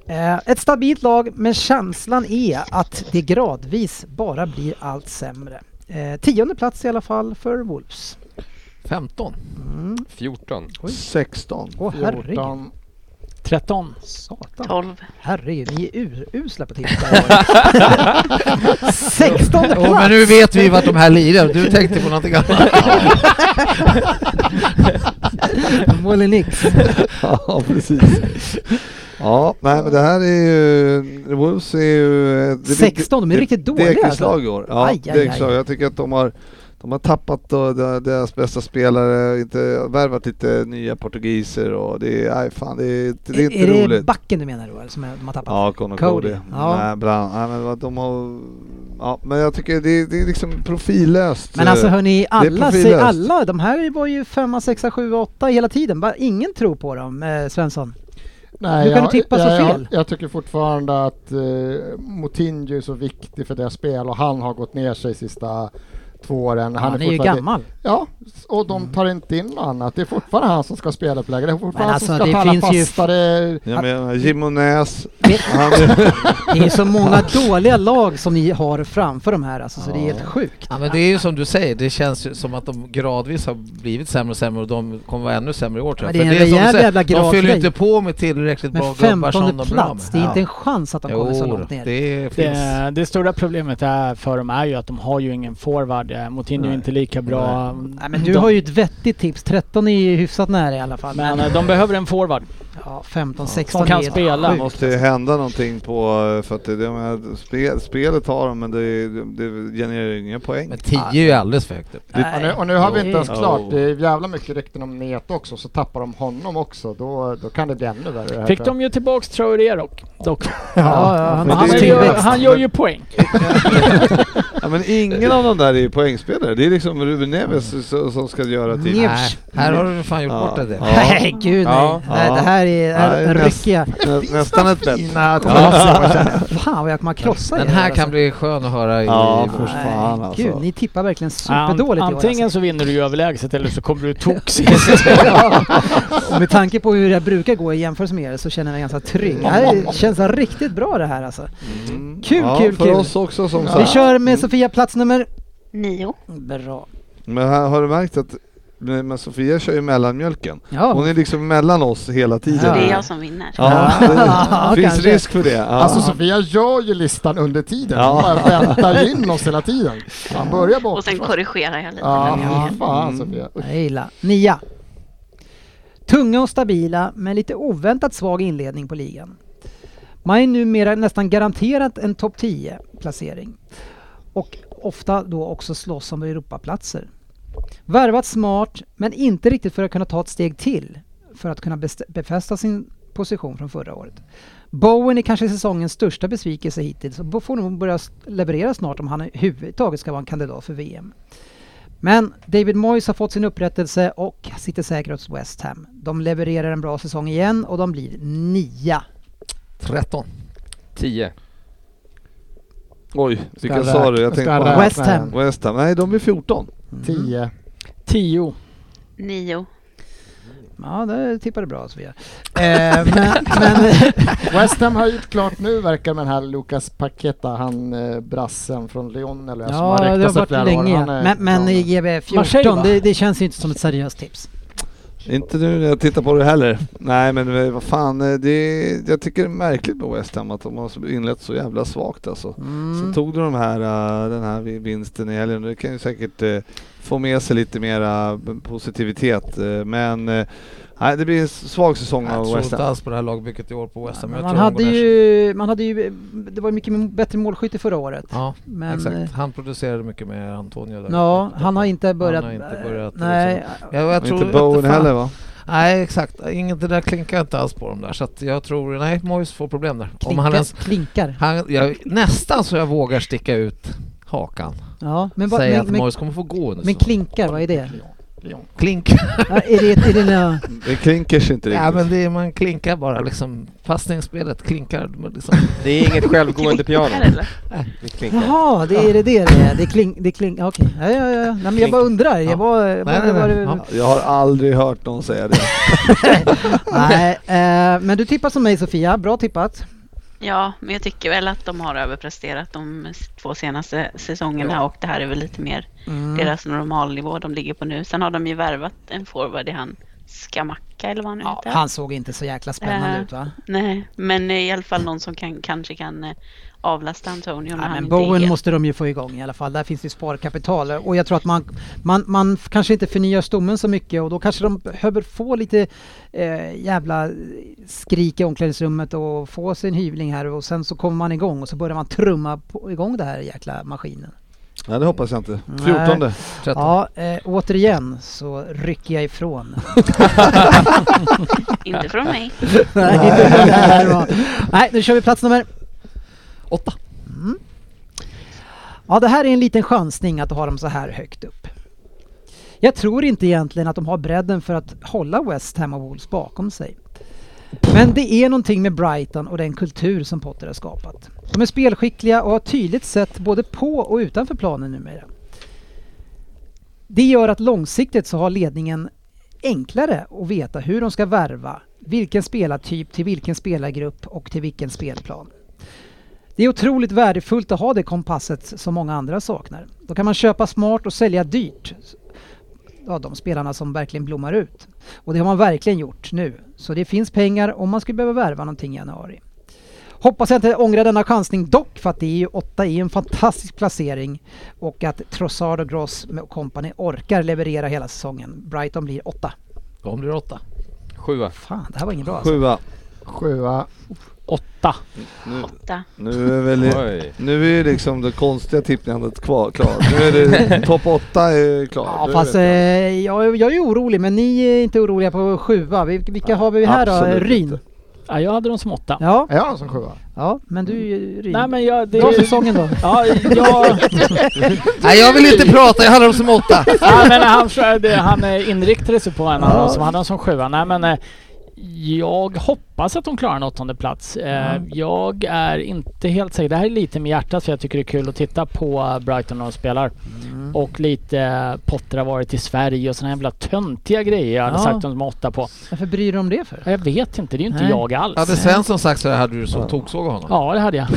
Eh, Ett stabilt lag, men känslan är att det gradvis bara blir allt sämre. Eh, Tionde plats i alla fall för Wolves. Mm. 15. 14. 16. Åh herregud, 14. 13. satan. 12. Herregud, ni är urusla på <laughs> tippar. 16 plats! Oh, men nu vet vi vart de här lirar. Du tänkte på <laughs> någonting annat. <laughs> Molinix. <laughs> Ja, precis. Ja, nej men det här är ju... Wolves är ju... eh, Det 16, de är det- riktigt Det dåliga är ett alltså. slag i år. Ja, Aj, aj, det är ett slag. aj. Jag tycker att de har, de har tappat då, de- deras bästa spelare, inte värvat lite nya portugiser och det är, nej, fan, det är, det är inte är det roligt. backen du menar då, eller som är- de har tappat? Ja, Connor Cody. Cody. Ja. Nej, bland, nej, men vad de har, ja, men jag tycker det, det är liksom profillöst. Men alltså hörni, alla, profillöst. säger alla, de här var ju femma, sexa, sjua, åtta hela tiden. Bara, ingen tror på dem, eh, Svensson. Nej, Hur kan jag- du tippa så jag, fel? Jag, jag tycker fortfarande att eh, Moutinho är så viktig för deras spel och han har gått ner sig sista två åren. Han, är ju fortfarande- gammal. Ja, s- och de tar inte in något annat. Det är fortfarande han som ska spela upplägget. Det är fortfarande Men han som alltså, ska det ta alla finns ju- fastare... Ja, men Jimonäs, Det, han är, <laughs> det är så många dåliga lag som ni har framför de här alltså, så det är helt sjukt. Ja, men det är ju som du säger, det känns ju som att de gradvis har blivit sämre och sämre och de kommer vara ännu sämre i år tror jag. Men det är För en som du rejäl säger, jävla De fyller ju gradgrej. inte på med tillräckligt bra Men gubbar som 15 de blir av plats, med. det är inte en Ja. chans att de kommer så Jo, långt ner. det finns. Det, det stora problemet är för dem är ju att de har ju ingen forward. Eh, Moutinho är inte lika bra. Nej, men du de, har ju ett vettigt tips, 13 är ju hyfsat nära i alla fall. men eh, de behöver en forward ja, 15, 16 som kan är- det spela. måste ju hända någonting på, eh, för att det, det, med, spel, spelet har de men det, det genererar ju inga poäng. Men 10 är ju alldeles för högt upp. Ja, nu, och nu har vi inte ens Jo. klart. eh, Det Oh. är jävla mycket rykten om Net också, så tappar de honom också. Då, då kan det bli ännu värre. här, Fick tror jag. de ju tillbaks Traoré dock. dock. Ja, ja, han, Men Han, hans det är är ju, tillväxt. han gör ju poäng. <laughs> Ja, men ingen av de där är ju poängspelare. Det är liksom Ruben Mm. Neves s- som ska göra till. Neves. Nej, här har du fan gjort bort det. Ja. <laughs> Nej, gud nej. Ja. nej. Ja. Det här är i Nej, är näst- ryckiga. nä- nästan ett bett. Fina Fan vad jag kommer att krossa Den er, här alltså. kan bli skön att höra i... Ja, i- för Nej, fan alltså. Gud, ni tippar verkligen Ant- superdåligt i år. Antingen Alltså. så vinner du ju överlägset eller så kommer du toksist. <laughs> <laughs> Och med tanke på hur jag brukar gå i jämförelse med er så känner jag mig ganska trygg. Det här känns riktigt bra det här alltså. Kul, Mm. ja, kul, för kul. oss också som Vi sagt. kör med Sofia plats nummer... Nio. Bra. Men här, har du märkt att men Sofia kör ju mellanmjölken. Hon Ja. är liksom mellan oss hela tiden. Så Ja. det är jag som vinner. Ja, Ja, <laughs> det finns kanske. risk för det. Ja. Alltså Sofia gör ju listan under tiden. Ja. Hon bara väntar in oss hela tiden. Han börjar bort. Och sen korrigerar jag lite. Ja, när jag- fan Sofia. Usch. Mm. Jag gillar. Nia. Tunga och stabila, men lite oväntat svag inledning på ligan. Man är numera nästan garanterat en topp 10-placering. Och ofta då också slåss om Europaplatser. Värvat smart, men inte riktigt för att kunna ta ett steg till för att kunna best- befästa sin position från förra året. Bowen är kanske säsongens största besvikelse hittills och får nog börja s- leverera snart om han överhuvudtaget ska vara en kandidat för VM. Men David Moyes har fått sin upprättelse och sitter säkert hos West Ham. De levererar en bra säsong igen och de blir nia. 13. 10. Oj, vilka Ska sa rä- du? Jag ska tänkte på räkna West Ham. igen. West Ham. Nej, de är 14. Tio. Tio. Nio. Ja, det tippade bra Sofia. <laughs> Eh, men, men, West Ham har gjort klart nu verkar med den här Lucas Paqueta, han eh, brassen från Lyon eller som har ja, det har ryktats i flera varit år. länge. Han är Men, men bra. i GB Marseille, va? 14, det, det känns ju inte som ett seriöst tips. Inte nu när jag tittar på det heller. Nej, men eh, vad fan. eh, Det är, jag tycker det är märkligt med West Ham att de har inlett så jävla svagt alltså. Mm. Sen tog de de här, eh, den här vi- vinsten i helgen. Det kan ju säkert eh, få med sig lite mera b- positivitet. eh, Men eh, nej, det blir en svag säsong Jag av tror West inte Ham. alls på det här lagbygget i år på West Ham. Jag Man tror de hade, går ner sig. ju, man hade ju, det var ju mycket bättre målskytte förra året. Ja, Men, eh, exakt. Han producerade mycket med Antonio där. Ja, han har inte börjat... eh, har inte börjat liksom. nej, Jag, jag Och tror Inte Bowen fan- heller va? Nej, exakt. Inget det där klinkar inte alls på dem där. Så att jag tror... Nej, Moyes får problem där. Om han klinkar. ens, klinkar. han, jag, nästan så jag vågar sticka ut hakan. Ja, men, vad- Säga men, att men, Moyes kommer få gå under men säsongen. klinkar, vad är det? Klink. Ja, är det, är det <laughs> några- Det klinkers inte riktigt. Ja, men det är, man klinkar bara liksom. Passningsspelet klinkar. men Liksom. Det är inget självgående piano. Här, eller? Det klinkar. Jaha, det är det det det är. Det kling... Det kling okej. Ja, ja, ja. Nej, men jag bara undrar. Jag bara... jag bara- Nej, nej, nej. jag bara- Ja. Jag har aldrig hört någon säga <laughs> det. <laughs> nej eh, men du tippar som mig Sofia. Bra tippat. Ja, men jag tycker väl att de har överpresterat de s- två senaste säsongerna och det här är väl lite mer Mm. deras normalnivå de ligger på nu. Sen har de ju värvat en forward i han Skamacka eller vad han Ja, heter. han såg inte så jäkla spännande Eh, ut va? Nej, men eh, i alla fall någon som kan, kanske kan eh, avlasta Antonio när Ja, han men inte Bowen är måste de ju få igång i alla fall. Där finns det sparkapital och jag tror att man, man, man f- kanske inte förnyar stommen så mycket och då kanske de behöver få lite eh, jävla skrik i omklädningsrummet och få sin hyvling här och sen så kommer man igång och så börjar man trumma på, igång den här jäkla maskinen. Nej, det hoppas jag inte. Nej. 14. Ja, eh, återigen så rycker jag ifrån. <laughs> Inte från mig. Nej, inte det här var- Nej, nu kör vi plats nummer... Mm. Åtta. Ja, det här är en liten chansning att ha dem så här högt upp. Jag tror inte egentligen att de har bredden för att hålla West Ham och Wolves bakom sig. Men det är någonting med Brighton och den kultur som Potter har skapat. De är spelskickliga och har tydligt sett både på och utanför planen numera. Det gör att långsiktigt så har ledningen enklare att veta hur de ska värva, vilken spelartyp till vilken spelargrupp och till vilken spelplan. Det är otroligt värdefullt att ha det kompasset som många andra saknar. Då kan man köpa smart och sälja dyrt. Ja, de spelarna som verkligen blommar ut. Och det har man verkligen gjort nu. Så det finns pengar om man skulle behöva värva någonting i januari. Hoppas jag inte ångrar denna chansning dock för att det är ju 8 är ju en fantastisk placering och att Trossard och Gross med company orkar leverera hela säsongen. Brighton blir 8. De blir åtta. Sjua. Fan, det här var inget bra alltså. Sjua. Sjua. Åtta. Nu, Åtta. nu är väl... Oj. Nu är ju liksom det konstiga tippningandet kvar, klart. Nu är det topp 8 är klar. Ja, Nu fast eh, vet jag. jag, jag är ju orolig men ni är inte oroliga på sjua. Vil- Vilka har vi här absolut då? Ryn? inte. Ja, jag hade dem som åtta. Ja, Är jag som sjua? ja, Mm. men du är ju Ryn. Nej men jag... Det, Bra <laughs> säsongen då. ja, jag, Nej, jag vill inte prata. Jag hade dem <laughs> som åtta. ja, men han, det, han eh, inriktade sig på en av dem som hade dem som sjua. Nej men eh, jag hoppas att de klarar en åttonde plats. Eh, Jag är inte helt säker. Det här är lite med hjärtat för jag tycker det är kul att titta på Brighton när de spelar. Och lite eh, Potter har varit i Sverige och såna jävla töntiga grejer jag hade Ja. sagt de var åtta på. <laughs> Varför bryr du om det för? Ja, Jag vet inte, det är ju inte Nej. jag alls. Hade Svensson sagt så här hade du så toksågat honom. Ja, det <laughs> hade jag.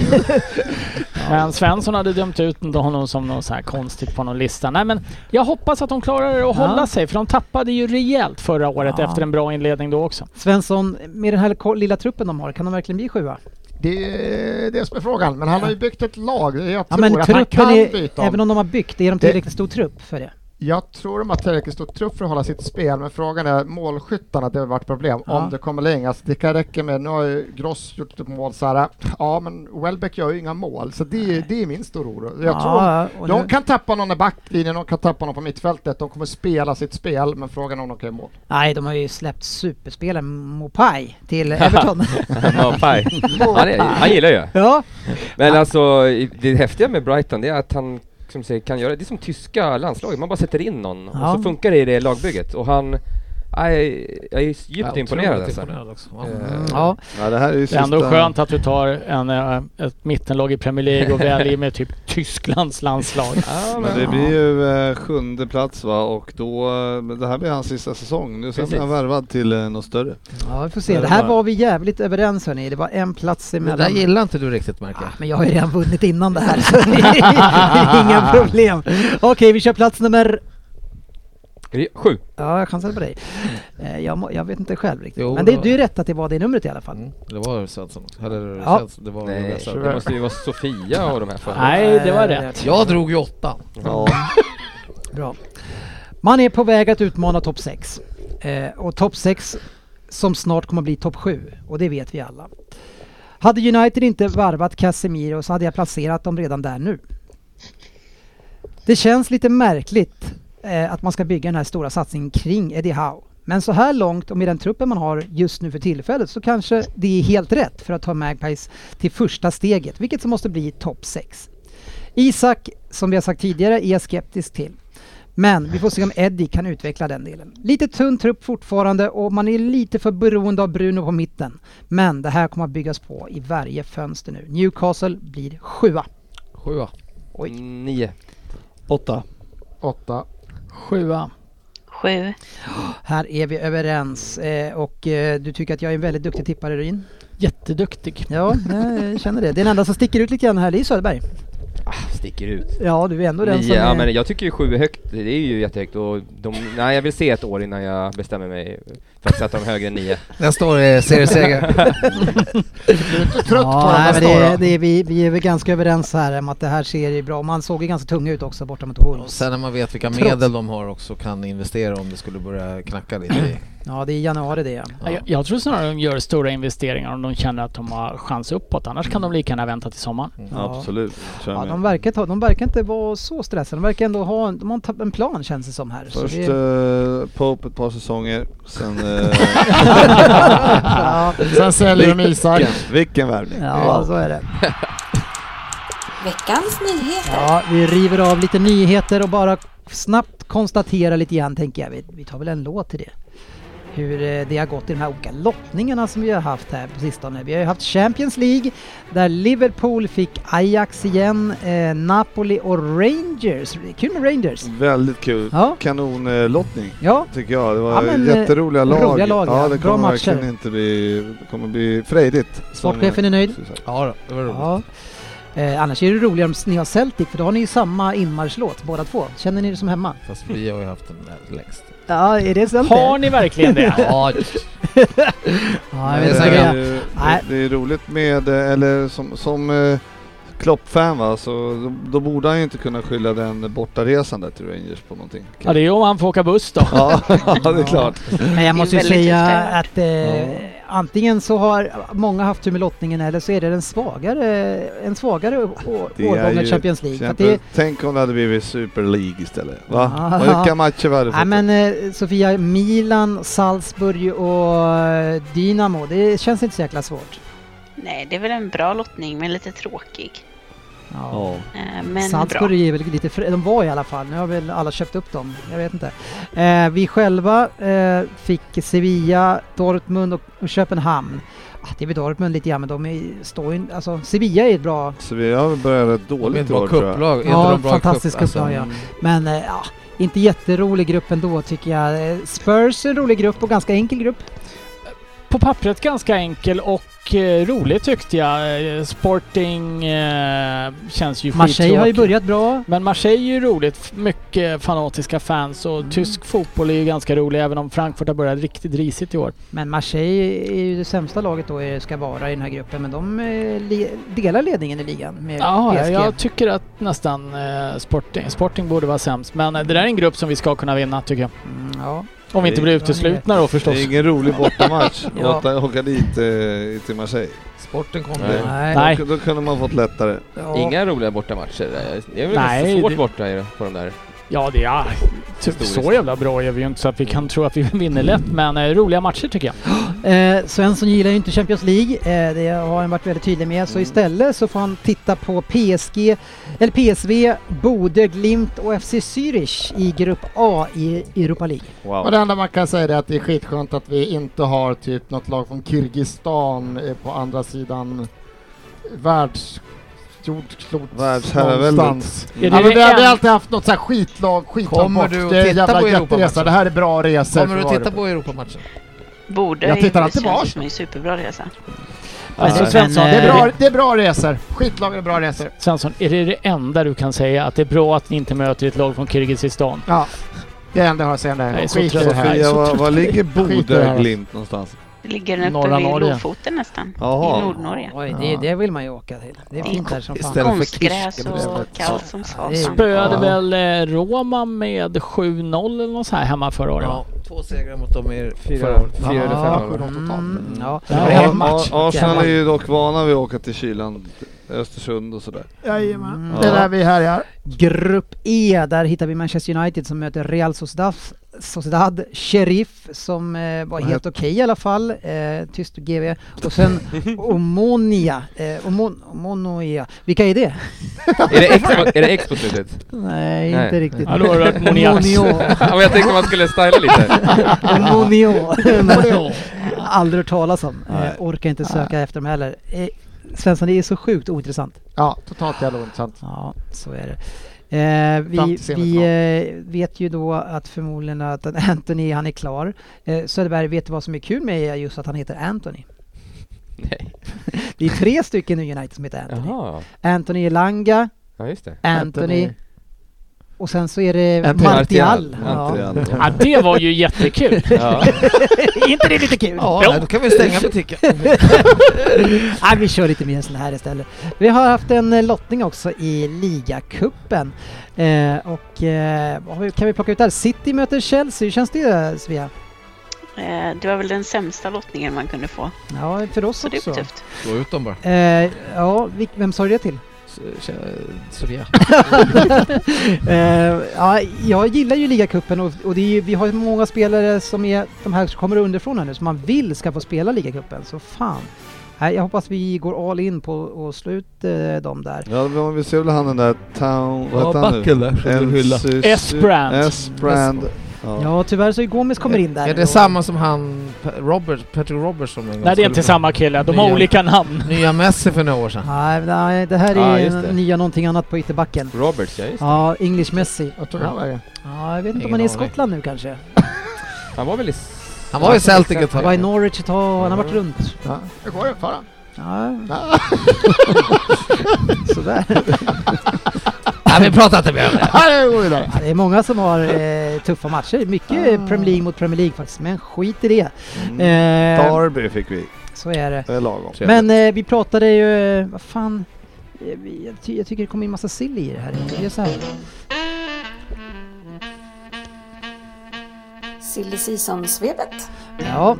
men Svensson hade dömt ut honom som något så här konstigt på någon lista. Nej, men jag hoppas att de klarar att Ja. hålla sig, för de tappade ju rejält förra året Ja. efter en bra inledning då också. Svensson, med den här ko- lilla truppen de har, kan de verkligen bli sjua? Det är det som är frågan. Men han har ju byggt ett lag. Jag Ja tror men att han truppen kan är, byta även om. om de har byggt, är de Det- tillräckligt stor trupp för det? Jag tror de har tillräckligt stor trupp för att hålla sitt spel, men frågan är målskyttarna, det har varit problem. Ja. Om det kommer längre. Alltså, det kan räcka med, nu har ju Gross gjort ett mål så här, ja men Welbeck gör ju inga mål, så det, är- det är min stora oro. Jag tror ja, och de nu- kan tappa någon i backlinjen, de kan tappa någon på mittfältet, de kommer spela sitt spel, men frågan är om de kan göra mål. Nej, de har ju släppt superspelaren Mopai till <laughs> Everton. Ja, <laughs> paj. han, är- han gillar ju. ja, Men alltså, i- det häftiga med Brighton det är att han som säger, kan göra det. är som tyska landslaget, man bara sätter in någon Ja. och så funkar det i det lagbygget. Och han... nej, Jag är djupt imponerad alltså. också. Mm. Eh, ja. Mm, Ja, det här är ju Det är ändå skönt att du tar en, eh, ett mittenlag i Premier League och väljer <laughs> med typ Tysklands landslag. Ja, Men det blir ju eh, sjunde plats va och då, eh, men det här blir hans sista säsong. Nu sen blir han Precis. värvad till eh, något större. ja, vi får se. Det här var vi jävligt överens hörni. Det var en plats Men det där emellan. gillar inte du riktigt märker Ja, jag. men jag har ju redan vunnit innan det här så det är <laughs> inga problem. Okej, vi kör plats nummer... Sju. Ja, jag chansade på dig. Eh, Jag, må, jag vet inte själv riktigt. Jo, men det, då- du är rätt att det var det numret i alla fall. Mm. Det var Svensson. Eller Ja. Svensson. Det var Nej, Svensson. det måste ju vara Sofia och de här för. Nej, det var Eh, rätt. Jag drog ju åttan. Ja. <laughs> Bra. Man är på väg att utmana topp 6. Eh, och topp 6 som snart kommer att bli topp 7. Och det vet vi alla. Hade United inte varvat Casemiro så hade jag placerat dem redan där nu. Det känns lite märkligt eh, att man ska bygga den här stora satsningen kring Eddie Howe. Men så här långt och med den truppen man har just nu för tillfället så kanske det är helt rätt för att ta Magpies till första steget, vilket som måste bli topp 6. Isak, som vi har sagt tidigare, är jag skeptisk till. Men vi får se om Eddie kan utveckla den delen. Lite tunn trupp fortfarande och man är lite för beroende av Bruno på mitten. Men det här kommer att byggas på i varje fönster nu. Newcastle blir sjua. Sjua. Oj. Nio. Åtta. Åtta. Sjua. Sju. Här är vi överens eh, och eh, du tycker att jag är en väldigt duktig tippare Ryn? Jätteduktig. Ja, jag känner det. Det är den enda som sticker ut lite grann här, det är Söderberg. Ah, sticker ut. Ja, du är ändå den som Nio, ja är... men jag tycker ju sju är högt, det är ju jättehögt och de, nej jag vill se ett år innan jag bestämmer mig för att sätta dem högre än nio. Nästa år är serieseger. Du är inte trött på Ja, den nej, nästa men år, det, då? det, är vi, vi är väl ganska överens här om att det här ser ju bra Man såg ju ganska tunga ut också borta mot Och Wolves. sen när man vet vilka Trots. medel de har också kan investera om det skulle börja knacka lite i. Ja, det är i januari det. ja. Ja. Jag, jag tror snarare de gör stora investeringar om de känner att de har chans uppåt. Annars kan de lika gärna vänta till sommaren. Ja. Mm, Absolut. Kör Ja, med. de, verkar ta, de verkar inte vara så stressade. De verkar ändå ha en, de har en, ta- en plan känns det som här. Så Först det, eh, Pope ett par säsonger, sen... eh, <laughs> ja, Sen säljer de Isak. vilken- Vilken värvning! ja, <laughs> så är det. Veckans nyheter. Ja, vi river av lite nyheter och bara snabbt konstatera lite grann tänker jag. Vi, vi tar väl en låt till det. Hur eh, det har gått i de här olika lottningarna som vi har haft här på sistone. Vi har ju haft Champions League där Liverpool fick Ajax igen, eh, Napoli och Rangers. Kul med Rangers! Väldigt kul. Ja. Kanonlottning. Ja, Tycker jag. Det var Ja, men, eh, jätteroliga lag. roliga lag, ja. ja, det Bra kommer matcher. verkligen inte bli... Det kommer bli frejdigt. sportchefen är nöjd. Ja, då, det var roligt. Ja. Eh, annars är det roligare om ni har Celtic för då har ni ju samma inmarschlåt båda två. Känner ni det som hemma? Fast vi har ju haft den där längst. Ja, är det Celtic? Har ni <laughs> verkligen <laughs> det? Ja, Ja, jag Det är vet Eh, Det inte. säkert- är, det. ju- Nej. det är roligt med, eh, eller som, som eh, Klopp-fan va, så då, då borde han ju inte kunna skylla den bortaresan där till Rangers på någonting. Ja, det är ju om han får åka buss då. Ja, <laughs> ja, det är klart. Men jag måste ju väldigt säga utspänt. att eh, antingen så har många haft tur med lottningen eller så är det den svagare, en svagare å- å- Det är årgång i ju Champions League. För att Champions- det, Tänk om det hade blivit Super League istället. Va? Ja. Och Vilka matcher vi hade nej fått. men eh, Sofia, Milan, Salzburg och eh, Dynamo, det känns inte så jäkla svårt. Nej, det är väl en bra lottning, men lite tråkig. Ja. Eh, Men bra. Salzburg är väl lite fri, de var i alla fall, nu har väl alla köpt upp dem, jag vet inte. Eh, vi själva eh, fick Sevilla, Dortmund och, och Köpenhamn. Ah, det är väl Dortmund lite grann, men de är, står ju, alltså Sevilla är ett bra, Så vi har börjat rätt De är ett dåligt i bra år tror jag. kupplag. Är Ja, inte de bra i fantastiskt cup? Alltså, kupplag, ja. men eh, ja, inte jätterolig grupp ändå tycker jag. Eh, Spurs är en rolig grupp och ganska enkel grupp. På pappret ganska enkel och eh, rolig tyckte jag. Eh, Sporting eh, känns ju Marseille har ju skittråkig. börjat bra. Men Marseille är ju roligt. F- Mycket fanatiska fans och Mm. tysk fotboll är ju ganska rolig även om Frankfurt har börjat riktigt risigt i år. Men Marseille är ju det sämsta laget då eh, ska vara i den här gruppen, men de eh, li- delar ledningen i ligan med Ja, PSG. jag tycker att nästan eh, Sporting, Sporting borde vara sämst. Men eh, det där är en grupp som vi ska kunna vinna tycker jag. Mm, ja. Om vi inte Det- blir ja, det- uteslutna då förstås. Det är ingen rolig bortamatch att <laughs> Ja. åka- åka dit eh, till Marseille. Sporten kommer Nej. ju. Nej. Då, då kunde man fått lättare. Ja. Inga roliga bortamatcher. där. Det är väl Nej, ganska svårt det- borta i det- på de där. Ja, det är typ Historiskt. så jävla bra är vi ju inte så att vi kan tro att vi <laughs> vinner lätt. Men eh, roliga matcher tycker jag. Eh, Svensson gillar ju inte Champions League, eh, det har han varit väldigt tydlig med. Så istället så får han titta på PSG, eller PSV, Bode, Glimt och FC Zürich i Grupp A i Europa League. Och Wow. det enda man kan säga är att det är skitskönt att vi inte har typ något lag från Kirgizistan eh, på andra sidan världs jordklot Världsherraväldet. Är det Ja, men vi har vi en- har alltid haft något så här skitlag, skitlag Kommer bort. du att Det är en titta jävla på jätteresa. Europamatchen? Det här är bra resor. Kommer du för att titta Varberg. på Europamatchen? Borde Jag tittar alltid på det känns som Arsenal. en superbra resa. Alltså, men, Svensson, eh, Det det är bra, det är bra resor. Skitlag är bra resor. Svensson, är det det enda du kan säga? Att det är bra att ni inte möter ett lag från Kirgizistan? Ja. Det är det enda jag har att säga om det Jag är här. så Skit i trött det på här. det. Sofia, var, var ligger Skit i det Bode här. Glimt någonstans? Det ligger den uppe Norra vid Norge. Lofoten nästan. Jaha. I Nordnorge. Oj, det, det vill man ju åka till. Det Ja. är fint där som fan. Istället för Konstgräs Kirke, och kallt som det är- satan. Spöade Ja. väl eh, Roma med 7-0 eller något så här hemma förra året? va? Två segrar mot dem i förra Fyra, året. fyra eller Ja. fem. sju. år. Mm, ja. Det Ja, var en Ar- match. Ar- Arsenal Jävlar. är ju dock vana vid att åka till kylan, Östersund och sådär. Mm. Jajamän. Ja. Det är där vi härjar. Grupp E, där hittar vi Manchester United som möter Real Sociedad, Sociedad Sheriff som eh, var helt okej i alla fall, eh, tyst GV. <laughs> Och sen Omonia, eh, Omon, Omonia. Vilka är det? Är det X på- är det X på slutet? Nej, Nej. inte riktigt. Hallå, har du hört Monias? Omonio. <laughs> Ja, men jag tänkte man skulle styla lite. <laughs> Omonio. Aldrig hört talas om. Eh, orkar inte söka efter dem heller. Eh, Svensson, det är så sjukt ointressant. Ja, totalt jävla ointressant. Ja, så är det. Eh, Fram vi till vi eh, vet ju då att förmodligen att <laughs> Anthony, han är klar. Eh, Söderberg, vet du vad som är kul med just att han heter Anthony? Nej. <laughs> Det är tre stycken i United som heter Anthony. Jaha. Anthony Elanga, Ja, just det. Anthony, Anthony. och sen så är det Anthony Eh, Martial. Ja. Martial. Ja. Ja, det var ju <laughs> jättekul! Ja. Är <laughs> inte det lite kul? Ja, Jo. nej, då kan vi stänga butiken. <laughs> Nej, vi kör lite mer en sån här istället. Vi har haft en eh, lottning också i ligacupen. Eh, och eh, vad har vi- kan vi plocka ut där? City möter Chelsea. Hur känns det Svea? Eh, Det var väl den sämsta lottningen man kunde få. Ja, för oss Så det också. är tufft. Slå ut dem bara. Eh, ja, vil- vem sa du det till? S- tjä- Sofia. <laughs> <laughs> Eh, ja, jag gillar ju ligacupen och, och det är ju, vi har ju många spelare som är de här som kommer underifrån här nu som man vill ska få spela ligacupen. Så fan. Nej, jag hoppas vi går all in på att slå ut eh, dem där. Ja, men vi ser väl han den där Town... Vad heter han nu? där. Elsis- Esbrand. Esbrand. Ja. Ja, tyvärr så är Gomes kommer in där. Är då. det samma som han, Pe- Robert, Patrick Roberts som en gång Nej, det är skulle inte få- samma kille. De har Nya- olika namn. Nya Messi för några år sedan. Ah, Nej, nej, det här Ja, är just det. nya någonting annat på ytterbacken. Roberts, ja just Ja, English Messi. Jag tror det var det. Ja, jag vet inte om Ingen han är i aning. Skottland nu kanske. det. <laughs> Han var väl i... s- Han var i Celtic ett Han var i tag. Norwich ett tag, han har varit runt. Ja. Hur går det för honom? Ja, Ja. <laughs> sådär. <laughs> Nej, vi pratar inte mer om det. Ja, det går vidare. Ja, Det är många som har eh, tuffa matcher. Ah. Mycket Premier League mot Premier League faktiskt, men skit i det. Mm. Eh, Derby fick vi. så är det. Det är lagom. Men eh, vi pratade ju... Eh, vad fan? Eh, vi- Jag, ty- jag tycker det kommer in massa sill i det här. Det är så här. Silly Season-svepet. Ja.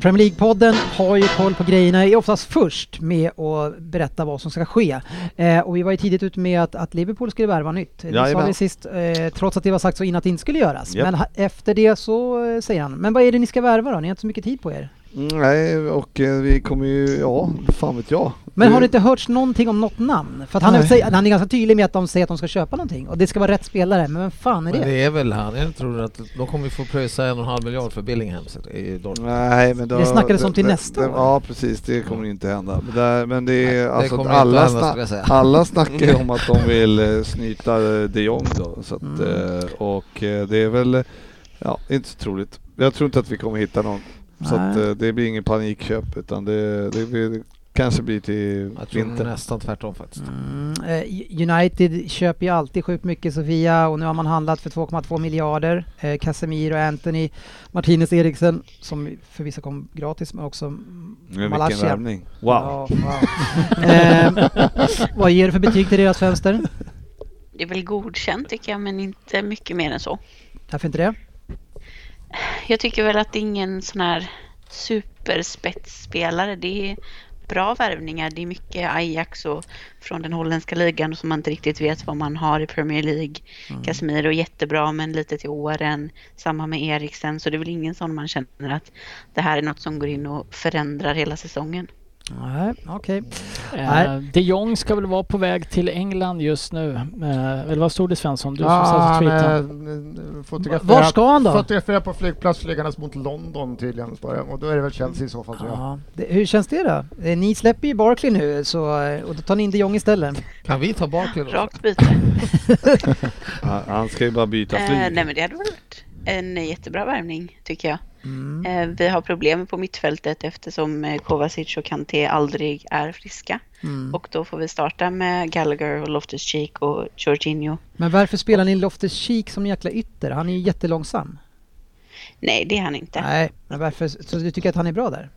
Premier League-podden har ju koll på grejerna, är oftast först med att berätta vad som ska ske. Eh, och vi var ju tidigt ute med att, att Liverpool skulle värva nytt. Det sa Jajamän. vi sist, eh, trots att det var sagt så innan att det inte skulle göras. Japp. Men ha, efter det så eh, säger han, men vad är det ni ska värva då? Ni har inte så mycket tid på er. Mm, Nej, och eh, vi kommer ju... Ja, fan vet jag. Men har Mm. det inte hörts någonting om något namn? För att han, är, Nej. säger- han är ganska tydlig med att de säger att de ska köpa någonting och det ska vara rätt spelare, men vem fan är Men det? det är väl han. Jag tror att de kommer ju få pröjsa en och en halv miljard för Billingham i Dortmund. Nej, men då, Mm. Det snackades om till det- nästa det- år. Ja, precis. Det kommer inte hända. Men det, men det Nej, är det alltså kommer att inte alla, hända, skulle jag säga. sna- alla snackar ju om att de <laughs> vill eh, snyta eh, de Jong då. Så att, Mm. eh, och eh, det är väl, eh, ja, inte så troligt. Jag tror inte att vi kommer hitta någon. Så Nej. att, eh, det blir ingen panikköp utan det, det, blir, det kanske blir till Jag tror vintern. nästan tvärtom faktiskt. Mm, eh, United köper ju alltid sjukt mycket Sofia och nu har man handlat för 2,2 miljarder. Eh, Casemiro, Anthony, Martinez Eriksen som förvisso kom gratis men också Men vilken Malasia. värvning. Wow. Ja, wow. eh, vad ger du för betyg till deras fönster? Det är väl godkänt tycker jag, men inte mycket mer än så. Varför inte det? Jag tycker väl att det är ingen sån här superspetsspelare. Det är bra värvningar. Det är mycket Ajax och från den holländska ligan som man inte riktigt vet vad man har i Premier League. Casemiro är jättebra men lite till åren. Samma med Eriksen. Så det är väl ingen sån man känner att det här är något som går in och förändrar hela säsongen. Nej, okej. Eh, Nej. de Jong ska väl vara på väg till England just nu. Eh, eller vad stod det Svensson? Du som Ja, satt han, och tweetade. eh, fotograferar- Var ska han då? Fotograferar på flygplats flygandes mot London tydligen. står det. Och då är det väl Chelsea i så fall tror jag. Ja, det, hur känns det då? Eh, Ni släpper ju Barkley nu så, eh, och då tar ni in de Jong istället. Kan vi ta Barkley då? Rakt byte. Han, han ska ju bara byta Eh, flyg. nej men det hade väl varit en jättebra värvning tycker jag. Mm. Eh, vi har problem på mittfältet eftersom eh, Kovacic och Kanté aldrig är friska. Mm. Och då får vi starta med Gallagher och Loftus-Cheek och Jorginho. <laughs> Men varför spelar ni Loftus Cheek som en jäkla ytter? Han är ju jättelångsam. Nej, det är han inte. Nej, men varför? Så du tycker att han är bra där?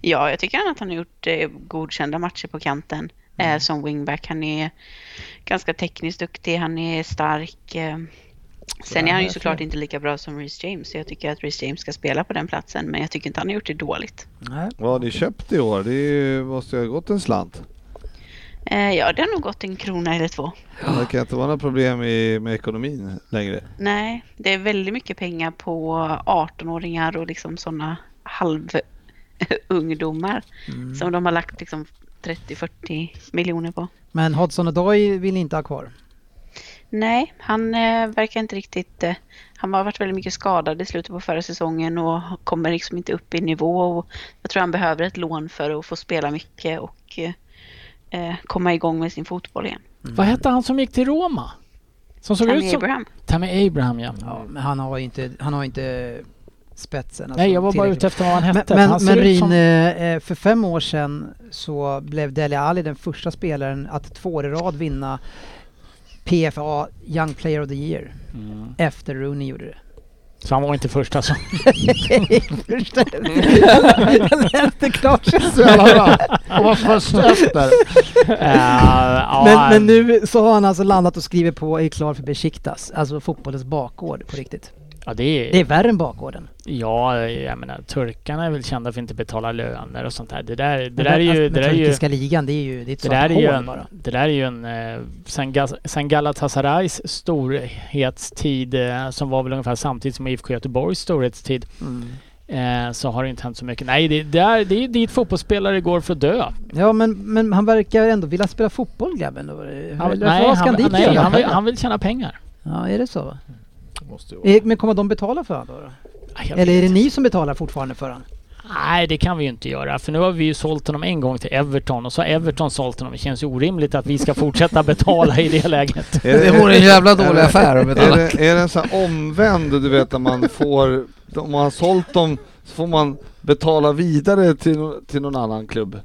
Ja, jag tycker att han har gjort eh, godkända matcher på kanten eh, som wingback. Han är ganska tekniskt duktig, han är stark. Eh. Sen är han ju såklart inte lika bra som Reece James, så jag tycker att Reece James ska spela på den platsen. Men jag tycker inte han har gjort det dåligt. Nej. Vad har ni köpt i år? Det är ju- måste ju ha gått en slant. Eh, ja, det har nog gått en krona eller två. Det kan inte vara några problem i, med ekonomin längre. Nej, det är väldigt mycket pengar på 18-åringar och liksom sådana halvungdomar som de har lagt liksom 30-40 miljoner på. Men Hodgson och Doy vill ni inte ha kvar. Nej, han eh, verkar inte riktigt... Eh, han har varit väldigt mycket skadad i slutet på förra säsongen och kommer liksom inte upp i nivå. Och jag tror han behöver ett lån för att få spela mycket och eh, eh, komma igång med sin fotboll igen. Vad hette han som gick till Roma? Som såg ut Tammy som... Abraham. Tammy Abraham ja. Ja, men han har ju inte, han har ju inte spetsen. alltså, Nej, jag var bara tillräckligt. ute efter vad han hette. Men, för men, han men ser ut Ryn, som- eh, för fem år sedan så blev Dele Alli den första spelaren att två år i rad vinna PFA Young Player of the Year Mm. efter Rooney gjorde det. Så han var inte alltså. första <laughs> som... Första- jag läste klart. Så jävla bra. Och var först efter. Eh, ja, Men, men nu så har han alltså landat och skrivit på och är klar för Besiktas, alltså fotbollens bakgård på riktigt. Ja, det är, Det är värre än bakgården. ja, jag menar turkarna är väl kända för att inte betala löner och sånt där. Det där, det Men där är ju... alltså, Det där är ju turkiska ligan, det är ju det är ett det svart där, är ju hål en, bara. det där är ju en... eh, Sen, Gas- sen Galatasarays storhetstid, eh, som var väl ungefär samtidigt som IFK Göteborgs storhetstid, Mm. eh, så har det inte hänt så mycket. Nej, det, det, är, det är dit fotbollsspelare går för att dö. Ja men, men han verkar ändå vilja spela fotboll grabben. Då. Eller Han, nej, vad ska han, han dit nej göra? han, vill, han vill tjäna pengar. Ja är det så? Måste ju vara. Eh, Men kommer de betala för honom då? då? Nej, jag Eller vet är det inte. ni som betalar fortfarande för honom? Nej, det kan vi ju inte göra. För nu har vi ju sålt honom en gång till Everton och så har Everton sålt honom. Det känns ju orimligt att vi ska fortsätta betala i <laughs> det läget. Är Det vore <laughs> en jävla är dålig det- affär om ett Är annat. det, är det en sån här omvänd, du vet när man får, om man har sålt dem så får man betala vidare till, no- till någon annan klubb.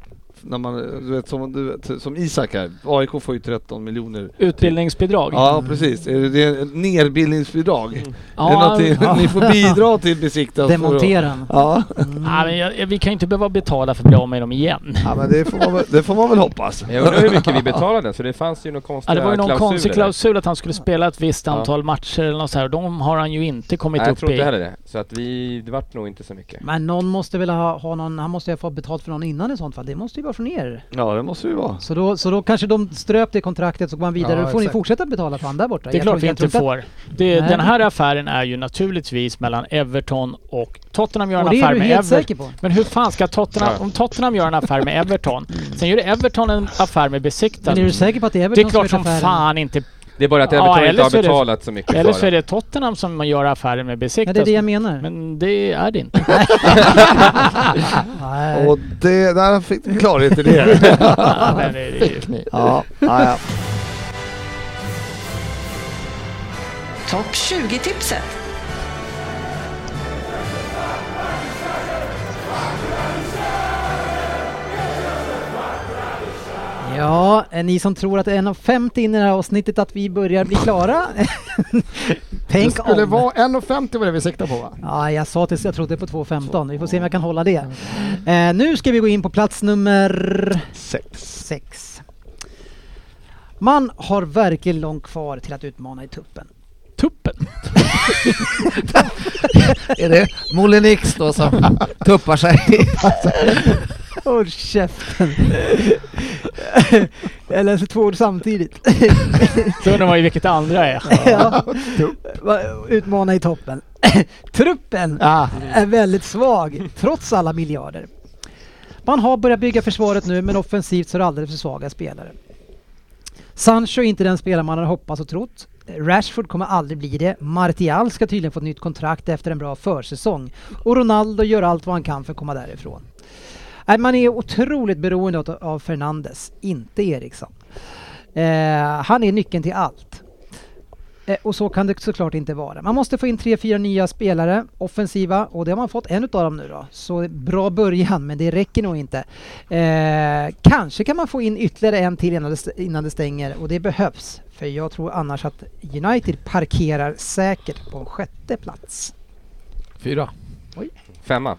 När man, du vet som, du vet, som Isak här, AIK får ju 13 miljoner. Utbildningsbidrag. Ja precis, är det, det är ett nerbildningsbidrag? Ja, är det någonting, ja. <laughs> ni får bidra till besiktas? Demontera honom? Ja. Nej, men jag, vi kan ju inte behöva betala för att bli av med dem igen. Mm. ja, men det får man väl, det får man väl hoppas. Jag undrar hur mycket vi betalade, för det fanns ju några konstiga Ja, det var ju någon konstig klausuler. klausul att han skulle spela ett visst Ja. antal matcher eller något så här. och De har han ju inte kommit Nej, jag upp tror i. inte heller det. Så att vi, det vart nog inte så mycket. Men någon måste väl ha, ha någon, han måste ju ha fått betalt för någon innan i sånt fall. Det måste ju vara från er. Ja, det måste det ju vara. Så då, så då kanske de ströp det kontraktet så går man vidare. Ja, då får ni exakt. fortsätta betala fan där borta. Det är Jag klart tror- vi jag inte tror får. Det, Nej. den här affären är ju naturligtvis mellan Everton och Tottenham gör en Och det är affär du med helt Everton. säker på? Men hur fan ska Tottenham... Om Tottenham gör en affär med <laughs> Everton, sen gör Everton en affär med Besiktas. Mm. Men är du säker på att det är Det är Everton klart som som gjort affären? fan inte... Det är bara att Ja, Everton eller inte har så är det- betalat så mycket Eller så för är det. det Tottenham som gör affärer med Ja, Besiktas. det är det jag menar. Men det är det inte. <laughs> Nej. Och det, där fick ni klarhet i det. <laughs> Ja, men <laughs> det är det ju. ja, ja, ja. Topp 20-tipset. Ja, eh, ni som tror att det är 1.50 in i det här avsnittet att vi börjar bli <laughs> klara. Det Tänk skulle om. vara 1,50 var det vi siktade på va? Ja, jag sa tills jag trodde på 2.15. Vi får se om jag kan hålla det. Eh, Mm. nu ska vi gå in på plats nummer... Sex. sex. Man har verkligen långt kvar till att utmana i tuppen. Tuppen. <laughs> Är det Molinix då som tuppar sig? <laughs> Håll käften! jag läser två ord samtidigt. Då undrar man ju vilket det andra är. ja. Va- Utmana i toppen. Truppen <coughs> är väldigt svag trots alla miljarder. Man har börjat bygga försvaret nu men offensivt så är det alldeles för svaga spelare. Sancho är inte den spelare man hade hoppats och trott. Rashford kommer aldrig bli det. Martial ska tydligen få ett nytt kontrakt efter en bra försäsong. Och Ronaldo gör allt vad han kan för att komma därifrån. Nej, Man är otroligt beroende av- av Fernandes, inte Eriksson. Eh, han är nyckeln till allt. Eh, och så kan det såklart inte vara. Man måste få in tre, fyra nya spelare, offensiva, och det har man fått en utav dem nu då. Så bra början, men det räcker nog inte. Eh, kanske kan man få in ytterligare en till innan det, st- innan det stänger, och det behövs. För jag tror annars att United parkerar säkert på en sjätte plats. Fyra. Femma.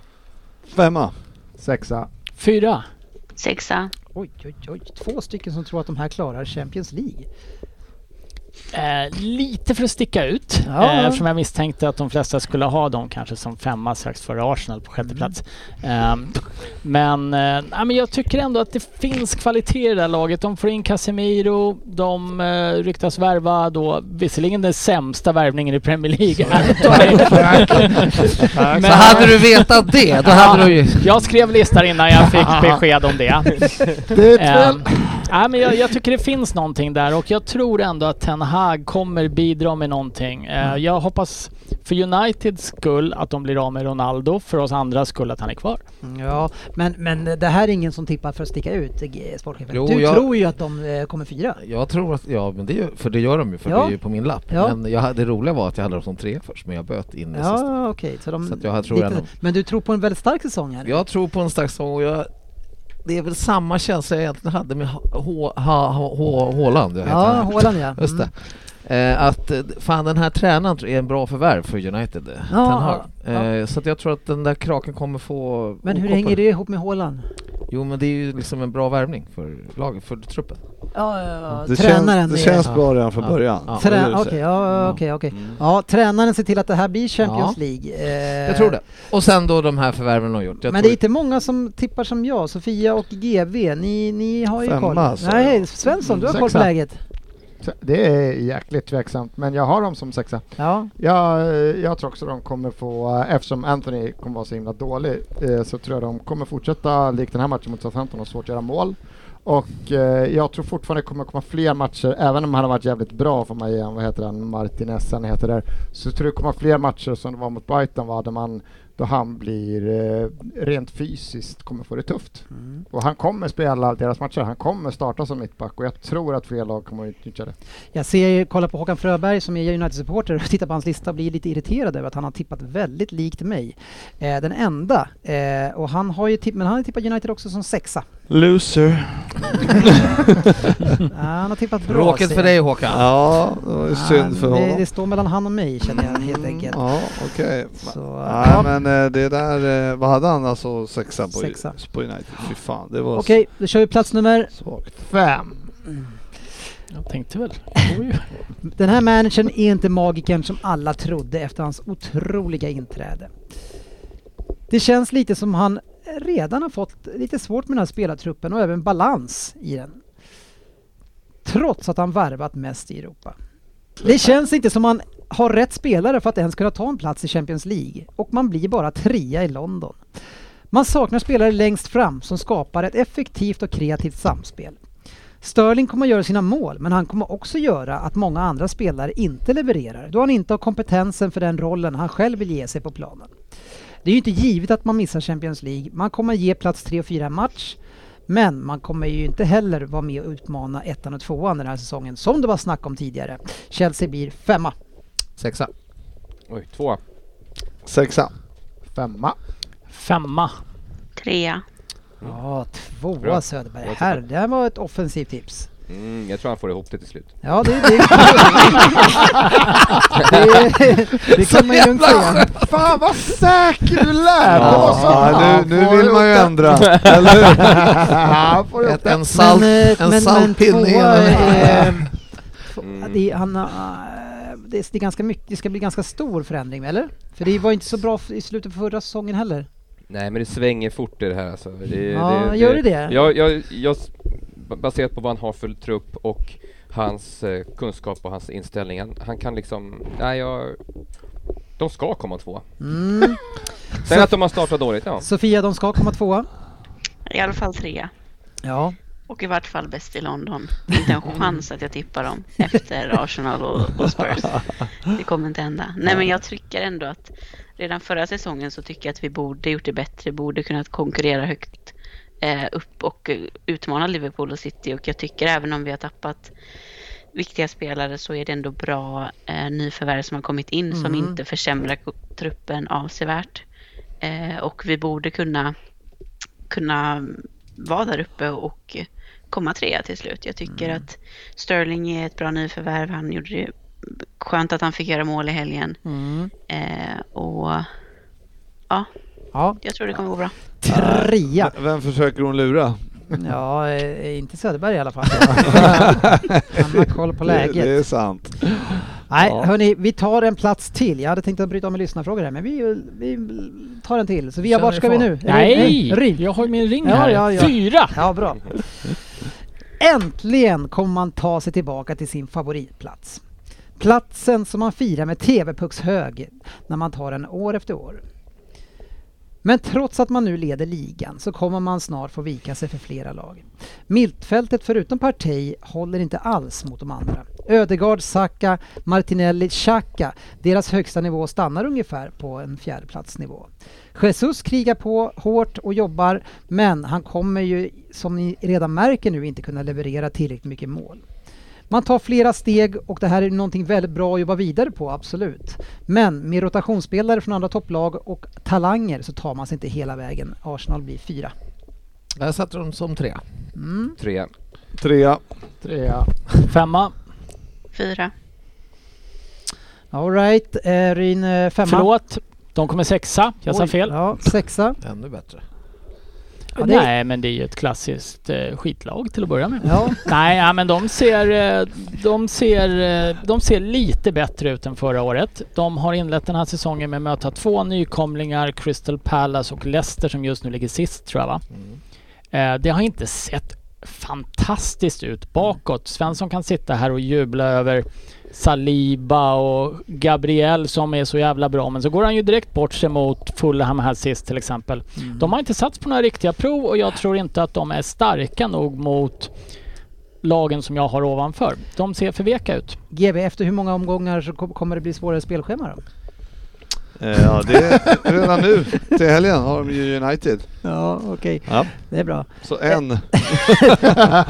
Femma. Sexa. Fyra. Sexa. Oj, oj, oj. Två stycken som tror att de här klarar Champions League. Eh, lite för att sticka ut. Ja. Eh, eftersom jag misstänkte att de flesta skulle ha dem kanske som femma strax före Arsenal på Mm. sjätte plats. Ehm, men, eh, nej, men jag tycker ändå att det finns kvalitet i det här laget. De får in Casemiro, de eh, ryktas värva då visserligen den sämsta värvningen i Premier <laughs> League. <laughs> Men- Så hade du vetat det, då hade du ju... Jag skrev listan innan jag <laughs> fick besked om det. Det är ett Ehm, väl... nej, men jag, jag tycker det finns någonting där och jag tror ändå att Ten Hag kommer bidra med någonting. Eh, Mm. jag hoppas för Uniteds skull att de blir av med Ronaldo, för oss andra skull att han är kvar. Mm, Ja, men, men det här är ingen som tippar för att sticka ut, eh, sportchefen. Jo, du jag- tror ju att de eh, kommer fyra. Jag tror att, ja men det, är ju- för det gör de ju, för Ja. det är ju på min lapp. Ja. Men jag, det roliga var att jag hade dem som tre först, men jag böt in i sista. Ja, okej. Så, de Så att jag tror lite- ändå- Men du tror på en väldigt stark säsong här? Jag tror på en stark säsong och jag, det är väl samma känsla jag egentligen hade med H- H- H- H- Haaland. jag heter Ja, han. Haaland ja. Mm. Just det. Eh, att eh, fan den här tränaren tror jag är en bra förvärv för United. eh, Ja, Ten Hag. ja. Eh, så att jag tror att den där kraken kommer få... Men hur okoppar. hänger det ihop med Haaland? Jo men det är ju liksom en bra värvning för laget, för truppen. Ja, ja, ja. Mm. Det Tränaren. känns, det är- känns bra redan från Ja. början. Ja. Vad är det Trä- du Mm. Okej, säger? ja, okej, okej. Ja, tränaren ser till att det här blir Champions Mm. Ja. League. Eh, Jag tror det. Och sen då de här förvärven de har gjort. Jag men det tror är inte många som tippar som jag, Sofia och GV. Ni, ni har ju Femma, koll. alltså. sa Nej, jag. Svensson, du har Mm, koll på sexa. läget. Det är jäkligt tveksamt, men jag har dem som sexa. Ja. Jag, eh, jag tror också de kommer få, eh, eftersom Anthony kommer vara så himla dålig, eh, så tror jag de kommer fortsätta likt den här matchen mot Southampton och svårt att göra mål. Och eh, jag tror fortfarande det kommer komma fler matcher, även om han har varit jävligt bra får man ge honom, vad heter han, Martinez han heter där, så tror jag det kommer fler matcher som det var mot Brighton va, där man, då han blir eh, rent fysiskt kommer få det tufft. Och han kommer spela deras matcher, han kommer starta som mittback och jag tror att fler lag kommer att utnyttja det. Jag ser, kollar på Håkan Fröberg som är United-supporter och tittar på hans lista och blir lite irriterad över att han har tippat väldigt likt mig. Eh, den enda. Eh, och han har ju tipp, men han har tippat United också som sexa. Loser. <laughs> Ja, han har tippat bra. Tråkigt ser för jag. dig Håkan. Ja, det var ju Ja, synd för Ah, det, honom. det står mellan han och mig känner jag helt enkelt. Ja, okej. Så, Nej ja. men eh, det där, eh, vad hade han alltså sexa på, Sexa. på United? Fy fan, det var Okej, då kör vi plats nummer... svagt. Fem! Jag tänkte väl. Oj. Den här managern är inte magikern som alla trodde efter hans otroliga inträde. Det känns lite som han eh, redan har fått lite svårt med den här spelartruppen och även balans i den. Trots att han värvat mest i Europa. Det känns inte som man har rätt spelare för att ens kunna ta en plats i Champions League och man blir bara trea i London. Man saknar spelare längst fram som skapar ett effektivt och kreativt samspel. Sterling kommer att göra sina mål, men han kommer också göra att många andra spelare inte levererar, då han inte har kompetensen för den rollen han själv vill ge sig på planen. Det är ju inte givet att man missar Champions League, man kommer ge plats 3 och 4 match, men man kommer ju inte heller vara med och utmana ettan och tvåan den här säsongen, som det var snack om tidigare. Chelsea blir femma. Sexa. Oj, två. Sexa. Femma. Femma. Trea. Ja, tvåa Mm. Bra. Söderberg. Bra Här, det här var ett offensivt tips. Mm, jag tror han får ihop det till slut. Ja, det, det, det, <laughs> det kan man ju inte säga. Fan vad <laughs> säker du lät! Det var Ja, så- nu, nu får vill du man ju upp den? ändra, eller <laughs> hur? Ja, får du upp Ett, den? en salt, eh, en salt pinne tvåa genom är, två- Mm. det, är- han, har- det, är- det, är ganska mycket, det ska bli ganska stor förändring, eller? För det var inte så bra f- i slutet på förra säsongen heller. Nej men det svänger fort i det här alltså. det, Ja, gör det det? Jag, jag, jag, s- ba- baserat på vad han har för trupp och hans eh, kunskap och hans inställning. Han, han kan liksom, nej jag... De ska komma två. Mm. Sen att de har startat dåligt, ja. Sofia, de ska komma tvåa. I alla fall trea. Ja. Och i vart fall bäst i London. Inte en chans att jag tippar dem efter Arsenal och, och Spurs. Det kommer inte hända. Nej men jag tycker ändå att redan förra säsongen så tycker jag att vi borde gjort det bättre. Borde kunnat konkurrera högt eh, upp och eh, utmana Liverpool och City. Och jag tycker även om vi har tappat viktiga spelare så är det ändå bra eh, nyförvärv som har kommit in som Mm. inte försämrar ko- truppen avsevärt. Eh, och vi borde kunna, kunna vara där uppe och komma trea till slut. Jag tycker att Sterling är ett bra nyförvärv. Han gjorde det skönt att han fick göra mål i helgen. Mm. Eh, och Ja, jag tror det kommer gå bra. trea. Vem försöker hon lura? <laughs> Ja, eh, inte Söderberg i alla <laughs> fall. Han har koll på Det, läget. det är sant. Nej, Ja. hörni, vi tar en plats till. Jag hade tänkt att bryta av med lyssnarfrågor här, men vi, vi tar en till. Så vi, Känner vart ni ska så? vi nu? Är det- Nej! Ryd. Jag har ju min ring Ja, här. ja, ja. Fyra! Ja, bra. Äntligen kommer man ta sig tillbaka till sin favoritplats. Platsen som man firar med TV-puckshög när man tar den år efter år. Men trots att man nu leder ligan så kommer man snart få vika sig för flera lag. Mittfältet förutom Partey håller inte alls mot de andra. Ödegaard, Saka, Martinelli, Xhaka, deras högsta nivå stannar ungefär på en fjärdeplatsnivå. Jesus krigar på hårt och jobbar, men han kommer ju, som ni redan märker nu, inte kunna leverera tillräckligt mycket mål. Man tar flera steg och det här är någonting väldigt bra att jobba vidare på, absolut. Men med rotationsspelare från andra topplag och talanger så tar man sig inte hela vägen. Arsenal blir fyra. Där satte de som tre. Mm. Tre. Trea. Trea. Femma. Fyra. All right, eh, Ryn eh, femma. Förlåt. De kommer sexa. Jag sa Oj, fel. Ja, sexa. Ännu bättre. Ja, det- Nej, men det är ju ett klassiskt eh, skitlag till att börja med. Ja, <laughs> Nej, ja, men de ser, eh, de, ser, eh, de ser lite bättre ut än förra året. De har inlett den här säsongen med att möta två nykomlingar, Crystal Palace och Leicester som just nu ligger sist tror jag va? Mm. Eh, Det har inte sett fantastiskt ut bakåt. Svensson kan sitta här och jubla över Saliba och Gabriel som är så jävla bra men så går han ju direkt bort sig mot Fulham här sist till exempel. Mm. De har inte satt på några riktiga prov och jag tror inte att de är starka nog mot lagen som jag har ovanför. De ser för veka ut. GB, efter hur många omgångar så kom- kommer det bli svårare spelschema då? Eh, Ja, det är redan nu till helgen har de ju United. Ja, okej. Ja. Det är bra. Så en. <laughs>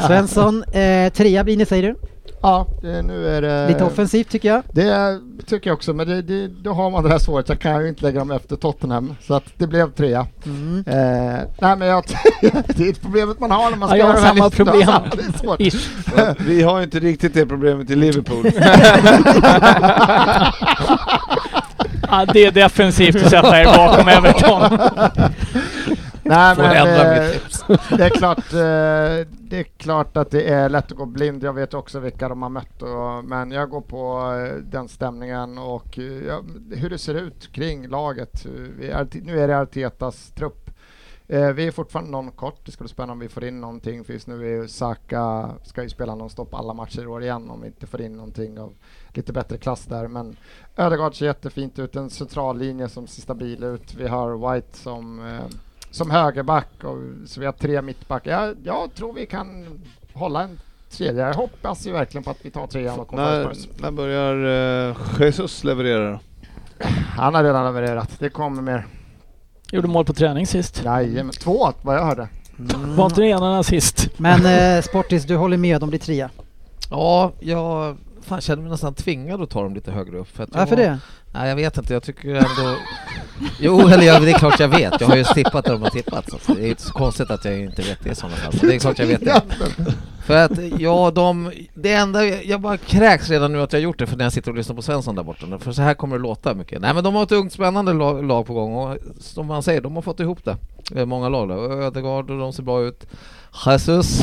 Svensson, eh, trea blir ni säger du. Ja, det, Eh, nu är det... Lite offensivt tycker jag. Det tycker jag också, men det, det, då har man det här svåret. Jag kan ju inte lägga dem efter Tottenham, så att det blev trea. Mm. Eh, nej, men jag, <laughs> det är problemet man har när man ska Ja, jag göra har den här samma listan. <laughs> problem. Det är svårt. Ish. Vi har inte riktigt det problemet i Liverpool. <laughs> Ja, det är defensivt att sätta er bakom Everton. Nej, Får men, ändra eh, mitt tips. det, är klart, eh, det är klart att det är lätt att gå blind. Jag vet också vilka de har mött, och, men jag går på eh, den stämningen och eh, jag- hur det ser ut kring laget. Eh, vi är- Nu är det Artetas trupp. Eh, vi är fortfarande någon kort. Det skulle spännande om vi får in någonting för just nu är ju Saka, ska ju spela nonstop alla matcher i år igen om vi inte får in någonting av lite bättre klass där. Men Ödegaard ser jättefint ut. En central linje som ser stabil ut. Vi har White som, eh, som högerback och så vi har tre mittbackar. Jag, jag tror vi kan hålla en tredje. Jag hoppas ju verkligen på att vi tar trean och kommer före När, Spurs. när börjar eh, Jesus leverera då? Han har redan levererat. Det kommer mer. Gjorde mål på träning sist. Mm. Jajamän. Två vad jag hörde. Var inte det ena nazist? Men eh, Sportis, du håller med om blir trea? Ja, jag fan, känner mig nästan tvingad att ta dem lite högre upp. För att jag Varför har- det? Nej, jag vet inte. Jag tycker ändå... Jo, eller jag, det är klart jag vet. Jag har ju tippat där de har tippat. Så att det är inte så konstigt att jag inte vet det i sådana fall. Men det är klart jag vet det. För att, ja, de... Det enda... Jag bara kräks redan nu att jag gjort det för när jag sitter och lyssnar på Svensson där borta. För så här kommer det låta mycket. Nej, men de har ett ungt spännande lag, lag på gång och som man säger, de har fått ihop det. Det är många lag där. Ödegaard och de ser bra ut. <laughs> Jesus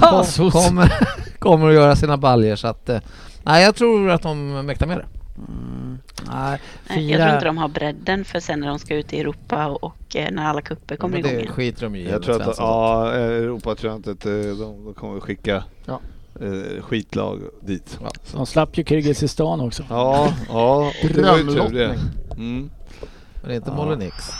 kom- Jesus. kommer, <laughs> kommer att göra sina baljer så att... eh, Nej, jag tror att de mäktar med det. Mm. Nej, Nej, jag tror fyra. inte de har bredden för sen när de ska ut i Europa och, och eh, när alla kupper kommer Men det igång. igen. skiter de ju i. Jag tror att, Svensson. ja, Europa tror jag inte att eh, de, de kommer skicka Ja. eh, skitlag dit. Ja. De slapp ju Kirgizistan också. Ja, ja, och det var ju tur det. Mm. Men det är inte Molinix. <laughs>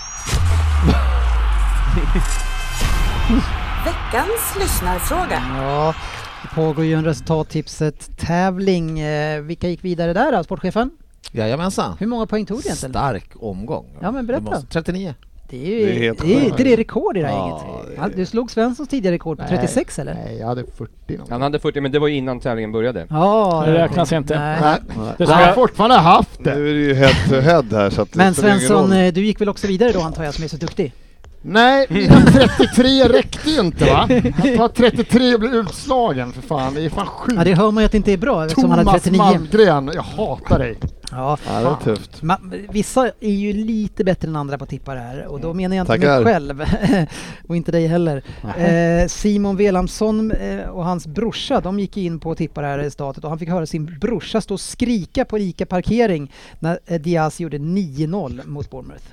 Veckans lyssnarfråga. Ja, det pågår ju en resultattipset-tävling. Eh, vilka gick vidare där då, sportchefen? Jajamensan. Hur många poäng tog du egentligen? Stark omgång. Ja, men berätta. Du måste- 39. Det är ju Det är det helt är, sjukt. inte det rekord i det här Ja, gänget. det är- Han- Du slog Svenssons tidigare rekord på 36 eller? Nej, jag hade 40 någon. Han hade 40, men det var ju innan tävlingen började. Ja, Det räknas inte. Nej. Nej. Det Han som har jag, fortfarande haft det. Nu är det ju eh, head to head här så att det Men spelar ingen Svensson, roll. eh, du gick väl också vidare då antar jag som är så duktig? <laughs> Nej, mina 33 räckte ju inte va? Han tar 33 och blir utslagen för fan. Det är fan Ja, det sjukt. hör man ju att det inte är bra eftersom han hade Thomas 39. Malmgren, jag hatar dig. Ja. Ja, det är tufft. Ma- vissa är ju lite bättre än andra på att tippa det här och då menar jag inte Mm. Tackar. mig själv <laughs> och inte dig heller. Eh, Simon Velamsson eh, och hans brorsa de gick in på att tippa det här resultatet och han fick höra sin brorsa stå och skrika på Ica parkering när eh, Diaz gjorde 9-0 mot Bournemouth.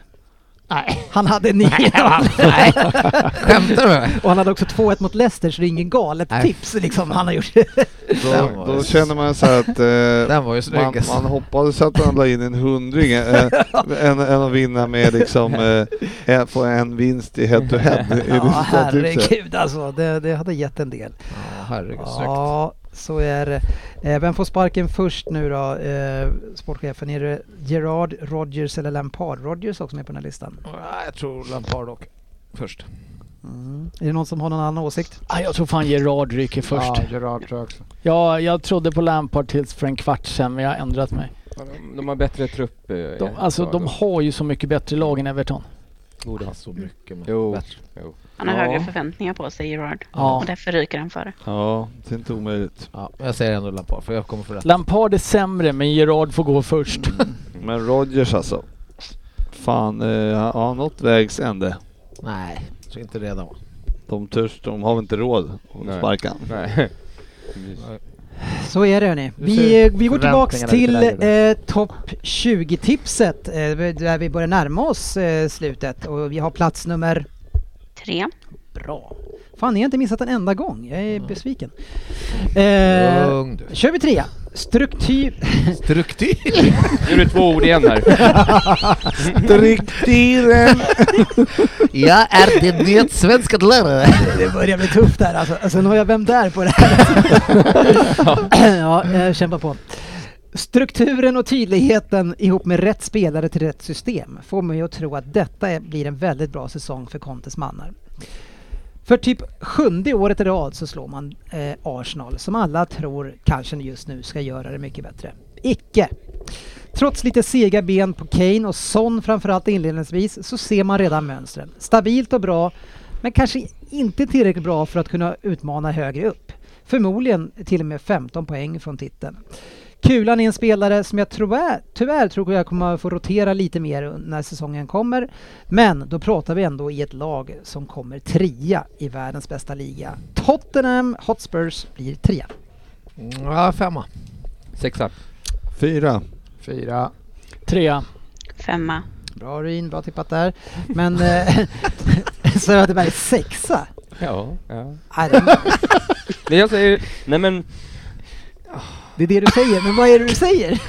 Nej. Han hade <laughs> 9-0 Skämtar du med mig? och han hade också 2-1 mot Leicester så det är ingen galet Nej. tips liksom han har gjort. Den <laughs> Då, var då ju- känner man så här att eh, <laughs> Den var ju man, snygg. alltså. man hoppades att han la in en hundring <laughs> eh, än, än att vinna med liksom eh, en- få en vinst i head to head. i <laughs> ja, resultattipset. herregud alltså, det, det hade gett en del. Ja, herregud, snyggt. Ja, så är det. Eh, Vem får sparken först nu då, eh, sportchefen? Är det Gerard, Rodgers eller Lampard? Rodgers också med på den här listan. Ja, Jag tror Lampard dock. Först. Mm. Är det någon som har någon annan åsikt? Ah, jag tror fan Gerard ryker först. Ja, Gerard tror jag också. Ja, jag trodde på Lampard tills för en kvart sedan, men jag har ändrat mig. De, de har bättre trupp. eh, De, ja, alltså ja, de har ju så mycket bättre lag än Everton. Borde ha så mycket men Jo. bättre. Han har Ja. högre förväntningar på sig, Gerard. Ja. Och därför ryker han före. Ja, det är inte omöjligt. Ja, men jag säger ändå Lampard för jag kommer få rätt. Lampard är sämre, men Gerard får gå först. Men Rodgers alltså. Fan, eh, har han nått vägs ände? Nej, så inte redan va? De törs, de har väl inte råd att Nej. sparka han. Nej. Så är det hörni. Du Vi, ser eh, vi går tillbaks till förväntningarna lite eh, topp 20-tipset eh, där vi börjar närma oss eh, slutet och vi har plats nummer... Tre. Bra. Fan, ni har inte missat en enda gång. Jag är besviken. Eh, Mm. Lugn du. kör vi trea. Struktur... Struktur! Nu är det två ord igen här. Strukturen! jag är din nya svenska lärare. Det börjar bli tufft där alltså. Och Sen har jag vem där på det här. ja, eh, kämpa på. Strukturen och tydligheten ihop med rätt spelare till rätt system får mig att tro att detta är, blir en väldigt bra säsong för Contes mannar. För typ sjunde året i rad så slår man eh, Arsenal som alla tror kanske just nu ska göra det mycket bättre. Icke! Trots lite sega ben på Kane och Son framförallt inledningsvis så ser man redan mönstren. Stabilt och bra, men kanske inte tillräckligt bra för att kunna utmana högre upp. Förmodligen till och med 15 poäng från titeln. Kulan är en spelare som jag tyvärr, tyvärr tror jag kommer få rotera lite mer när säsongen kommer. Men då pratar vi ändå i ett lag som kommer trea i världens bästa liga. Tottenham Hotspurs blir trea. Ja, femma. Sexa. Fyra. Fyra. Trea. Femma. Bra Ryn, bra tippat där. Men eh, <laughs> Söderberg sexa? Ja. ja. Nej, det- Men jag säger, <laughs> nej men Det är det du säger, men vad är det du säger?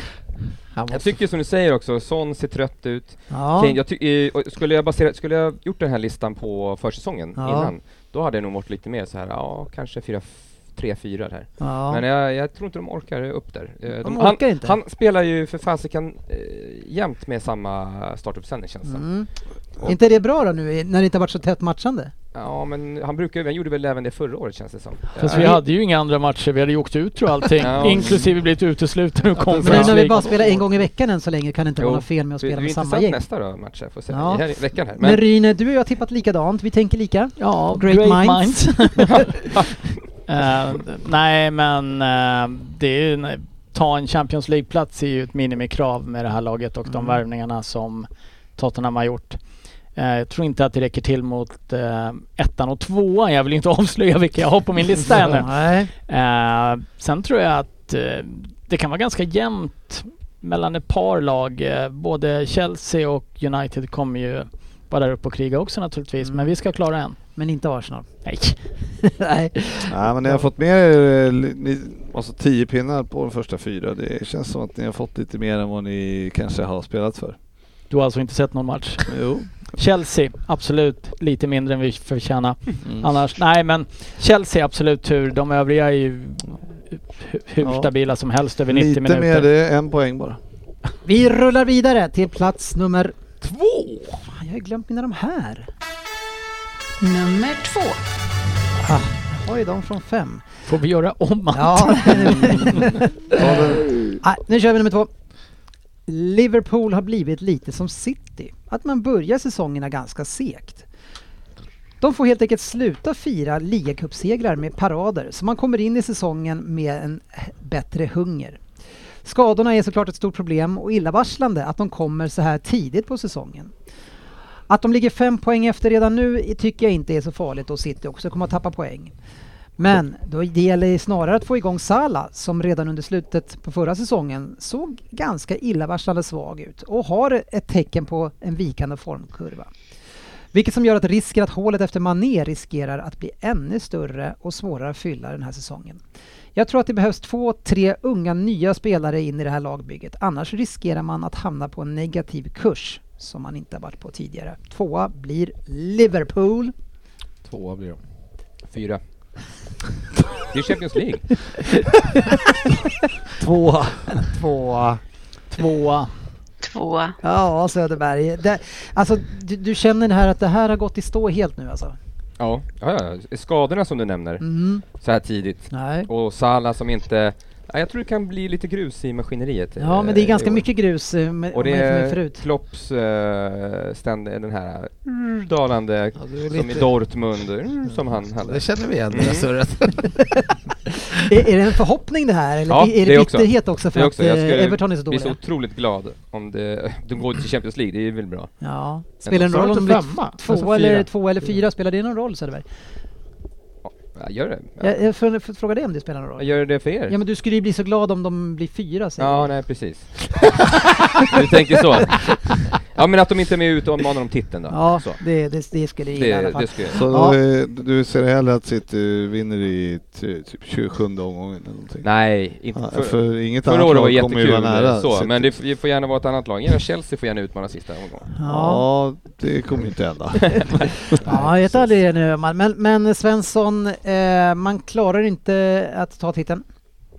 jag tycker som du säger också, Son ser trött ut. Ja. Kane, jag ty- eh, och skulle, jag basera, skulle jag gjort den här listan på försäsongen Ja. innan, då hade jag nog varit lite mer så här, ja kanske fyra, f- tre, fyra där. Ja. Men jag, jag tror inte de orkar upp där. Eh, De han, orkar inte. han spelar ju för fasiken eh, jämt med samma startuppställning känns det som. Mm. Är inte det bra då nu i- när det inte har varit så tätt matchande? Ja men han brukar ju- han gjorde väl även det förra året känns det som. <laughs> Fast Eh, vi hade ju inga andra matcher, vi hade ju åkt ut och allting. Ja. Inklusive blivit uteslutna ur Men nu Conference när vi bara League. spelar en gång i veckan än så länge kan det inte Jo, vara något fel med att det- spela det är med samma intressant gäng. nästa då, matcher, får se. Ja. I här, i veckan här. Men, Men, Ryne, du och jag har tippat likadant, vi tänker lika. Ja, Great minds. <laughs> <laughs> Eh, nej, men eh, det är ju, nej, ta en Champions League-plats är ju ett minimikrav med det här laget och de Mm. värvningarna som Tottenham har gjort. Eh, jag tror inte att det räcker till mot eh, ettan och tvåan. Jag vill inte <laughs> avslöja vilka jag har på min lista ännu. <laughs> Nej. Eh, sen tror jag att eh, det kan vara ganska jämnt mellan ett par lag. Eh, både Chelsea och United kommer ju vara där uppe och kriga också naturligtvis. Mm. Men vi ska klara en. Men inte Arsenal. Nej. <laughs> Nej. <laughs> Nej men ni har fått med er eh, li- ni- alltså tio pinnar på de första fyra. Det känns som att ni har fått lite mer än vad ni kanske har spelat för. Du har alltså inte sett någon match? Jo. Chelsea, absolut. Lite mindre än vi förtjänar. Mm. Annars, nej men Chelsea absolut tur. De övriga är ju hu- hur Ja. stabila som helst över 90 Lite minuter. mer, det är en poäng bara. Vi rullar vidare till plats nummer två. Fan, Ah, jag har ju glömt mina de här. Nummer två. Jag har ju Ah, de från fem. Får vi göra om allt? Ja. Ta den. Nej, nu kör vi nummer två. Liverpool har blivit lite som City. Att man börjar säsongerna ganska segt. De får helt enkelt sluta fira ligacupsegrar med parader så man kommer in i säsongen med en bättre hunger. Skadorna är såklart ett stort problem och illavarslande att de kommer så här tidigt på säsongen. Att de ligger fem poäng efter redan nu i- tycker jag inte är så farligt och City också kommer att tappa poäng. Men då det gäller det snarare att få igång Salah som redan under slutet på förra säsongen såg ganska illavarslande svag ut och har ett tecken på en vikande formkurva. Vilket som gör att risken att hålet efter Mané riskerar att bli ännu större och svårare att fylla den här säsongen. Jag tror att det behövs två, tre unga nya spelare in i det här lagbygget. Annars riskerar man att hamna på en negativ kurs som man inte har varit på tidigare. Tvåa blir Liverpool. Tvåa blir de. <laughs> fyra. Det är Champions <laughs> <laughs> League. Tvåa. Tvåa. Tvåa. Tvåa. Ja, Söderberg. Det, alltså, du, du känner det här att det här har gått i stå helt nu alltså? Ja, ja, ja. Skadorna som du nämner, Mm. så här tidigt. Nej. Och Salah som inte... Ja, jag tror det kan bli lite grus i maskineriet. Ja, eh, men det är ganska i år. mycket grus eh, med, Och om det man jämför med är förut. Klopps eh, ständ, den här mm, dalande, Ja, det är som i lite- Dortmund, mm, som han hade. Det känner vi igen, Mm. det där surret. <laughs> Är, är det en förhoppning det här? Eller Ja, är det, det också. bitterhet också för Det också, att jag eh, skulle Everton är så bli dåliga? så otroligt glad om det, de går till Champions League, det är väl bra. Ja. Spelar det Sa någon du roll inte om det femma? två, Alltså eller, fyra. två eller fyra? Spelar det någon roll Söderberg? Ja, gör det. Ja. Jag, jag får- får fråga dig om det spelar någon roll? Gör det för er? Ja men du skulle ju bli så glad om de blir fyra säger Ja, du. nej precis. du tänker så. <laughs> Ja men att de inte är med ute och manar om titeln då. Ja, så. det, det, det skulle jag gilla i alla Det, fall. det skulle jag. Så Ja. eh, du ser hellre att City vinner i t- typ 27 omgången eller någonting? Nej, inte Ja, för, för inget förra annat året var lag kommer ju jättekul. vara nära. så, City. men det, f- det får gärna vara ett annat lag. Ja, Chelsea får gärna utmana sista omgången. Ja. Ja, det kommer ju inte <laughs> hända. <laughs> Ja, jag vet aldrig det nu. man- Men, men Svensson, eh, man klarar inte att ta titeln.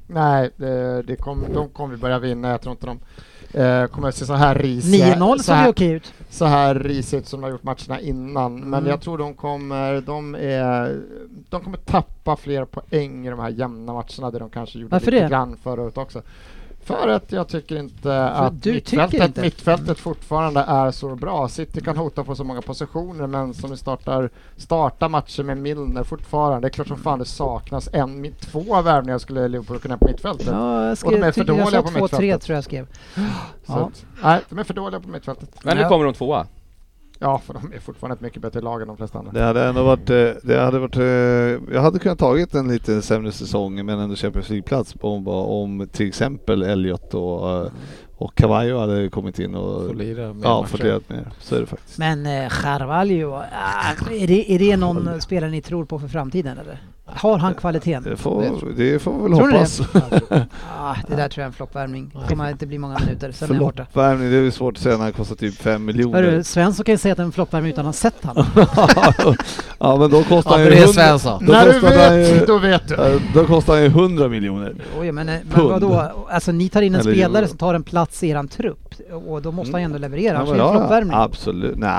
Nej, det, det kom, de kommer vi börja vinna. Jag tror inte de eh, kommer att se så här risiga 9-0 så såg ju här, okej ut. så här risiga ut som de har gjort matcherna innan. Men Mm. jag tror de kommer, de, är, de kommer tappa fler poäng i de här jämna matcherna, det de kanske gjorde Varför lite det? grann förut också. För att jag tycker inte att du tycker mittfältet, inte? mittfältet fortfarande är så bra. City kan hota på så många positioner, men som vi startar, startar matcher med Milner fortfarande. Det är klart som fan det saknas en, min- två värvningar skulle Liverpool kunna ha på mittfältet. Ja, jag, Och de skrev, är för ty- jag sa dåliga på 2-3 mittfältet. tror jag skrev. Så Ja. att, nej, de är för dåliga på mittfältet. Men nu Ja. kommer de tvåa. Ja, för de är fortfarande ett mycket bättre lag än de flesta andra. Det hade ändå varit, eh, det hade varit, eh, jag hade kunnat tagit en lite sämre säsong men ändå Champions League-plats om, om till exempel Elliot och, eh, Och Cavallo hade ju kommit in och Får lira mer ja, matcher. fått lirat mer. Så är det faktiskt. Men eh, Carvalho, ah, är det, är det någon spelare ni tror på för framtiden eller? Har han kvaliteten? Det får, det får vi väl Tror ni hoppas. <laughs> Ah, det där tror jag är en floppvärmning. Det kommer inte bli många minuter, sen är han borta. Förloppvärmning, det är ju svårt att säga när han kostar typ 5 miljoner. Hörru, Svensson kan ju säga att det är en floppvärmning utan att ha <laughs> sett han. ja men då kostar Ja, han men ju det är 100 Svensson. Då När du kostar han ju- vet, då vet du. eh, Då kostar han ju 100 miljoner. Oj, men, eh, men Pund. vadå? Alltså ni tar in en Eller spelare euro. som tar en plats i eran trupp och då måste han ju ändå leverera. Ja, Han men kör ju ja, floppvärmning. Absolut, nej.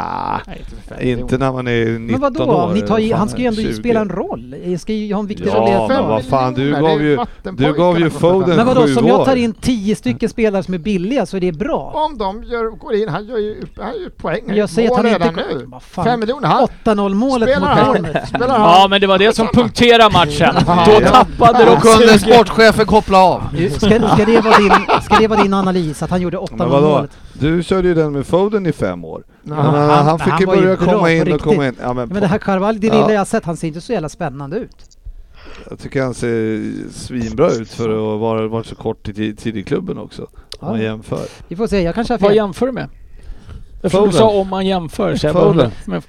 Nej, inte för fem Inte när man är 19 Men vadå? år. Ni tar ju, Fan, han ska ju ändå 20. spela en roll. Han ska ju ha en viktig roll i Ja, ert men lag. vad fan, du miljoner, gav det är ju- vattenpojkarna du gav ju som får Foden- fem. Men vadå, sju som jag år. tar in tio stycken spelare som är billiga så är det bra? Om de gör, går in, han gör ju, han gör ju poäng, han Men gör jag säger att mål han inte... redan kom- nu. Vad fan, Fem miljoner, han 8-0 målet spelar mot han, Bournemouth. spelar han. Ja, men det var det som punkterade matchen. Då tappade Då de kunde suget. sportchefen koppla av. Ska, ska, det vara din, ska det vara din analys, att han gjorde 8-0 Men vadå? målet? Du körde ju den med Foden i fem år. Ja, Men han, han- han, han fick ju var ju börja bra på komma in och riktigt. komma in. Ja, men Men det här Carvalho, det Ja. lilla jag har sett, han ser inte så jävla spännande ut. Jag tycker han ser svinbra ut för att ha varit- varit så kort i tid, tid i klubben också. Om man Ja. <laughs> jämför. Vi får se, jag kanske har Vad fel. jämför du med? Eftersom Foden. du sa om man jämför. Så jag bara, Foden. undrar. men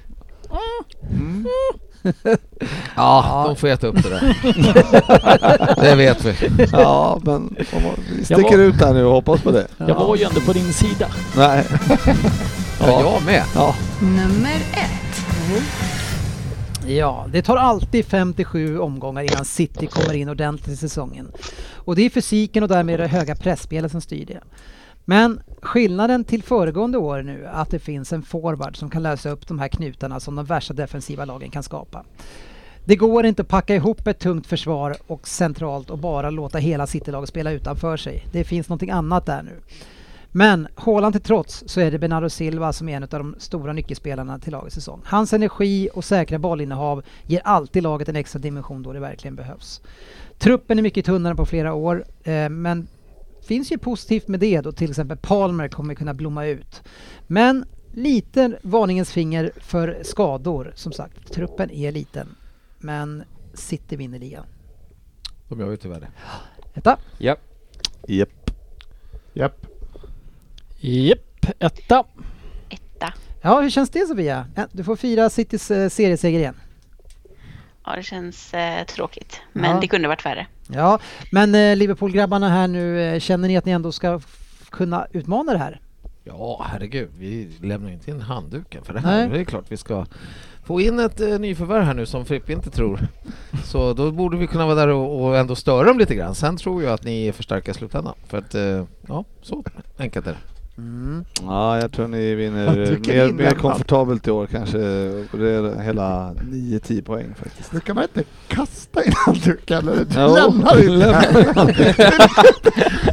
Ja, de får äta upp det där. <laughs> det vet vi. Ja, men om man, vi Jag sticker var- ut här nu och hoppas på det. jag var ju ändå på din sida. Nej. Ja, jag med. Ja. Nummer ett. Mm. Ja, det tar alltid 57 omgångar innan City kommer in ordentligt i säsongen. Och det är fysiken och därmed det höga pressspelet som styr det. Men skillnaden till föregående år nu är att det finns en forward som kan lösa upp de här knutarna som de värsta defensiva lagen kan skapa. Det går inte att packa ihop ett tungt försvar och centralt och bara låta hela Citylaget spela utanför sig. Det finns någonting annat där nu. Men Haaland till trots så är det Bernardo Silva som är en av de stora nyckelspelarna till lagets säsong. Hans energi och säkra bollinnehav ger alltid laget en extra dimension då det verkligen behövs. Truppen är mycket tunnare på flera år, eh, men finns ju positivt med det då till exempel Palmer kommer kunna blomma ut. Men lite varningens finger för skador. Som sagt, truppen är liten. Men City vinner ligan. De gör ju tyvärr det. Etta. Ja. Japp. Japp. Japp, etta. Etta. Ja, hur känns det Sofia? Ja, du får fira Citys eh, serieseger igen. Ja, det känns eh, tråkigt. Men Ja. det kunde varit värre. Ja, men eh, Liverpool-grabbarna här nu, eh, känner ni att ni ändå ska f- kunna utmana det här? Ja, herregud. Vi lämnar ju inte in handduken för det Nej. här. Det är klart vi ska få in ett eh, nyförvärv här nu som Frippe <laughs> inte tror. Så då borde vi kunna vara där och, och ändå störa dem lite grann. Sen tror jag att ni är för starka i slutändan. För att, eh, ja, så enkelt är det. Mm. Ja, jag tror ni vinner Jag tycker mer, ni mer lämnar. komfortabelt i år kanske. Och Det är hela 9-10 poäng faktiskt. Nu kan man inte kasta in handduken eller Jo, lämna in den. <laughs>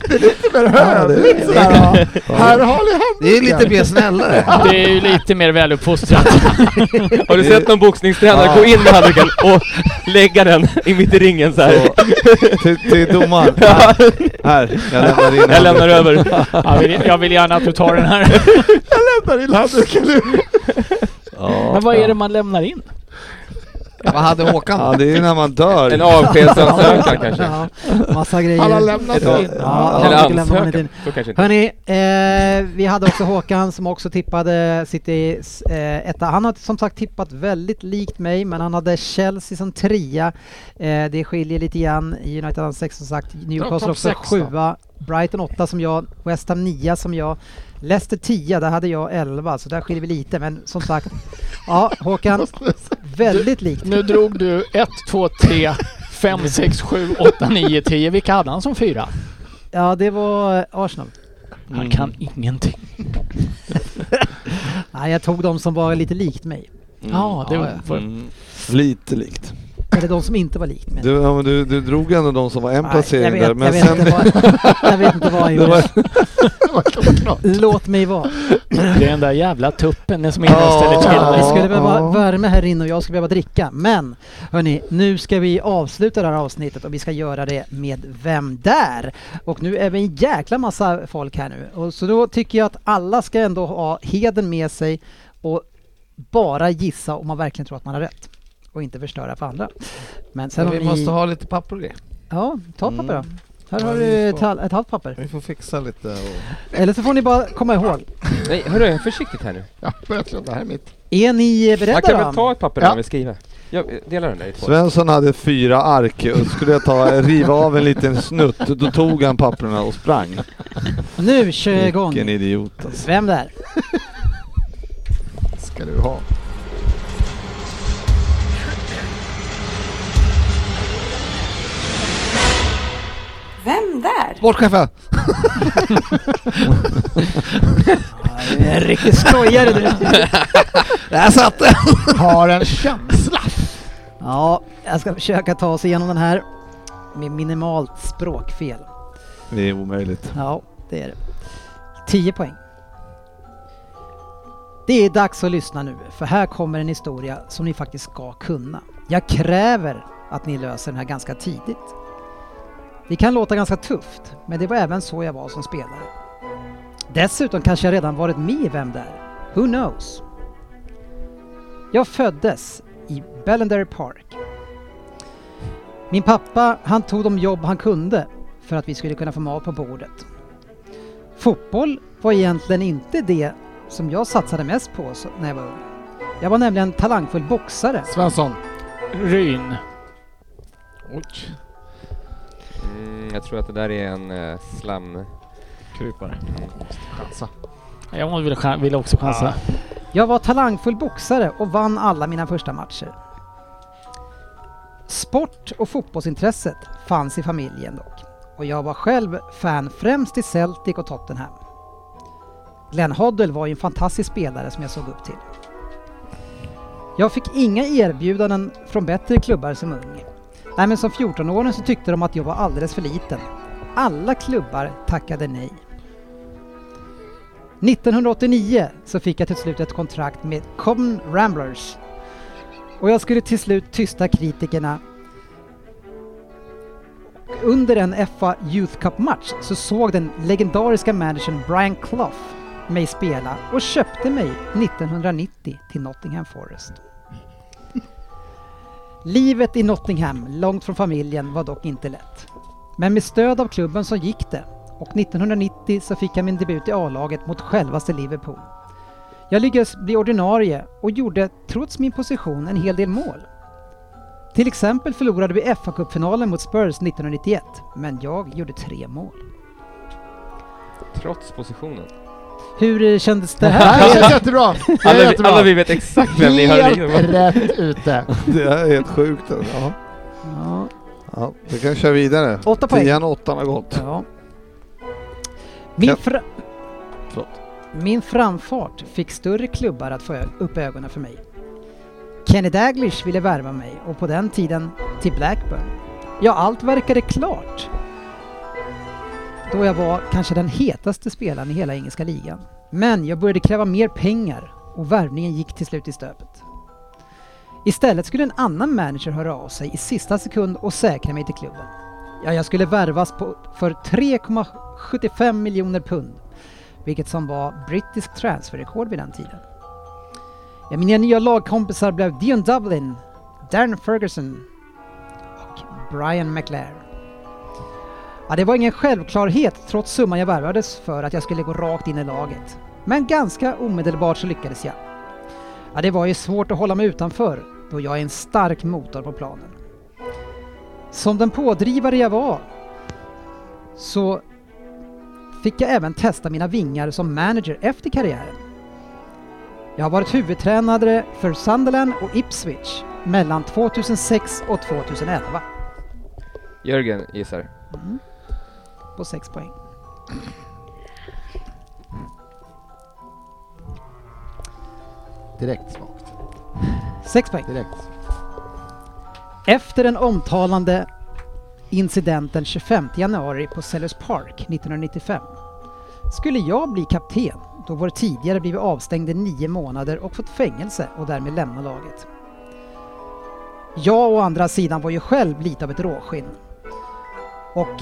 Det är lite mer Ja, det- hövligt sådär. ja. Här har ni Det är handduken. lite mer <laughs> snällare. <laughs> Det är ju lite mer väluppfostrat. <laughs> Har du sett någon boxningstränare gå in med handduken och lägga den i mitt i ringen så här? Så, till, till <laughs> domaren. Här, här, Jag jag lämnar in handen. lämnar över. <laughs> Jag vill, <laughs> jag vill gärna att du tar den <laughs> här. Ja. Men vad är det man lämnar in? Vad hade Håkan? Ja, det är när man dör. En <laughs> avskedsansökan <laughs> kanske? Ja, massa grejer. Han har lämnat Ja. in. Ja, Eller jag lämnar honom ansökan? in. Så kanske inte. Hörni, eh, vi hade också Håkan som också tippade City eh, etta. Han har som sagt tippat väldigt likt mig, men han hade Chelsea som trea. Eh, det skiljer lite grann. United har sex som sagt, Newcastle topp också sex då. sjua, Brighton åtta som jag, West Ham nia som jag, Leicester tia, där hade jag elva, så där skiljer vi lite. Men som sagt, ja Håkan, väldigt likt. Nu drog du 1, 2, 3, 5, 6, 7, 8, 9, 10. Vilka hade han som fyra? Ja, det var eh, Arsenal. Mm. Han kan ingenting. <laughs> Nej, jag tog de som var lite likt mig. Ja, det ja. var... Mm. Lite likt. Eller de som inte var likt mig. Du, ja, men du, du drog ändå de som var en Nej, placering jag vet, där, men jag vet sen... Inte vad, jag <laughs> vet inte vad han Det var, gjorde. <laughs> Låt mig vara. Det är den där jävla tuppen som inte Ja. ställer till Det det. skulle behöva ja. värme här inne och jag skulle behöva dricka. Men hörni, nu ska vi avsluta det här avsnittet och vi ska göra det med Vem där? Och nu är vi en jäkla massa folk här nu. Och så då tycker jag att alla ska ändå ha heden med sig och bara gissa om man verkligen tror att man har rätt. Och inte förstöra för andra. Men sen Men om vi ni... måste ha lite papper och grejer. Mm. Ja, ta papper då. Här har du ett, hal- ett halvt papper. Vi får fixa lite och... Eller så får ni bara komma ihåg. Nej, hörru, försiktigt här nu. Ja, verkligen. Det här är mitt. Är ni Man kan beredda väl ta då? ett papper Ja. när vi skriver? Jag delar den där i två. Svensson hade fyra ark och skulle jag ta, riva av en liten snutt, då tog han papperna och sprang. Nu kör jag Vilken igång. idiot alltså. Vem där? ska du ha. Vem där? Bort chefen! Du är en riktig skojare du. <laughs> Där satt den! Har en känsla. Ja, jag ska försöka ta oss igenom den här med minimalt språkfel. <laughs> Det är omöjligt. Ja, det är det. 10 poäng. Det är dags att lyssna nu, för här kommer en historia som ni faktiskt ska kunna. Jag kräver att ni löser den här ganska tidigt. Det kan låta ganska tufft, men det var även så jag var som spelare. Dessutom kanske jag redan varit med i Vem där? Who knows? Jag föddes i Bellender Park. Min pappa, han tog de jobb han kunde för att vi skulle kunna få mat på bordet. Fotboll var egentligen inte det som jag satsade mest på så- när jag var ung. Jag var nämligen talangfull boxare. Svensson. Ryn. Mm, jag tror att det där är en uh, slam... Krypare. Chansa. Jag vill, chan- vill också chansa. Jag var talangfull boxare och vann alla mina första matcher. Sport och fotbollsintresset fanns i familjen dock och jag var själv fan främst till Celtic och Tottenham. Glenn Hoddle var ju en fantastisk spelare som jag såg upp till. Jag fick inga erbjudanden från bättre klubbar som ung. Nej men som 14-åring så tyckte de att jag var alldeles för liten. Alla klubbar tackade nej. 1989 så fick jag till slut ett kontrakt med Common Ramblers. Och jag skulle till slut tysta kritikerna. Under en FA Youth Cup-match så såg den legendariska managern Brian Clough mig spela och köpte mig 1990 till Nottingham Forest. Livet i Nottingham, långt från familjen, var dock inte lätt. Men med stöd av klubben så gick det och 1990 så fick jag min debut i A-laget mot självaste Liverpool. Jag lyckades bli ordinarie och gjorde, trots min position, en hel del mål. Till exempel förlorade vi fa Cupfinalen mot Spurs 1991, men jag gjorde tre mål. Trots positionen. Hur eh, kändes det Det <laughs> här? <laughs> här är jättebra. Det är Alla vi, jättebra. alla vi vet exakt vem ni Helt hörde. rätt ute. <laughs> Det här är helt sjukt alltså. Ja. Ja, Ja, vi kan köra vidare. Åtta poäng. Tian och åttan har gått. ja. Min, Ja. fra- Förlåt. min framfart fick större klubbar att få ö- upp ögonen för mig. Kenny Daglish ville värva mig och på den tiden till Blackburn. Ja, allt verkade klart. Då jag var kanske den hetaste spelaren i hela engelska ligan. Men jag började kräva mer pengar och värvningen gick till slut i stöpet. Istället skulle en annan manager höra av sig i sista sekund och säkra mig till klubben. Ja, jag skulle värvas på, för 3,75 miljoner pund, vilket som var brittisk transferrekord vid den tiden. Ja, mina nya lagkompisar blev Dion Dublin, Darren Ferguson och Brian McLaren. Ja, det var ingen självklarhet trots summan jag värvades för att jag skulle gå rakt in i laget. Men ganska omedelbart så lyckades jag. Ja, det var ju svårt att hålla mig utanför då jag är en stark motor på planen. Som den pådrivare jag var så fick jag även testa mina vingar som manager efter karriären. Jag har varit huvudtränare för Sunderland och Ipswich mellan 2006 och 2011. Jörgen gissar. på 6 poäng. Direkt svagt. 6 poäng. Direkt. Efter den omtalande incidenten 25 januari på Sellers Park 1995 skulle jag bli kapten då vår tidigare blivit avstängd i nio månader och fått fängelse och därmed lämna laget. Jag å andra sidan var ju själv lite av ett råskinn. Och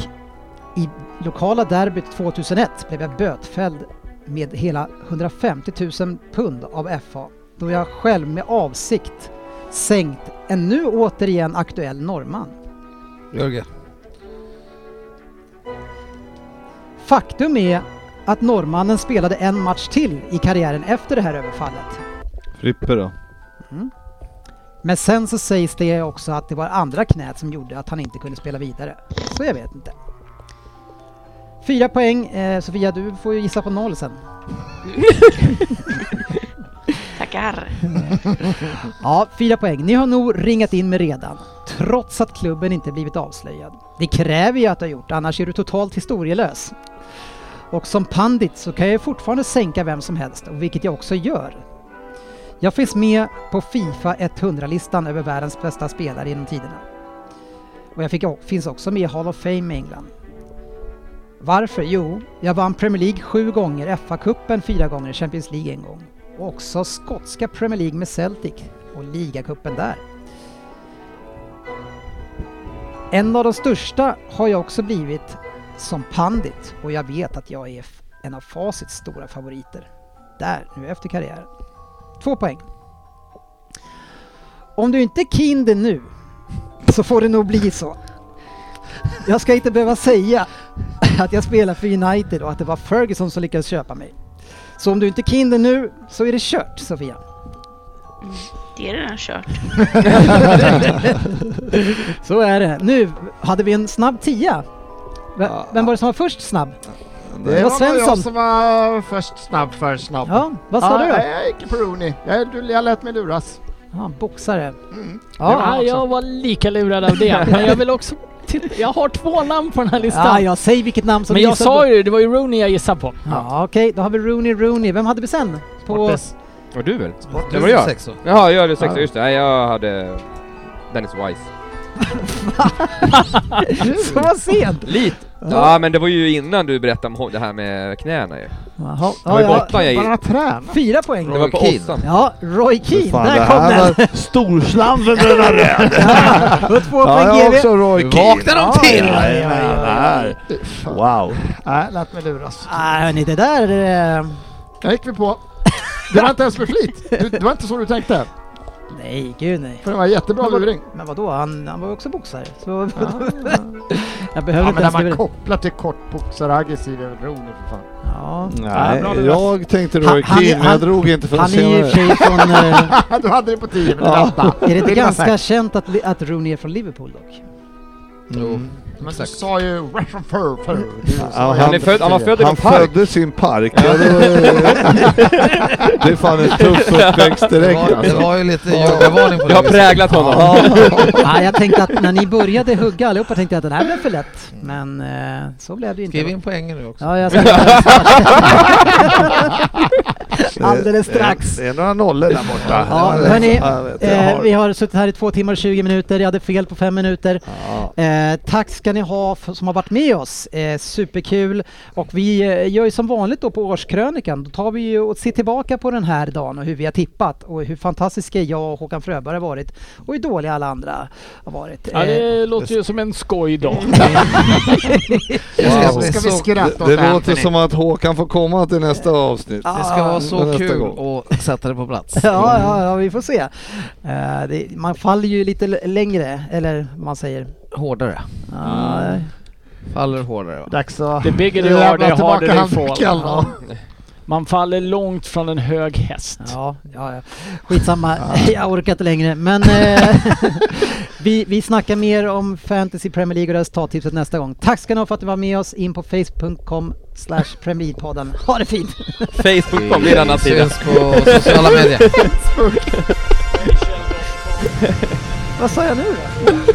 i lokala derbyt 2001 blev jag bötfälld med hela 150 000 pund av FA då jag själv med avsikt sänkt en nu återigen aktuell norrman. Jörgen. Faktum är att norrmannen spelade en match till i karriären efter det här överfallet. Mm. Frippe då? Men sen så sägs det också att det var andra knät som gjorde att han inte kunde spela vidare. Så Alltså, jag vet inte. Fyra poäng. Eh, Sofia, du får ju gissa på noll sen. Tackar. Ja, fyra poäng. Ni har nog ringat in mig redan, trots att klubben inte blivit avslöjad. Det kräver jag att du har gjort, annars är du totalt historielös. Och som pandit så kan jag fortfarande sänka vem som helst, och vilket jag också gör. Jag finns med på Fifa 100-listan över världens bästa spelare genom tiderna. Och jag fick, finns också med i Hall of Fame i England. Varför? Jo, jag vann Premier League sju gånger, FA-cupen fyra gånger, Champions League en gång. Och också skotska Premier League med Celtic och ligacupen där. En av de största har jag också blivit som pandit och jag vet att jag är f- en av Facits stora favoriter. Där, nu efter karriären. Två poäng. Om du inte är keen det nu så får det nog bli så. Jag ska inte behöva säga <laughs> att jag spelar för United och att det var Ferguson som lyckades köpa mig. Så om du inte är keen det nu så är det kört, Sofia. Det är redan kört. <laughs> så är det. Nu hade vi en snabb tia. V- Vem var det som var först snabb? Det var var nog Svensson. jag som var först snabb, först snabb. Ja, vad sa du då? nej, Jag gick på Rooney. Jag, jag lät mig luras. Mm. Ja, boxare. Det var Ja. Ja, han också. jag var lika lurad av det. Men jag vill också... titta- Jag har två namn på den här listan. ja, jag säger vilket namn som Men jag gissar sa på- ju det, det var ju Rooney jag gissade på. Ja, okej, då har vi Rooney, Rooney. Vem hade vi sen? På... Sportes. Var du väl? Det var jag. Sexor. Jaha, jag hade sexa, just det. Nej, jag hade Dennis Wise. <laughs> Så var sent! Lite. Ja, men det var ju innan du berättade om ho- det här med knäna ju. Jaha, Det var ju ja, ja. åttan jag gick. Bara träna. Fyra poäng. Det var på Roy åttan. Ja, Roy Keane, Fan, det där kom här den! var storslamsen den här <laughs> är. Och två Ja, poäng jag har GV. också Roy Keane. Vaknar de till? Jajamän, det här. Wow. Nej, lät mig luras. Nej Ah, hörni, det där... eh, Där gick vi på. Det var inte ens med flit. Du, det var inte så du tänkte. Nej, gud nej. För det var en jättebra luring. Men vadå, han, han var ju också boxare. Så... <laughs> jag Ja, behöver men inte när ens... man lura- kopplar till kortboxare och aggressiv är väl Rooney för fan. Ja. Nej, bra luras. jag tänkte Roy Han- han är- Keane, men han- jag drog inte förrän Han är ju i och senare. för sig <laughs> från... eh, Ja, <laughs> du hade det på 10 minuter. Ja. vänta. är det inte Vill jag säga. ganska känt att, li- att Rooney är från Liverpool dock? Mm. Men du Exakt. sa ju Russian fur fur. Ja, Han, är född, han var född i Han en park. föddes i <laughs> <laughs> en park. Ja, det, var, det är fan en <laughs> tuff uppväxt Det direkt var, det alltså. var ju lite jordbevarning på Det har präglat honom. <laughs> ja, jag tänkte att när ni började hugga allihopa tänkte jag att den här blev för lätt. Men eh, så blev det ju inte. Skriv in poängen nu också. Ja, jag <laughs> ska alldeles strax. alldeles strax. Det är några nollor där borta. Ja, det- hörni, jag vet, jag Eh, har- vi har suttit här i två timmar och 20 minuter. Jag hade fel på fem minuter. Ja. Eh, tack ska ni ha för, som har varit med oss. Eh, superkul. Och vi eh, gör ju som vanligt då på årskrönikan. Då tar vi ju och ser tillbaka på den här dagen och hur vi har tippat och hur fantastiska jag och Håkan Fröberg har varit och hur dåliga alla andra har varit. Ja, Eh, det låter ju som en skoj <laughs> då. Det ska Så ska bli vi så skratta åt Det låter Anthony. som att Håkan får komma till nästa avsnitt. Det ska vara så Nästa kul gång. att sätta det på plats. <laughs> Ja, ja, ja, vi får se. Eh, det, man faller ju lite l- längre, eller vad man säger. Hårdare. Mm. Ja, Faller hårdare va? Dags att... The bigger you Lämna are, the tillbaka harder you fall. handduken då. Man faller långt från en hög häst. ja, ja, ja. Skitsamma, <laughs> jag orkar inte längre. Men eh, <laughs> vi, vi snackar mer om Fantasy Premier League och resultattipset nästa gång. Tack ska ni ha för att ni var med oss. In på facebook.com slash Premier League-podden. Ha det fint! <laughs> Facebook.com blir denna Vi sida. syns <laughs> <laughs> på sociala medier. Vad sa jag nu då? <laughs>